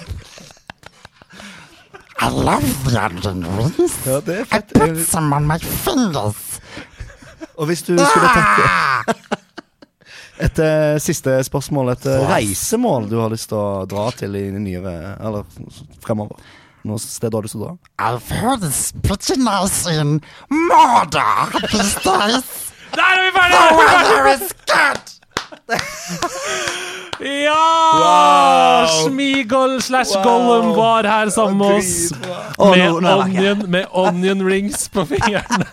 I love the onion rings. Ja, det er I fett. Eh, put some on my fingers. Ah! Og hvis du skulle tatt et eh, siste spørsmål, et eh, reisemål du har lyst til å dra til i nyere Eller fremover? Noe sted du har lyst til å dra? I've heard it's pretty nice in Mordor these days. Der er vi The ferdige! weather is good. Ja! Smigol slash Gollum var her sammen med oss. Å, Med nå- nå er jeg vekke. onion, med onion rings på <laughs> fingrene.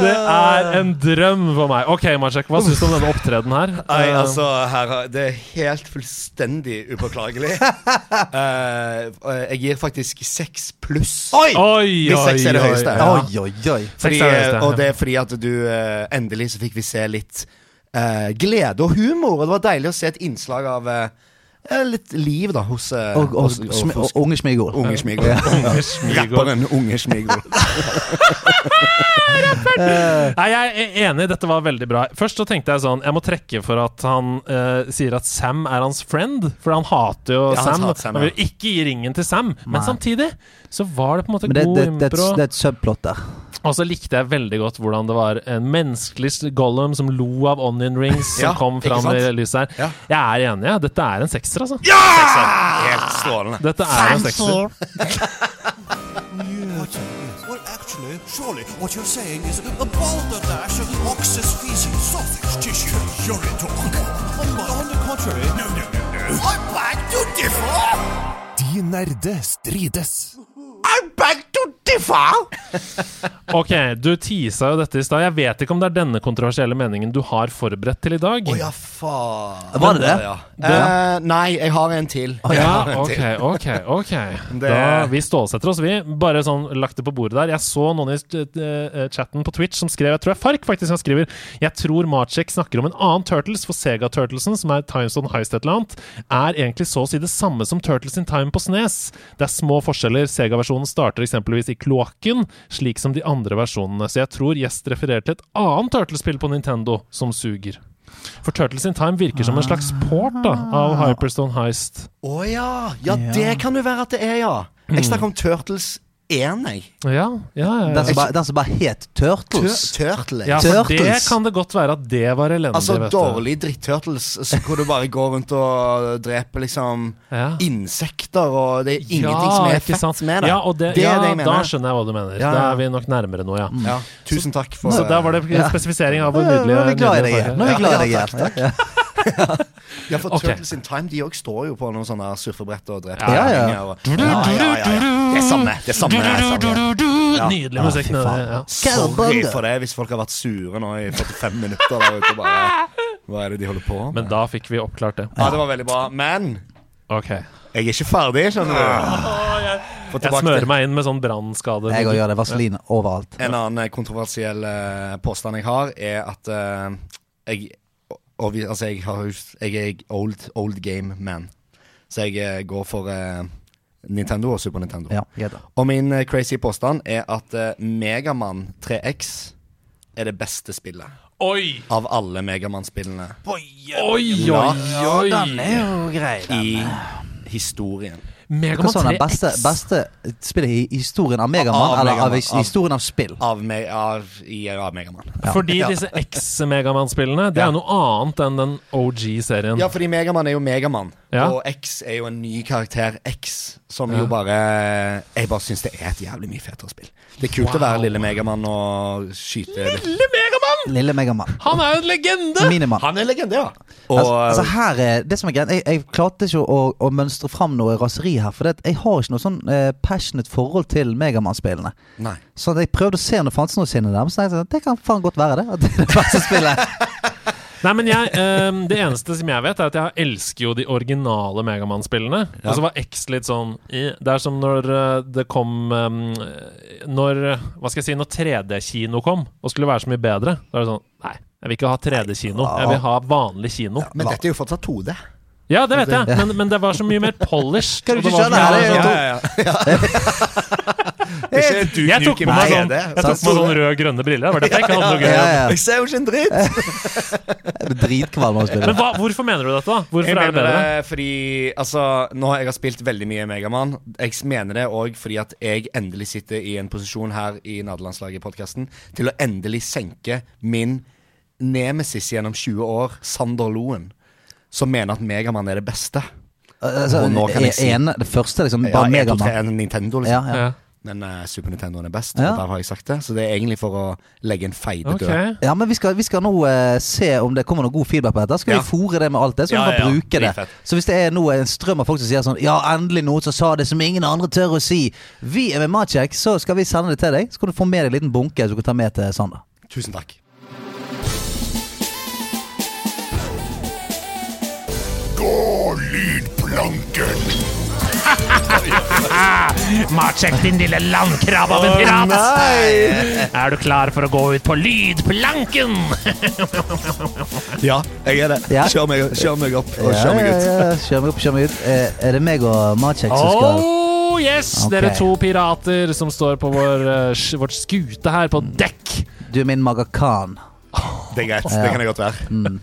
Det er en drøm for meg. Ok, Maciek, hva syns du om denne opptredenen her? Nei, Eh, altså, her, har- det er helt fullstendig <laughs> upåklagelig. Eh, eh, jeg gir faktisk seks pluss. Oi! Oi, oi, Hvis seks er det oi. høyeste. Ja. Oi, oi, oi. Seks Fordi, er eh, det høyeste, og det ja. er fordi at du eh, endelig så fikk vi se litt eh, glede og humor. Og det var deilig å se et innslag av eh, eh, litt liv da hos, eh, Og, og, hos- smi- og hos unge Smigol. Unge <laughs> Smigol. Rapperen Unge <laughs> Smigol. Nei, jeg er enig, dette var veldig bra. Først så tenkte jeg sånn Jeg må trekke for at han eh, sier at Sam er hans friend, for han hater jo Ja, han Sam. hater Sam, Han vil ja. jo ikke gi ringen til Sam, men samtidig så var det på en måte Men det, god det, det, er impro. et- det er et subplot der. Og så likte jeg veldig godt hvordan det var en menneskelig Gollum som lo av onion rings som Ja, kom ikke fram i sant? lyset her. Ja. Jeg er enig, ja. Dette er en sekser, altså. Helt strålende. Dette er en Thank sekser. you. Well, actually, surely what you're saying is a balderdash of ox's feces, sausage tissue, urine talk. On, the- on the contrary, no, no, no, no. er I beg to differ! De nerde strides. I beg to Antifa! Ok, du teasa jo dette i stad. Jeg vet ikke om det er denne kontroversielle meningen du har forberedt til i dag. Å ja, faen. Var det det? Ja. Eh, nei, jeg har en til. Jeg Ja, har en <laughs> ok, til. ok. ok da, Vi stålsetter oss, vi. Bare sånn lagt det på bordet der. Jeg så noen i eh, chatten på Twitch som skrev Jeg tror det er Fark faktisk som skriver Jeg tror Macek snakker om en annen Turtles, for Sega-turtlesen, som er Times on Heist et eller annet, er egentlig så å si det samme som Turtles in Time på Snes. Det er små forskjeller. Sega-versjonen starter eksempelvis i kloakken, slik som de andre versjonene. Så jeg tror Gjest refererer til et annet Turtles-spill på Nintendo som suger. For Turtles in Time virker som en slags port da, av Hyperstone Heist. Å ja. ja. det kan det være at det er, ja. Mm. Jeg snakker om Turtles 1, jeg. Ja, ja, ja. ja. Den som bare, den som bare het Eh, Turtles. Tur- Turtles. Ja, for det Turtles. kan det godt være at det var elendig. Altså vet du. dårlig dritt-turtles så hvor du bare går rundt og dreper liksom Ja. insekter, og det er ingenting Ja, som er ikke sant? fett med det. Ja, og det, Det er ja det jeg da mener. skjønner jeg hva du mener. Ja, Mm. Da ja. er vi nok nærmere nå, ja. Ja, tusen takk for Så der var det spesifisering av hvor nydelig Nå er vi glad i deg nydelig igjen. Nå er vi glad i deg igjen. Ja, for Ok. Turtles in Time De òg står jo på noen sånne surfebrett og dreper Ja, ja. ringer og- Det er samme. Det er samme. Det er samme. var. Nydelig musikk nede ja. Sorry for det hvis folk har vært sure nå i 45 minutter der ute. og Bare, hva er det de holder på med? Men da fikk vi oppklart det. Ja, det var veldig bra. Men Ok. jeg er ikke ferdig, skjønner du. Få Jeg tilbake til- smører meg inn med sånn brannskade. Jeg òg gjør det. Vaselin overalt. En annen kontroversiell eh, påstand jeg har, er at eh, jeg, og vi- altså jeg, har, jeg er old, old game man. Så jeg eh, går for eh, Nintendo og Super Nintendo. Ja, jeg da. Og min eh, crazy påstand er at eh, Megaman 3X er det beste spillet Oi! av alle Megaman-spillene Oi, oi, oi! i historien. Hva Megaman sa den 3 sånn beste, beste spillet i historien av Megaman, Av eller av Megaman, av- historien av spill? Av, me av, i, av Megaman. Fordi disse X-Megaman-spillene, det er jo noe annet enn den OG-serien. Ja, fordi Megaman er jo Megaman, Ja. og X er jo en ny karakter, X, som jo bare Jeg bare syns det er et jævlig mye fetere spill. Det er kult å være lille Megaman og skyte Lille Megaman! Lille Megaman. Han er jo en legende! Miniman. Han er legende, ja. Og Altså, altså her er det som er greit Jeg, jeg klarte ikke å, å mønstre fram noe raseri her. For det, at jeg har ikke noe sånn eh, passionate forhold til Megaman-spillene. Nei. Så jeg prøvde å se om det fantes noe sinne der. Men så tenkte jeg, sånn, det kan faen godt være det. At det er det beste spillet. Nei, men jeg, ehm, Det eneste som jeg vet, er at jeg elsker jo de originale Megaman-spillene. Og så var X litt sånn eh, Det er som når eh, det kom ehm, Når eh, Hva skal jeg si Når 3D-kino kom og skulle være så mye bedre, da er det sånn Nei, jeg vil ikke ha 3D-kino. Jeg vil ha vanlig kino. Men dette er jo fortsatt 2D. Ja, det vet jeg, men, men det var så mye mer polish. Skal og du det ikke var så skjønne? mye Her mer er det sånn- jo Jeg, Jeg tok på meg sånn, jeg tok på meg sånn rød-grønne briller. Det var derfor jeg ikke hadde noe Ja, gøy. ja. Jeg ser jo ikke en dritt! Jeg blir dritkvalm av å spille. Men hva, hvorfor mener du dette? da? Hvorfor Jeg er det mener bedre? det fordi Altså, nå har jeg har spilt veldig mye Megaman. Jeg mener det òg fordi at jeg endelig sitter i en posisjon her i Nederlandslaget-podkasten til å endelig senke min nemesis gjennom 20 år, Sander Loen, som mener at Megaman er det beste. Altså, Og nå kan jeg si- en, det første, liksom. Ja, Bare jeg tror det Megaman. er en Nintendo, Ja, liksom. ja. Ja. Men eh, Super Nintendoen er best, Ja. og der har jeg sagt det. Så det er egentlig for å legge en feide Ok. død. ja, men vi skal, vi skal nå eh, se om det kommer noe god feedback på dette. Skal Ja. vi fòre det med alt det, så Ja, vi ja, kan ja. bruke det. Dritfett. Så hvis det er nå en strøm av folk som sier sånn Ja, endelig noen som sa det som ingen andre tør å si. Vi er med Matjek, så skal vi sende det til deg. Så kan du få med deg en liten bunke som du kan ta med til Sander. Tusen takk. Matsjekk, din lille landkrabbe av en pirat! Er du klar for å gå ut på lydplanken? Ja, jeg er det. Ja. Kjør, meg, kjør meg opp og Ja, kjør meg ut. ja, ja. Kjør meg opp, kjør meg ut. Eh, Er det meg og Matsjek som skal Oh yes! Ok. Dere to pirater som står på vår, eh, sk- vårt skute her på dekk Du er min Magakan. Det er greit. Det kan jeg godt være. Mm.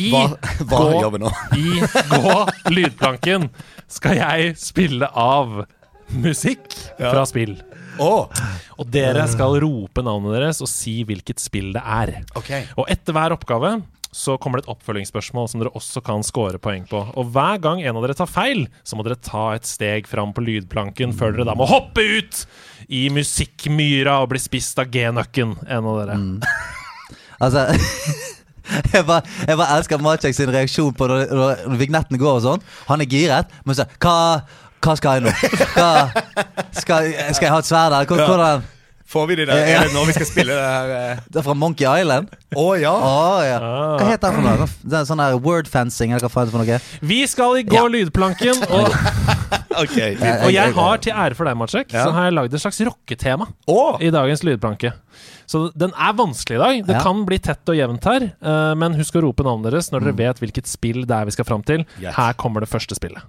i Hva, hva Gå- gjør vi nå? I Gå lydplanken skal jeg spille av musikk fra spill. <laughs> Mm. Å, Og dere skal rope navnet deres og si hvilket spill det er. Ok. Og etter hver oppgave så kommer det et oppfølgingsspørsmål som dere også kan score poeng på. Og hver gang en av dere tar feil, så må dere ta et steg fram på lydplanken før dere da må hoppe ut i musikkmyra og bli spist av g-nøkken, en av dere. Altså <laughs> Jeg bare, jeg bare elsker Maciek sin reaksjon på når, når vignetten går og sånn. Han er giret, men så Hva Hva skal jeg nå? Hva, skal, skal jeg ha et sverd her? Hvor- Hvordan? Får vi de der? Er det nå vi skal spille det her? eh? Det er fra Monkey Island? Å ja. Å, ja. Ah. Hva heter det for noe? Det er sånn der word fencing, eller hva faen er det for noe? Vi skal i gå lydplanken, og, Ok. vi- og jeg har til ære for deg, Matsjek, Ja. så har jeg lagd et slags rocketema Å! i dagens lydplanke. Så den er vanskelig i dag. Det Ja. kan bli tett og jevnt her, eh, men husk å rope navnet deres når dere vet hvilket spill det er vi skal fram til. Yes. Her kommer det første spillet.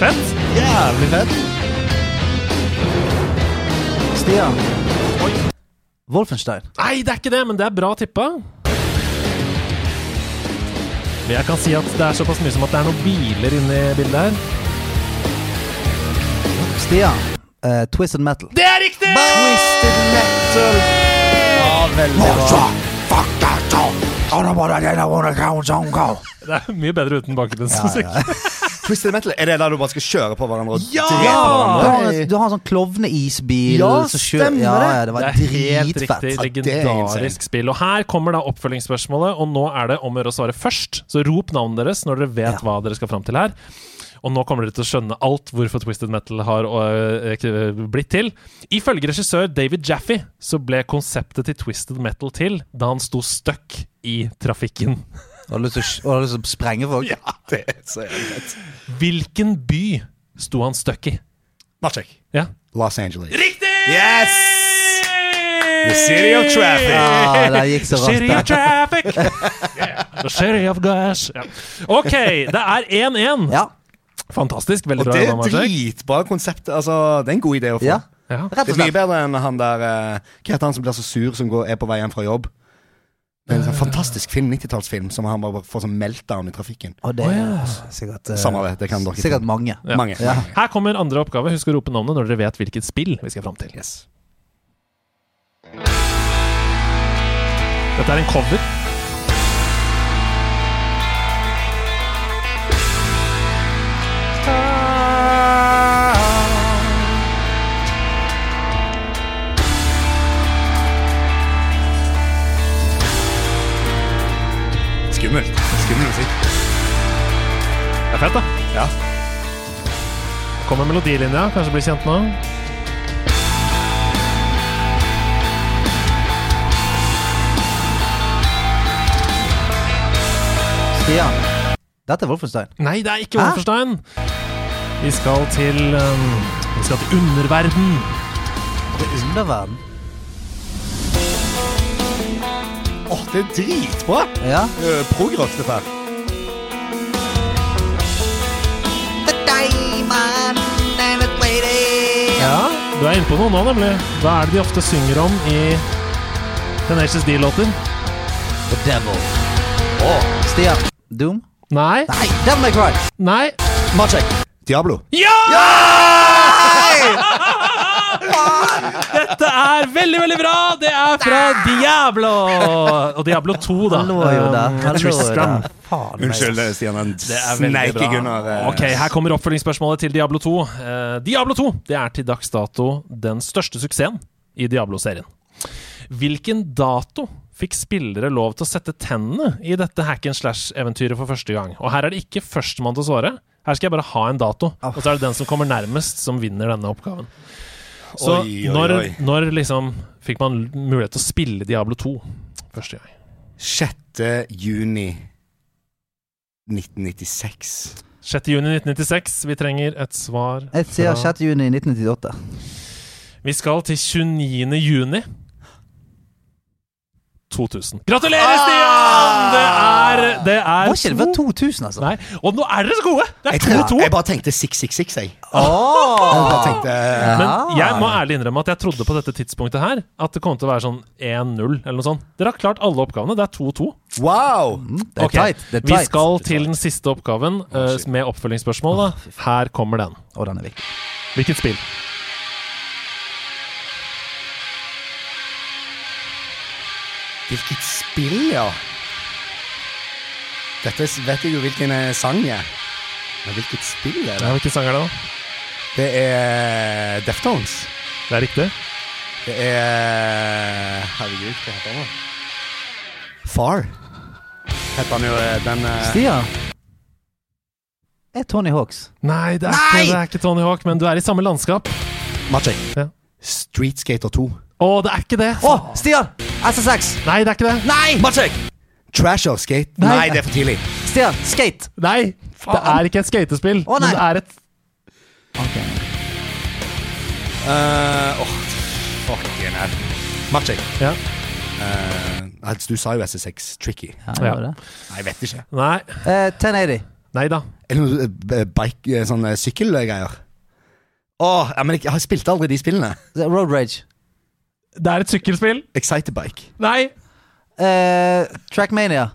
Fett! Jævlig fett. Stian. Wolfenstein. Nei, det er ikke det, men det er bra tippa. Men jeg kan si at det er såpass mye som at det er noen biler inne i bildet her. Stian. Eh, Twisted Metal. Det er riktig! Twisted Metal! Ja, veldig bra. Det er mye bedre uten bakgrunnsmusikk. Twisted metal, er det der du bare skal kjøre på hverandre og Ja! drepe Du hverandre? har, en- du har en sånn klovneisbil. Ja, som kjører- stemmer ja, det. ja, det. Var Det er helt riktig. dritfett. Ja, det er Legendarisk insane. spill. Og her kommer da oppfølgingsspørsmålet, og nå er det om å gjøre å svare først. Så rop navnet deres når dere vet hva dere skal fram til her. Og nå kommer dere til å skjønne alt hvorfor Twisted Metal har øh, øh, blitt til. Ifølge regissør David Jaffe så ble konseptet til Twisted Metal til da han sto stuck i trafikken. Og har lyst til å sk- og har lyst til å sprenge folk. Ja, det er så jævlig fett. Hvilken by sto han stuck i? Marcek. Ja. Los Angeles. Riktig! Yes! The city of traffic. Ja, Ah, det gikk så raskt. City of der. traffic! <laughs> Yeah. The city of gas. Ja. OK, det er 1-1. Ja, Fantastisk. Veldig Og bra det er jobba, Maciek. dritbra konsept. Altså, det er en god idé å få. ja. Ja. Rett Det og er mye slett. bedre enn han der eh, Hva heter han som blir så sur som går, er på vei hjem fra jobb? Det er en sånn fantastisk film, 90-tallsfilm, som han bare får sånn meltdown i trafikken. Og det er sikkert, eh, Samme det, det kan dere sikkert mange. Ja. Mange. Ja. Her kommer andre oppgave. Husk å rope navnet når dere vet hvilket spill vi skal fram til. Yes. Dette er en cover. Skummelt. Skummel musikk. Det er fett, da. Ja. Kommer melodilinja. Kanskje blir kjent nå. Stian. Dette er Wolfenstein. Nei, det er ikke Hæ? Wolferstein. Vi skal til um, Vi skal til underverden. Det er underverden. Åh, det er dritbra! Ja. Uh, Progrock, dette her. ja. Du er inne på noe nå, nemlig. Hva er det de ofte synger om i Tenacious D-låter? The Devil. Stian. Doom? Nei. Nei, Devil May Cry. Nei. Magic. Diablo. Ja! Dette er veldig, veldig bra! Det er fra Diablo! Og Diablo 2, da. Hallo, Yoda. Um, Hallo, Tristram. Yoda. Faen, Unnskyld, meg. Stian. En Det er veldig sneik i bra. Gunnar. eh. Ok, Her kommer oppfølgingsspørsmålet til Diablo 2. Eh, Diablo 2 det er til dags dato den største suksessen i Diablo-serien. Hvilken dato fikk spillere lov til å sette tennene i dette hack and slash-eventyret for første gang? Og her er det ikke førstemann til å svare. Her skal jeg bare ha en dato, Ah. og så er det den som kommer nærmest, som vinner denne oppgaven. Så Oi, oi, når, oi. når liksom fikk man mulighet til å spille Diablo 2 første gang? 6. juni 1996. 6. juni 1996. Vi trenger et svar Jeg sier fra- 6. juni 1998. Vi skal til 29. juni 2000. Gratulerer, Stian! Det er, det er Var ikke det før 2000, altså? Nei. Og nå er dere så gode! Det Jeg, er tror, 2-2. jeg bare tenkte 666, jeg. Jeg Åh! bare tenkte eh, Men jeg må ærlig innrømme at jeg trodde på dette tidspunktet her at det kom til å være sånn 1-0 eller noe sånt. Dere har klart alle oppgavene. Det er 2-2. Wow! Det er Ok, tight. Det er Vi tight. skal til den siste oppgaven eh, shit. med oppfølgingsspørsmål. Da. Her kommer den. Å, den er viktig. Hvilket spill? Hvilket spill, ja. Dette s- vet jeg jo hvilken eh, sang er. Men hvilket spill er det? Ja, hvilken sang er det, da? Det er eh, Deftones. Det er riktig. Det er Herregud, hva heter han da? Far. Heter han jo eh, den eh, Stian? Er Tony Hawks? Nei, det er, Ikke, det er ikke Tony Hawk, men du er i samme landskap. Magic. Ja. Street Skater 2. Å, det er ikke det! Å, Stian! SSX! Nei, det er ikke det. Nei! Magic! Trasher Skate. Nei. Nei. det er for tidlig. Stian, skate! Nei, det er ikke et skatespill. Å, nei. Men det er et Uh, fucking hell. Magic. Ja. Eh, nei, du sa jo SSX Tricky. Ja, det var Ja. det. Nei, jeg vet ikke. Nei. Eh, 1080. Nei da. Er det noe eh, bike, eh, sånne sykkelgreier? Åh, ja, men jeg, jeg spilte aldri de spillene. Road Rage. Det er et sykkelspill. Exciterbike. Nei. Eh, Trackmania.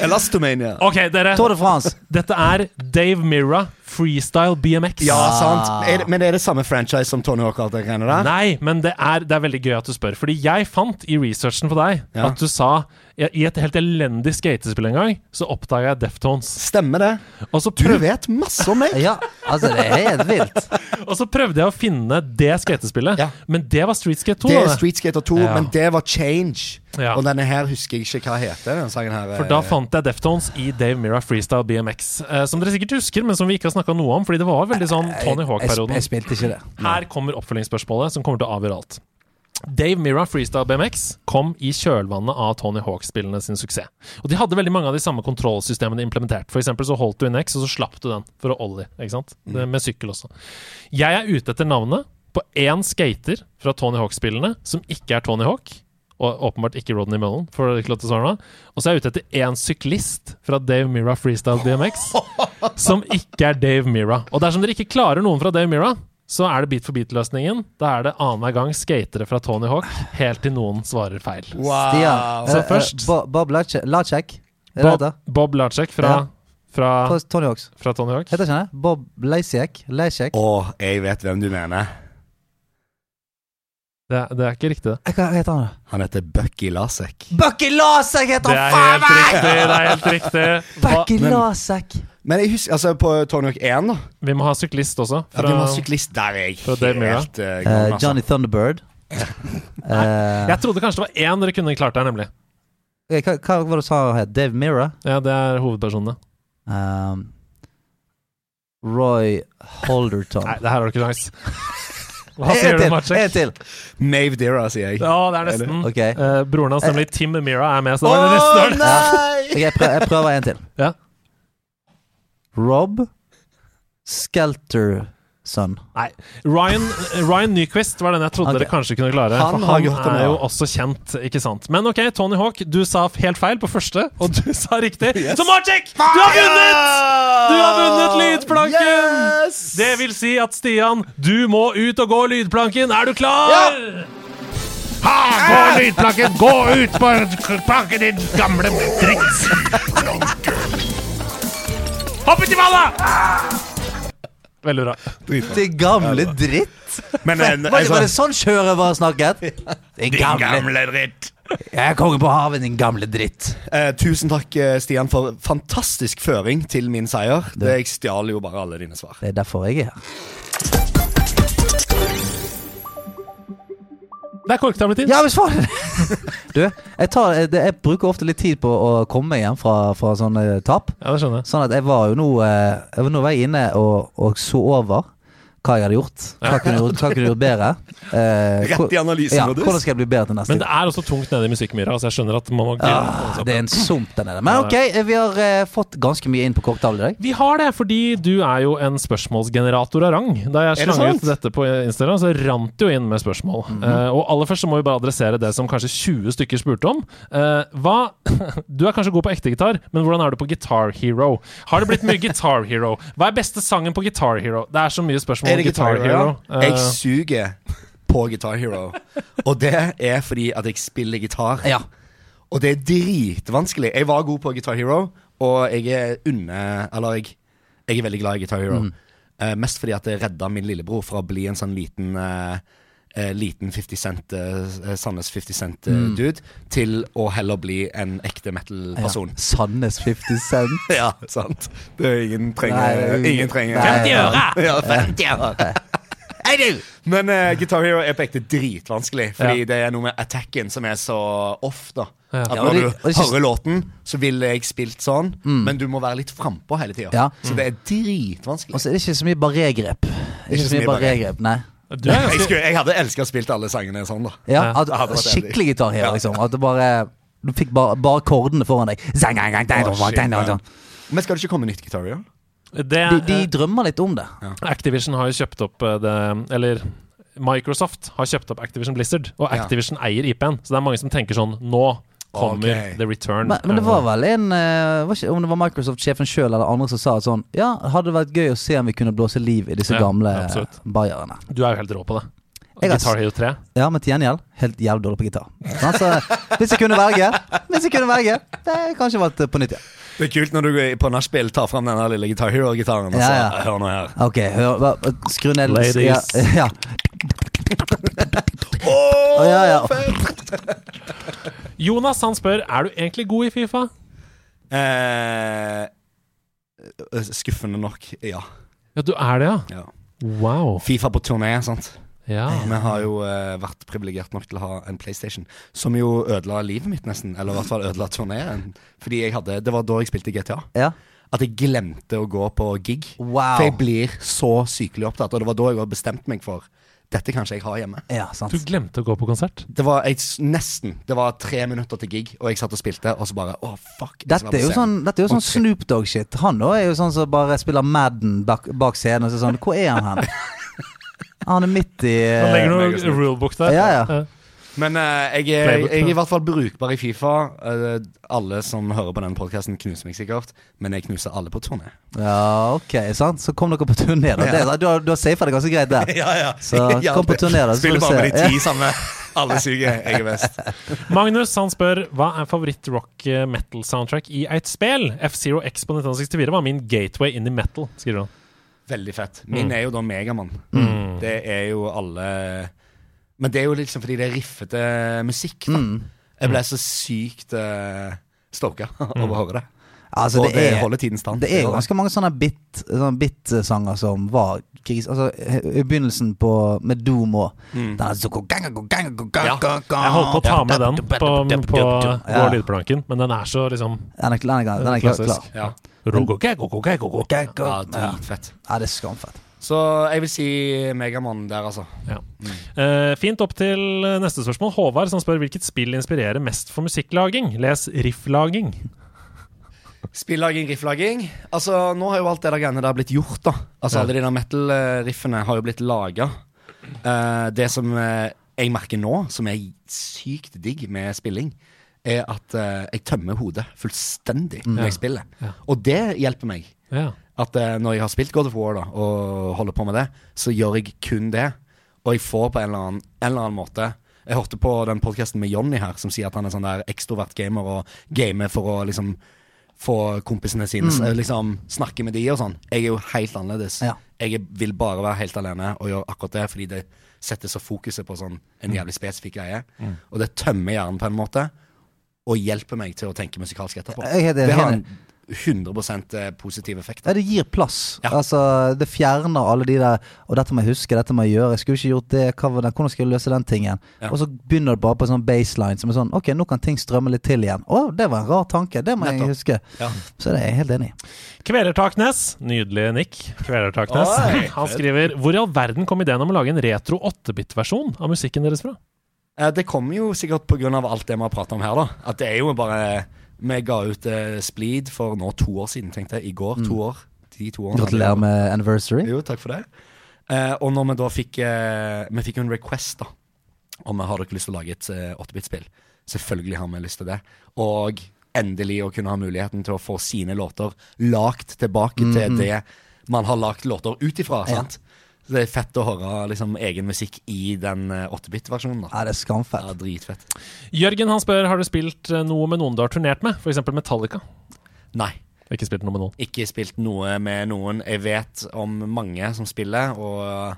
Elastomania. Ok, dere. Tour de France. Dette er Dave Mirra, freestyle BMX. Ja, sant. Er det, men er det samme franchise som Tony Hawk og alt det greiene der? Nei, men det er, det er veldig gøy at du spør. Fordi jeg fant i researchen på deg Ja. at du sa I i et helt elendig skatespill en gang, så oppdaga jeg Deftones. Stemmer det. Og så, Du prøv, vet masse <laughs> om meg. Ja, altså, det er helt vilt. og så prøvde jeg å finne det skatespillet, Ja. men det var Street Skate 2. Det var er det. Street Skater 2, Ja. men det var Change. Ja. Og denne her husker jeg ikke hva heter. den sangen her. eh. For da fant jeg Deftones i Dave Mira Freestyle BMX. Eh, som dere sikkert husker, men som vi ikke har snakka noe om. Fordi det var veldig sånn <laughs> eh, Tony Jeg, jeg Hawk-perioden. spilte ikke det. Her kommer oppfølgingsspørsmålet som kommer til å avgjøre alt. Dave Mira Freestyle BMX kom i kjølvannet av Tony Hawk-spillene sin suksess. Og de hadde veldig mange av de samme kontrollsystemene implementert. For eksempel så holdt du en X, og så slapp du den for å ollie. Ikke sant? Det- Med sykkel også. Jeg er ute etter navnet på én skater fra Tony Hawk-spillene som ikke er Tony Hawk. Og åpenbart ikke Rodney Mullen. For å klare å svare nå. Og så er jeg ute etter én syklist fra Dave Mira Freestyle <laughs> BMX som ikke er Dave Mira. Og dersom dere ikke klarer noen fra Dave Mira, så er det Beat for beat-løsningen. Da er det annenhver gang skatere fra Tony Hawk helt til noen svarer feil. Stian. Ah, Så eh, eh, først- Bo- Bob Lacek. Lacek. Er det Bob, det? Bob Lacek fra, Ja. fra, På Tony Hawks. fra Tony Hawk. Heter ikke han det? Bob Lacek? Lacek? Åh, jeg vet hvem du mener. Det, det er ikke riktig, det. Eh, Hva heter han? da? Han heter Bucky Lasek. <laughs> Bucky Lasek heter Det han! er Faen helt meg! riktig! Det er helt riktig. Hva, Bucky Lasek. Men jeg husker, altså på Tony Hawk 1, da. vi må ha syklist også. At Fra, vi må ha syklist der, er jeg. fra Dave Mirra. Helt, eh, Eh, gone, altså. Johnny <laughs> Thunderbird. Eh, jeg trodde kanskje det var én dere kunne klart der, nemlig. ok, hva, hva var det du sa han het? Dave Mirra? Ja, Det er hovedpersonene. Um, Roy Holderton. Nei, det her har du ikke <laughs> sjans. Hva En sier du, til! En Matsjek? til! Maeve Dira, sier jeg. Ja, det er nesten. Ok. Eh, broren hans, nemlig Tim Mira, er med. Så det var det neste år. Ok, jeg, prøver, jeg prøver en til. Ja. Rob Skelterson. Nei. Ryan, eh, Ryan Nyquist var den jeg trodde Ok. dere kanskje kunne klare. Han for har han gjort det er bra. jo også kjent, ikke sant. Men ok, Tony Hawk, du sa helt feil på første, og du <laughs> sa riktig. Så Marcek, du har vunnet! Du har vunnet lydplanken! Det vil si at Stian, du må ut og gå lydplanken. Er du klar? Ha, gå Ah! lydplanken! Gå ut på planken, din gamle dritt! Hopp uti vannet! Veldig bra. Din gamle dritt! <laughs> Men en, Var en det, var sånn det sånn Sjøre var <laughs> snakket? Din gamle dritt. Jeg er konge på havet, din gamle dritt. Eh, tusen takk, eh, Stian, for fantastisk føring til min seier. Det, jeg stjal jo bare alle dine svar. Det er derfor jeg er her. Det er korktavletid. Ja, men svar <laughs> Du, jeg, tar, det- jeg bruker ofte litt tid på å komme meg hjem fra, fra sånne tap. ja, det skjønner jeg. Sånn at jeg var jo nå eh, jeg var, Nå var jeg inne og, og så over hva jeg hadde gjort. Hva kunne jeg gjort, hva kunne jeg gjort bedre? Eh, hvor- Rett i analysen, ja, og du. hvordan skal jeg bli bedre til neste Men gang? det er også tungt nede i musikkmyra, så jeg skjønner at man må glede Ah, seg. det er en sump der nede. Men ok, eh, vi har eh, fått ganske mye inn på korktavlen i dag. Vi har det, fordi du er jo en spørsmålsgenerator av rang. Da jeg Er det slang sant? Mhm. ut dette på Instagram, så rant det jo inn med spørsmål. Eh, og aller først så må vi bare adressere det som kanskje 20 stykker spurte om. Eh, hva <laughs> Du er kanskje god på ekte gitar, men hvordan er du på Guitar Hero? Har det blitt mye Guitar Hero? Hva er beste sangen på Guitar Hero? Det er så mye spørsmål Er om det Guitar Hero. Eh, Jeg suger på Guitar Hero. Og det er fordi at jeg spiller gitar. Ja. Og det er dritvanskelig. Jeg var god på Guitar Hero, og jeg er unne... Eller jeg, jeg Mm. er veldig glad i Guitar Hero. Eh, mest fordi at det redda min lillebror fra å bli en sånn liten eh, eh, liten 50 Cent, eh, Sandnes Mm. 50 Cent-dude til å heller bli en ekte metal-person. Sandnes 50 Cent. <laughs> Ja. sant. Det er ingen trenger Nei, Ingen trenger nei. 50 øre! <laughs> Ja, 50 øre. Men eh, Guitar Hero er på ekte dritvanskelig, fordi det er noe med attacken som er så off. da At Ja, og Når det- du og det synes- hører låten, så ville jeg spilt sånn, men du må være litt frampå hele tida. Ja. Så det er dritvanskelig. Og så er det ikke så mye barré-grep. Ikke så mye barré-grep, nei. Du er Jeg, ganske skulle, jeg hadde elska å spilt alle sangene sånn, da. Ja, Ja. at, Ja, det var det. skikkelig gitar her, Ja. liksom. At det bare Du fikk bare, bare kordene foran deg. Zang, gang, gang, dang, Å, dong, dang, shit, dang, dong, ja. dong. Men skal det ikke komme nytt Guitar Hero? det, De, de drømmer litt om det. Activision har jo kjøpt opp eh, det Eller Microsoft har kjøpt opp Activision Blizzard, og Ja. Activision eier IP-en. Så det er mange som tenker sånn Nå kommer Ok. the return. Men, men det var vel en eh, var ikke, Om det var Microsoft-sjefen sjøl eller andre som sa at sånn Ja, hadde det vært gøy å se om vi kunne blåse liv i disse Ja, gamle absolutt. bayerne. Du er jo helt rå på det. Jeg har- Guitar Hero 3. Ja, men til gjengjeld helt jævlig dårlig på gitar. Sånn, Så, hvis jeg kunne velge, Hvis jeg kunne velge det har kanskje vært på nytt igjen. Det er kult når du går på nachspiel tar fram denne lille Guitar Hero-gitaren. og Ja, så, ja. Hør nå her. Ok, hør, hva- skru ned Ladies. Ja, ja. Åh, Å, ja, ja. Jonas han spør er du egentlig god i Fifa. Eh, skuffende nok, ja. Ja, du er det, ja? ja. Wow. Fifa på turné, sant. Ja. Ah, Vi har jo eh, vært privilegert nok til å ha en PlayStation, som jo ødela livet mitt, nesten. Eller i hvert fall ødela turnéen. Fordi jeg hadde Det var da jeg spilte GTA. ja. At jeg glemte å gå på gig. Wow. For jeg blir så sykelig opptatt, og det var da jeg også bestemte meg for dette kan ikke jeg ha hjemme. Ja, sant. Du glemte å gå på konsert. Det var jeg, s- nesten Det var tre minutter til gig, og jeg satt og spilte, og så bare Å, fuck. jeg skal Dette er være jo på scenen. sånn, dette er jo sånn Og tre- Snoop Dogg-shit. Han òg er jo sånn som bare spiller Madden bak, bak scenen. Og så er sånn, Hvor er han hen? Han er midt i Han eh, legger meg og noe Snoop. rulebook der. Ja, ja. Eh, Men eh, jeg, er- Playbook, jeg er ja. i hvert fall brukbar i Fifa. Eh, alle som hører på denne podkasten, knuser meg sikkert, men jeg knuser alle på <laughs> turné. Ja, ok, sant? Så kom dere på turné, da. Det, er sant, du har, du har safa det ganske greit der. <laughs> Så kom på turné, da. så Spiller får du bare med se. de ti samme. <laughs> Alle suger. Jeg er best. Magnus han spør hva er favoritt-rock-metal-soundtrack i et spill? F-Zero X på 1964 var min gateway in the metal, skriver han. Veldig fett. Min Mm. er jo da Megamann. Det er jo alle Men det er jo liksom fordi det er riffete musikk, da. Mm. Jeg ble så sykt uh, stoka Mm. <laughs> over å høre det. Altså, og det, er, holder tiden stand. det er jo gjør ganske mange sånne bit- sånne bit-sanger som var gris... Altså, i begynnelsen på, med Doom òg. Mm. Den er så- gang, gang, gang, gang, gang, gang. Jeg holdt på å ta med den på, mm, på Ja. vår lydplanken, men den er så liksom Den er klar. Den er, den er klar, klar. klassisk. Ja. Rogogogogogogog. Gang, ja, gang. Ja, dritfett. Ja, det er skamfett. Så jeg vil si Megamann der, altså. Ja. Eh, fint opp til neste spørsmål. Håvard som spør hvilket spill inspirerer mest for musikklaging? Les rifflaging. Spillaging, rifflaging. Altså, nå har jo alt det der greiene der blitt gjort, da. Altså, Alle de der metal-riffene har jo blitt laga. det som eh, jeg merker nå, som er sykt digg med spilling, er at eh, jeg tømmer hodet fullstendig når jeg spiller. Og det hjelper meg. Ja. At eh, når jeg har spilt God of War da, og holder på med det, så gjør jeg kun det. Og jeg får på en eller annen, en eller annen måte Jeg hørte på den podkasten med Jonny her, som sier at han er sånn der ekstrovert gamer og gamer for å liksom få kompisene sine så, liksom, snakke med de og sånn. Jeg er jo helt annerledes. Mm. Ja. Jeg er- vil bare være helt alene og gjøre akkurat det, fordi det setter så fokuset på sånn en jævlig spesifikk greie. Mm. Og det tømmer hjernen på en måte, og hjelper meg til å tenke musikalsk etterpå. Jeg er helt enig. det har en 100 positiv effekt. Ja, det gir plass. Ja. Altså, det fjerner alle de der Og dette må jeg huske, dette må jeg gjøre. Jeg skulle ikke gjort det. Hva var det? Hvordan skal jeg løse den tingen? Ja. Og så begynner det bare på en sånn baseline som er sånn Ok, nå kan ting strømme litt til igjen. Å, det var en rar tanke. Det må Nettopp. jeg huske. Ja. Så det er jeg helt enig i. Kvelertaknes. Nydelig nikk. Kvelertaknes. Oi, <laughs> Han skriver Hvor i all verden kom ideen om å lage en retro 8-bit-versjon av musikken deres fra? Eh, Det kommer jo sikkert pga. alt det vi har prata om her, da. At det er jo bare Vi ga ut eh, Spleed for nå to år siden, tenkte jeg. I går. To år. De to årene. Gratulerer med anniversary. Jo, takk for det. Eh, og når vi da fikk eh, Vi fikk jo en request, da. Om vi har dere lyst til å lage et eh, 8-bit-spill. Selvfølgelig har vi lyst til det. Og endelig å kunne ha muligheten til å få sine låter lagt tilbake til det man har lagt låter ut ifra. sant? Så Det er fett å høre liksom, egen musikk i den eh, 8-bit-versjonen. da. Ja, det er skamfett. Ja, dritfett. Jørgen han spør har du spilt eh, noe med noen du har turnert med, f.eks. Metallica. Nei. Ikke spilt noe med noen. Ikke spilt noe med noen. Jeg vet om mange som spiller, og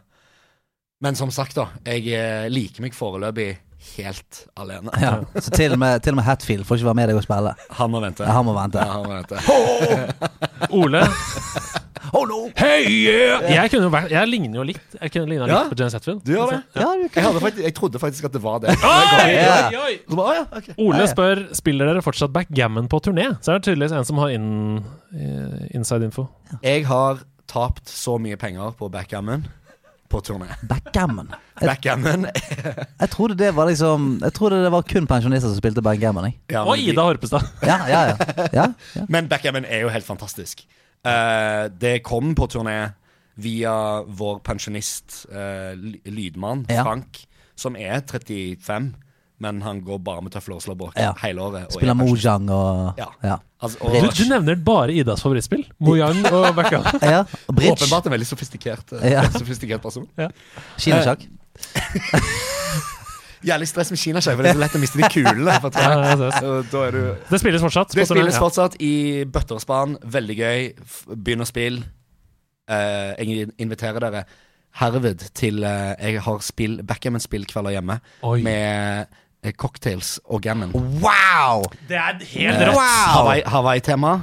Men som sagt, da. Jeg eh, liker meg foreløpig helt alene. <laughs> Ja. Så til og, med, til og med Hatfield får ikke være med deg og spille. Han må vente. Ja, han må vente. Ja, han må vente. Ole, Oh no! Hey, yeah! jeg, kunne jo vært, jeg ligner jo litt Jeg kunne lignet litt Ja. på James Hetfield. Du gjør det? Ja, du Jeg, kan. hadde faktisk, jeg trodde faktisk at det var det. Ja. Så bare, «Å ja, ok». Altså, Ole spør Spiller dere fortsatt backgammon på turné. Så er det tydeligvis en som har in, eh, inside info. Jeg har tapt så mye penger på backgammon på turné. <laughs> Backgammon. Backgammon Jeg trodde det var liksom Jeg trodde det var kun pensjonister som spilte backgammon. Jeg. ja, Og men de- Ida Horpestad. Ja, ja, ja. ja, ja. Men backgammon er jo helt fantastisk. Eh, det kom på turné via vår pensjonist, eh, ly- lydmann Ja. Frank, som er 35, men han går bare med tøfler og slår bråk Ja. hele året. og Spiller er pensjonist. mojang og Ja. ja. Altså, Du, og, du nevner bare Idas favorittspill. Mojang og backgammon. ja. og Bridge. åpenbart en veldig sofistikert, eh, Ja. <laughs> sofistikert person. Kinasjakk. Jævlig stress med kinasjeiv, for det er så lett å miste de kulene. på turné. Ja, det, ses. Så Da er du eh, altså, det spilles fortsatt. på Det turné, spilles ja. fortsatt i bøtter og spann. Veldig gøy. F- Begynn å spille. Eh, jeg inviterer dere herved til eh, Jeg har spill, backgammon-spillkvelder hjemme Oi. med eh, cocktails og gammon. Wow! Det er helt Eh, rått! Hawaii- Hawaii-tema.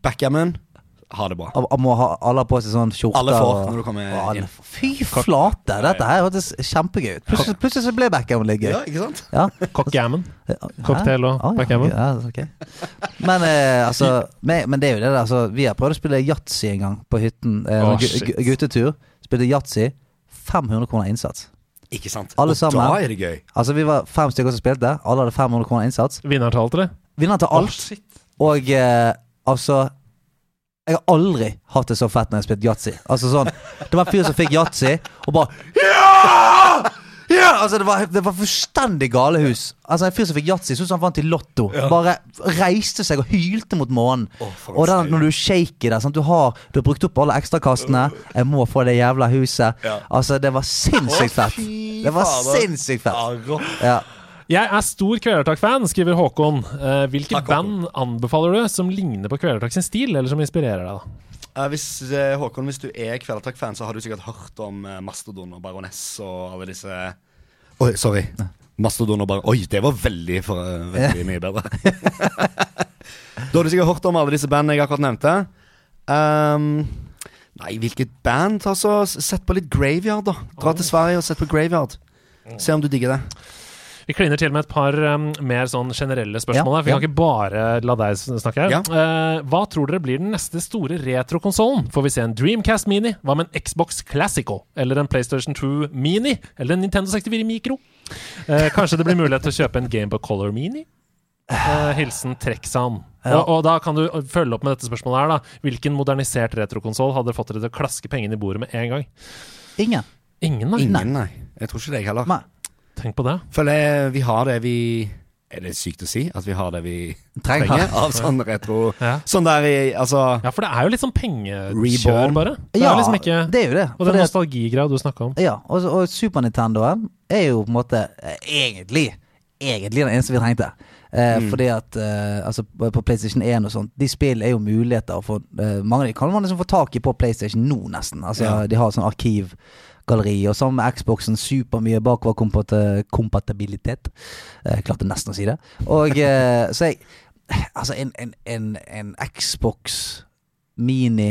backgammon. Ha det bra. Og, og må ha alle har på seg sånn skjorte Alle får og- når du kommer og alle- inn. Fy flate! Dette her hørtes kjempegøy ut. Plutselig, plutselig så ble backgammon litt gøy. Ja, ikke sant? Ja. Cockgammon. Hæ? Cocktail og Ah, ja, backgammon. Ja, ok. Men, eh, altså, men, men det er jo det der. Altså, vi har prøvd å spille yatzy en gang på hytten. Eh, Åh, gu- shit. gu- guttetur. Spilte yatzy. 500 kroner innsats. Ikke sant? Alle og sammen. da er det gøy. Altså Vi var fem stykker som spilte. Alle hadde 500 kroner innsats. Vinnertall til det. Vinneren til alt. Og eh, altså Jeg har aldri hatt det så fett når jeg har spilt yatzy. Altså sånn Det var en fyr som fikk yatzy, og bare Ja! Ja! Altså, det var, det var fullstendig galehus. Altså, en fyr som fikk yatzy, syntes han vant i Lotto. Bare reiste seg og hylte mot månen. Å, for en og den, seier. når du shaker der, sant? Du, har, du har brukt opp alle ekstrakastene. Jeg må få det jævla huset. Ja. Altså, det var sinnssykt Å, fett. fy Det var fader. sinnssykt fett. Ja, rå. Ja. Jeg er stor Kvelertak-fan, skriver Håkon. Eh, hvilke Takk, Håkon. band anbefaler du som ligner på Kvelertak sin stil, eller som inspirerer deg? da? Eh, hvis, eh, Håkon, hvis du er Kvelertak-fan, så har du sikkert hørt om eh, Mastodon og Baroness og alle disse Oi, sorry. Mastodon og Baron... Oi, det var veldig, for, eh, veldig mye bedre. <laughs> da har du sikkert hørt om alle disse bandene jeg akkurat nevnte. Ehm, nei, hvilket band? Altså, s- sett på litt Graveyard, da. Dra til Sverige og sett på Graveyard. Se om du digger det. Vi kliner til med et par um, mer sånn generelle spørsmål. Ja, her, for Vi ja. kan ikke bare la deg sn- snakke. her Ja. Eh, hva tror dere blir den neste store retrokonsollen? Får vi se en Dreamcast Mini? Hva med en Xbox Classico? Eller en PlayStation 2 Mini? Eller en Nintendo 64 Micro? Eh, kanskje det blir mulighet til å kjøpe en Game Boy Color Mini? Eh, hilsen Treksan. Ja. Og, og da kan du følge opp med dette spørsmålet her, da. Hvilken modernisert retrokonsoll hadde fått dere til å klaske pengene i bordet med en gang? Ingen. Ingen, da. Ingen, nei. Jeg tror ikke det, jeg heller. Nei. Tenk på det. Føler jeg vi har det vi Er det sykt å si at vi har det vi Trenger. <laughs> trenger av sånn retro Ja. Sånn der i Altså Ja, for det er jo litt sånn pengekjør, Reborn. bare. Det er jo Ja, liksom ikke det er jo det. Og For den det- nostalgigreia du snakka om. Ja, og, og Super Nintendoen er jo på en måte eh, egentlig Egentlig den eneste vi trengte. Eh, Fordi at eh, altså, på på PlayStation 1 og sånt, de spill er jo muligheter for eh, Mange av de kan man liksom få tak i på PlayStation nå, nesten. Altså, Ja. De har sånn arkivgalleri. Og sammen med Xboxen supermye bakoverkompatibilitet. Eh, klarte nesten å si det. Og eh, så jeg Altså, en, en, en, en Xbox Mini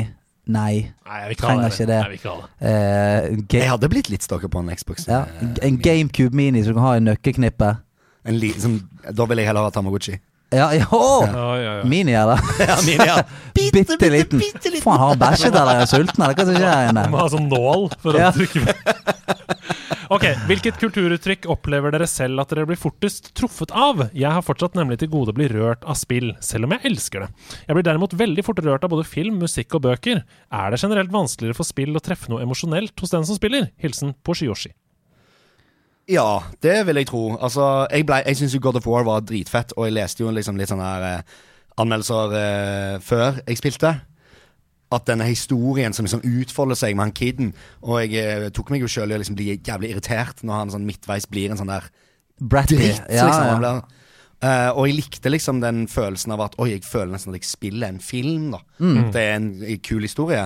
Nei. Nei, jeg vil ikke ha Trenger det. ikke det. Nei, jeg vil ikke ha det. Eh, ga- Jeg hadde blitt litt stalker på en Xbox. Ja, eh, en- en GameCube Mini som du kan ha i nøkkelknippet. En li, sånn, da ville jeg heller ha Tamagotchi. Ja, ja, åh! Mini, eller? <laughs> Ja, min, ja. <laughs> Bitte, liten. Faen, har han bæsjet, eller er han sulten, eller hva som skjer Må her inne? ha sånn nål for å Ja. trykke på. <laughs> Ok, Hvilket kulturuttrykk opplever dere selv at dere blir fortest truffet av? Jeg har fortsatt nemlig til gode å bli rørt av spill, selv om jeg elsker det. Jeg blir derimot veldig fort rørt av både film, musikk og bøker. Er det generelt vanskeligere for spill å treffe noe emosjonelt hos den som spiller? Hilsen Poshiyoshi. ja, det vil jeg tro. Altså, jeg ble, jeg syns jo God of War var dritfett, og jeg leste jo liksom litt sånne her, eh, anmeldelser eh, før jeg spilte. At denne historien som liksom utfolder seg med han kiden Og jeg eh, tok meg jo sjøl i å liksom bli jævlig irritert når han sånn midtveis blir en sånn der Bratty. dritt, Ja, liksom. Han ja. blir- Eh, og jeg likte liksom den Mm. følelsen av at Oi, jeg føler nesten at jeg spiller en film, da. Det er en kul historie.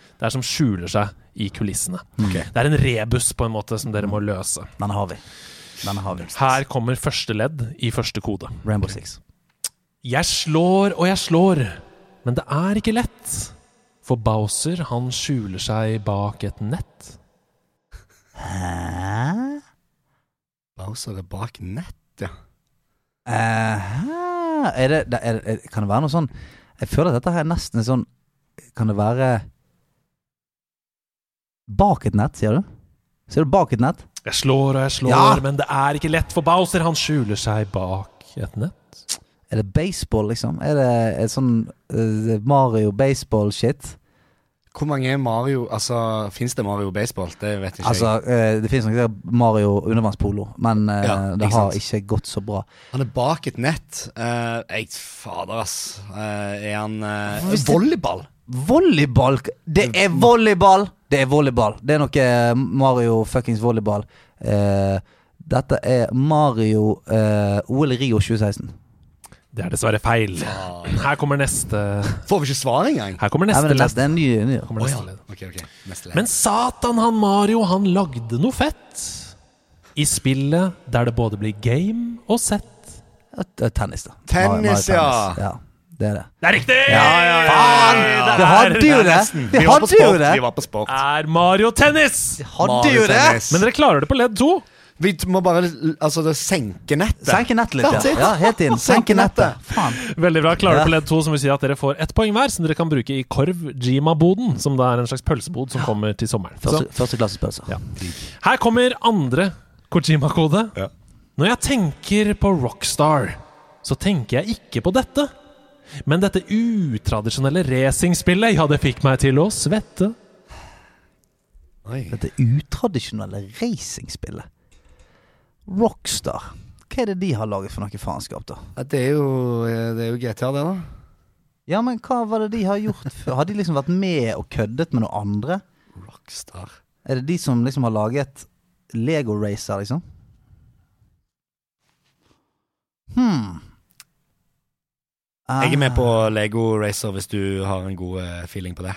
det er som skjuler seg i kulissene. Det er en rebus på en måte som dere må løse. Den har vi. Den har vi. Her kommer første ledd i første kode. Rainbow Six. Jeg slår og jeg slår, men det er ikke lett. For Bowser, han skjuler seg bak et nett. Hæ? Bowser er bak nett, ja. Eh, er det, det er, er, Kan det være noe sånn Jeg føler at dette her er nesten er sånn Kan det være Bak et nett, sier du? Sier du bak et nett? Jeg slår og jeg slår, Ja. men det er ikke lett for Bowser. Han skjuler seg bak et nett. Er det baseball, liksom? Er det et sånn eh, Mario baseball-shit? Hvor mange Mario Altså, fins det Mario Baseball? Det vet ikke Altså, eh, det finnes nok sikkert Mario undervannspolo, men eh, Ja, det ikke har sant. ikke gått så bra. jeg. Han er bak et nett. Eh, jeg Fader, ass. Eh, er han eh, Hvis det- Volleyball? Volleyball! Det er volleyball! Det er volleyball. Det er noe eh, Mario fuckings volleyball. Eh, dette er Mario eh, OL i Rio 2016. Det er dessverre feil. Her kommer neste Får vi ikke svar engang? Her kommer Nei, neste men ledd. det er en ny, ny. Kommer neste ledd. Ok, ok. Neste ledd. Men satan, han Mario, han lagde noe fett. I spillet der det både blir game og sett. Ja, t- Tennis, da. Tennis, Mario- Mario ja. Ah, ja. Det er det. Det er riktig! Faen! Vi hadde jo det! Vi var på hadde jo sport, det! Vi var på sport. Er Mario tennis! Hadde jo det! Mario-tennis. Men dere klarer det på ledd to. Vi må bare altså, det senke nettet. Senke nettet litt, That's ja. it. ja helt inn. Senke Senke nettet. nettet. Faen. Veldig bra. Klarer Ja. det på ledd to, som vil si at dere får ett poeng hver, som dere kan bruke i Korv-Jima-boden, som da er en slags pølsebod som kommer til sommeren. Så, Første, Førsteklassespølser. ja. Her kommer andre Kojima-kode. Når jeg tenker på Rockstar, så tenker jeg ikke på dette. Men dette utradisjonelle racingspillet, ja, det fikk meg til å svette. Oi. Dette utradisjonelle racingspillet. Rockstar. Hva er det de har laget for noe faenskap, da? eh, Ja, Det er jo, det er jo GTA, det, da. Ja, men hva var det de har gjort før? Har de liksom vært med og køddet med noen andre? Rockstar. Er det de som liksom har laget Lego Racer, liksom? Hmm. Eh, Ah. Jeg er med på Lego Racer hvis du har en god eh, feeling på det.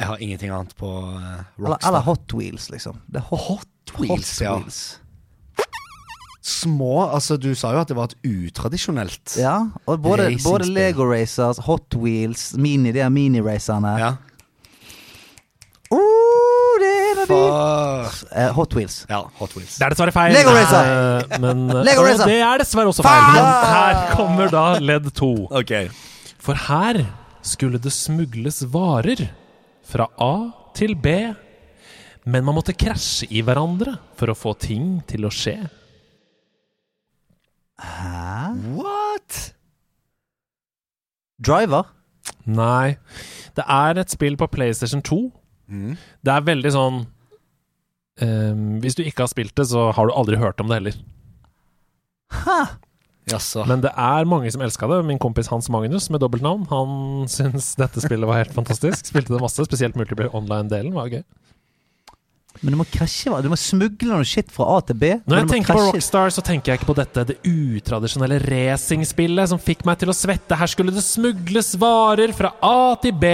Jeg har ingenting annet på eh, Eller, Rockstar. eller Hot Wheels, liksom. Det er hot, Hot Wheels, Hot ja. Wheels. Små Altså, du sa jo at det var et utradisjonelt. Ja, og både, Racing både spill. Lego Racers, Hot Wheels, mini, de her miniracerne Ja. Uh, det er en av de. For... Eh, Hot Wheels. ja Hot Wheels. Det er dessverre feil. Lego Racer! Eh, Men, Lego og Racer! Det er dessverre også feil. Men her kommer da ledd to. OK. For her skulle det smugles varer fra A til B. Men man måtte krasje i hverandre for å få ting til å skje. What? Driver. Nei. Det er et spill på PlayStation 2. Det er veldig sånn ehm, Hvis du ikke har spilt det, så har du aldri hørt om det heller. Jaså. Men det er mange som elska det. Min kompis Hans Magnus med dobbeltnavn Han <laughs> syntes dette spillet var helt fantastisk. Spilte det masse, spesielt Multiplayer Online-delen var gøy. Men du må krasje, hva? du må smugle noe shit fra A til B. Når jeg men du må tenker på krasje- Rockstar, så tenker jeg ikke på dette det utradisjonelle racingspillet som fikk meg til å svette. Her skulle det smugles varer fra A til B.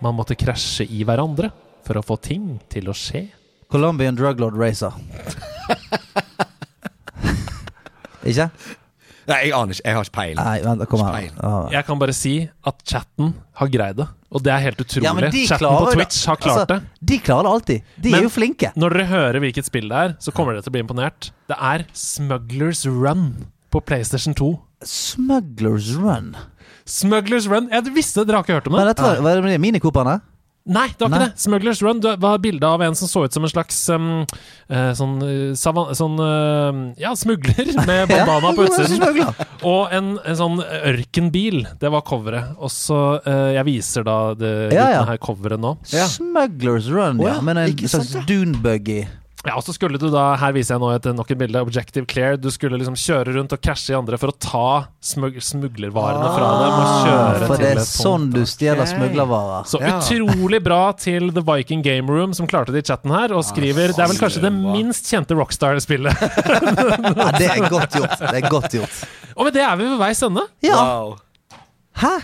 Man måtte krasje i hverandre for å få ting til å skje. Colombian Druglord <laughs> Racer. ikke? Nei, jeg aner ikke. Jeg har ikke peiling. Nei, vent, kom her. Speil. Ah. Jeg kan bare si at chatten har greid det, og det er helt utrolig. Ja, men de chatten klarer på det. Twitch har klart Altså, det. De klarer det alltid. De Men- er jo flinke. Når dere hører hvilket spill det er, så kommer dere til å bli imponert. Det er Smugglers Run på PlayStation 2. Smugglers Run. Smugglers Run? Jeg visste dere har ikke hørt om det. Men dette var, var det med de minikoperne? Nei, det var Nei. ikke det. Smugglers Run det var bilde av en som så ut som en slags um, eh, sånn, eh, savan, sånn eh, ja, smugler <laughs> med bandana på utsiden. <laughs> Og en, en sånn ørkenbil. Det var coveret. Og så eh, Jeg viser da det Ja, ja. dette her coveret nå. Ja. Smugglers Run, ja. Å ja, Men en ikke slags sant, dunebuggy. Ja, og så skulle du da, Her viser jeg nå et nok et bilde. Objective clear. Du skulle liksom kjøre rundt og krasje i andre for å ta smug smuglervarene fra dem. Og kjøre Ah, for til det er et sånn punkt. altså. du stjeler Ok. smuglervarer. Så Ja. utrolig bra til The Viking Game Room, som klarte det i chatten her, og skriver Det er vel kanskje det bra. minst kjente Rockstar-spillet. <laughs> Ja, det er godt gjort. Det er godt gjort. Og med det er vi ved veis ende. Ja. Wow. Hæ?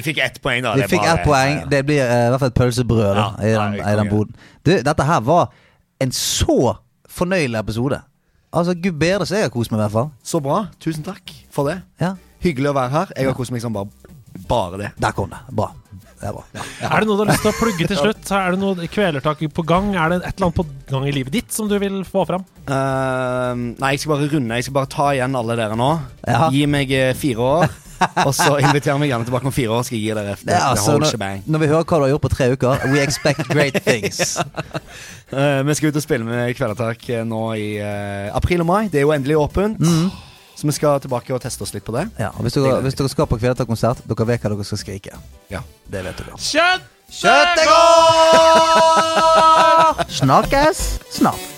Vi fikk ett poeng, da. Vi Det er fikk bare- ett poeng. Det blir eh, i hvert fall et pølsebrød da, Ja, i nei, den, i den konge. boden. Du, dette her var en så fornøyelig episode. Altså, gud bedre så jeg har kost meg, i hvert fall. Så bra. Tusen takk for det. Ja, Hyggelig å være her. Jeg har kost meg som bare, bare det. Der kom det. Bra. Det er bra. Er det noe du har lyst til å plugge til slutt? Er det noe kvelertak på gang? Er det et eller annet på gang i livet ditt som du vil få fram? Eh, nei, jeg skal bare runde. Jeg skal bare ta igjen alle dere nå. Ja. Gi meg eh, fire år, og så inviter meg gjerne tilbake om fire år. Skal jeg gi dere the, Det er the altså, whole når, shebang. når vi hører hva du har gjort på tre uker We expect <laughs> great things. Eh, vi skal ut og spille med Kvelertak eh, nå i eh, april og mai. Det er jo endelig åpent. Så vi skal tilbake og teste oss litt på det. Ja, og hvis, dere, hvis dere skal på Kvelertak-konsert, dere vet hva dere skal skrike. Ja. Det vet dere. Kjøtt! Kjøttet går! Snakkes snart.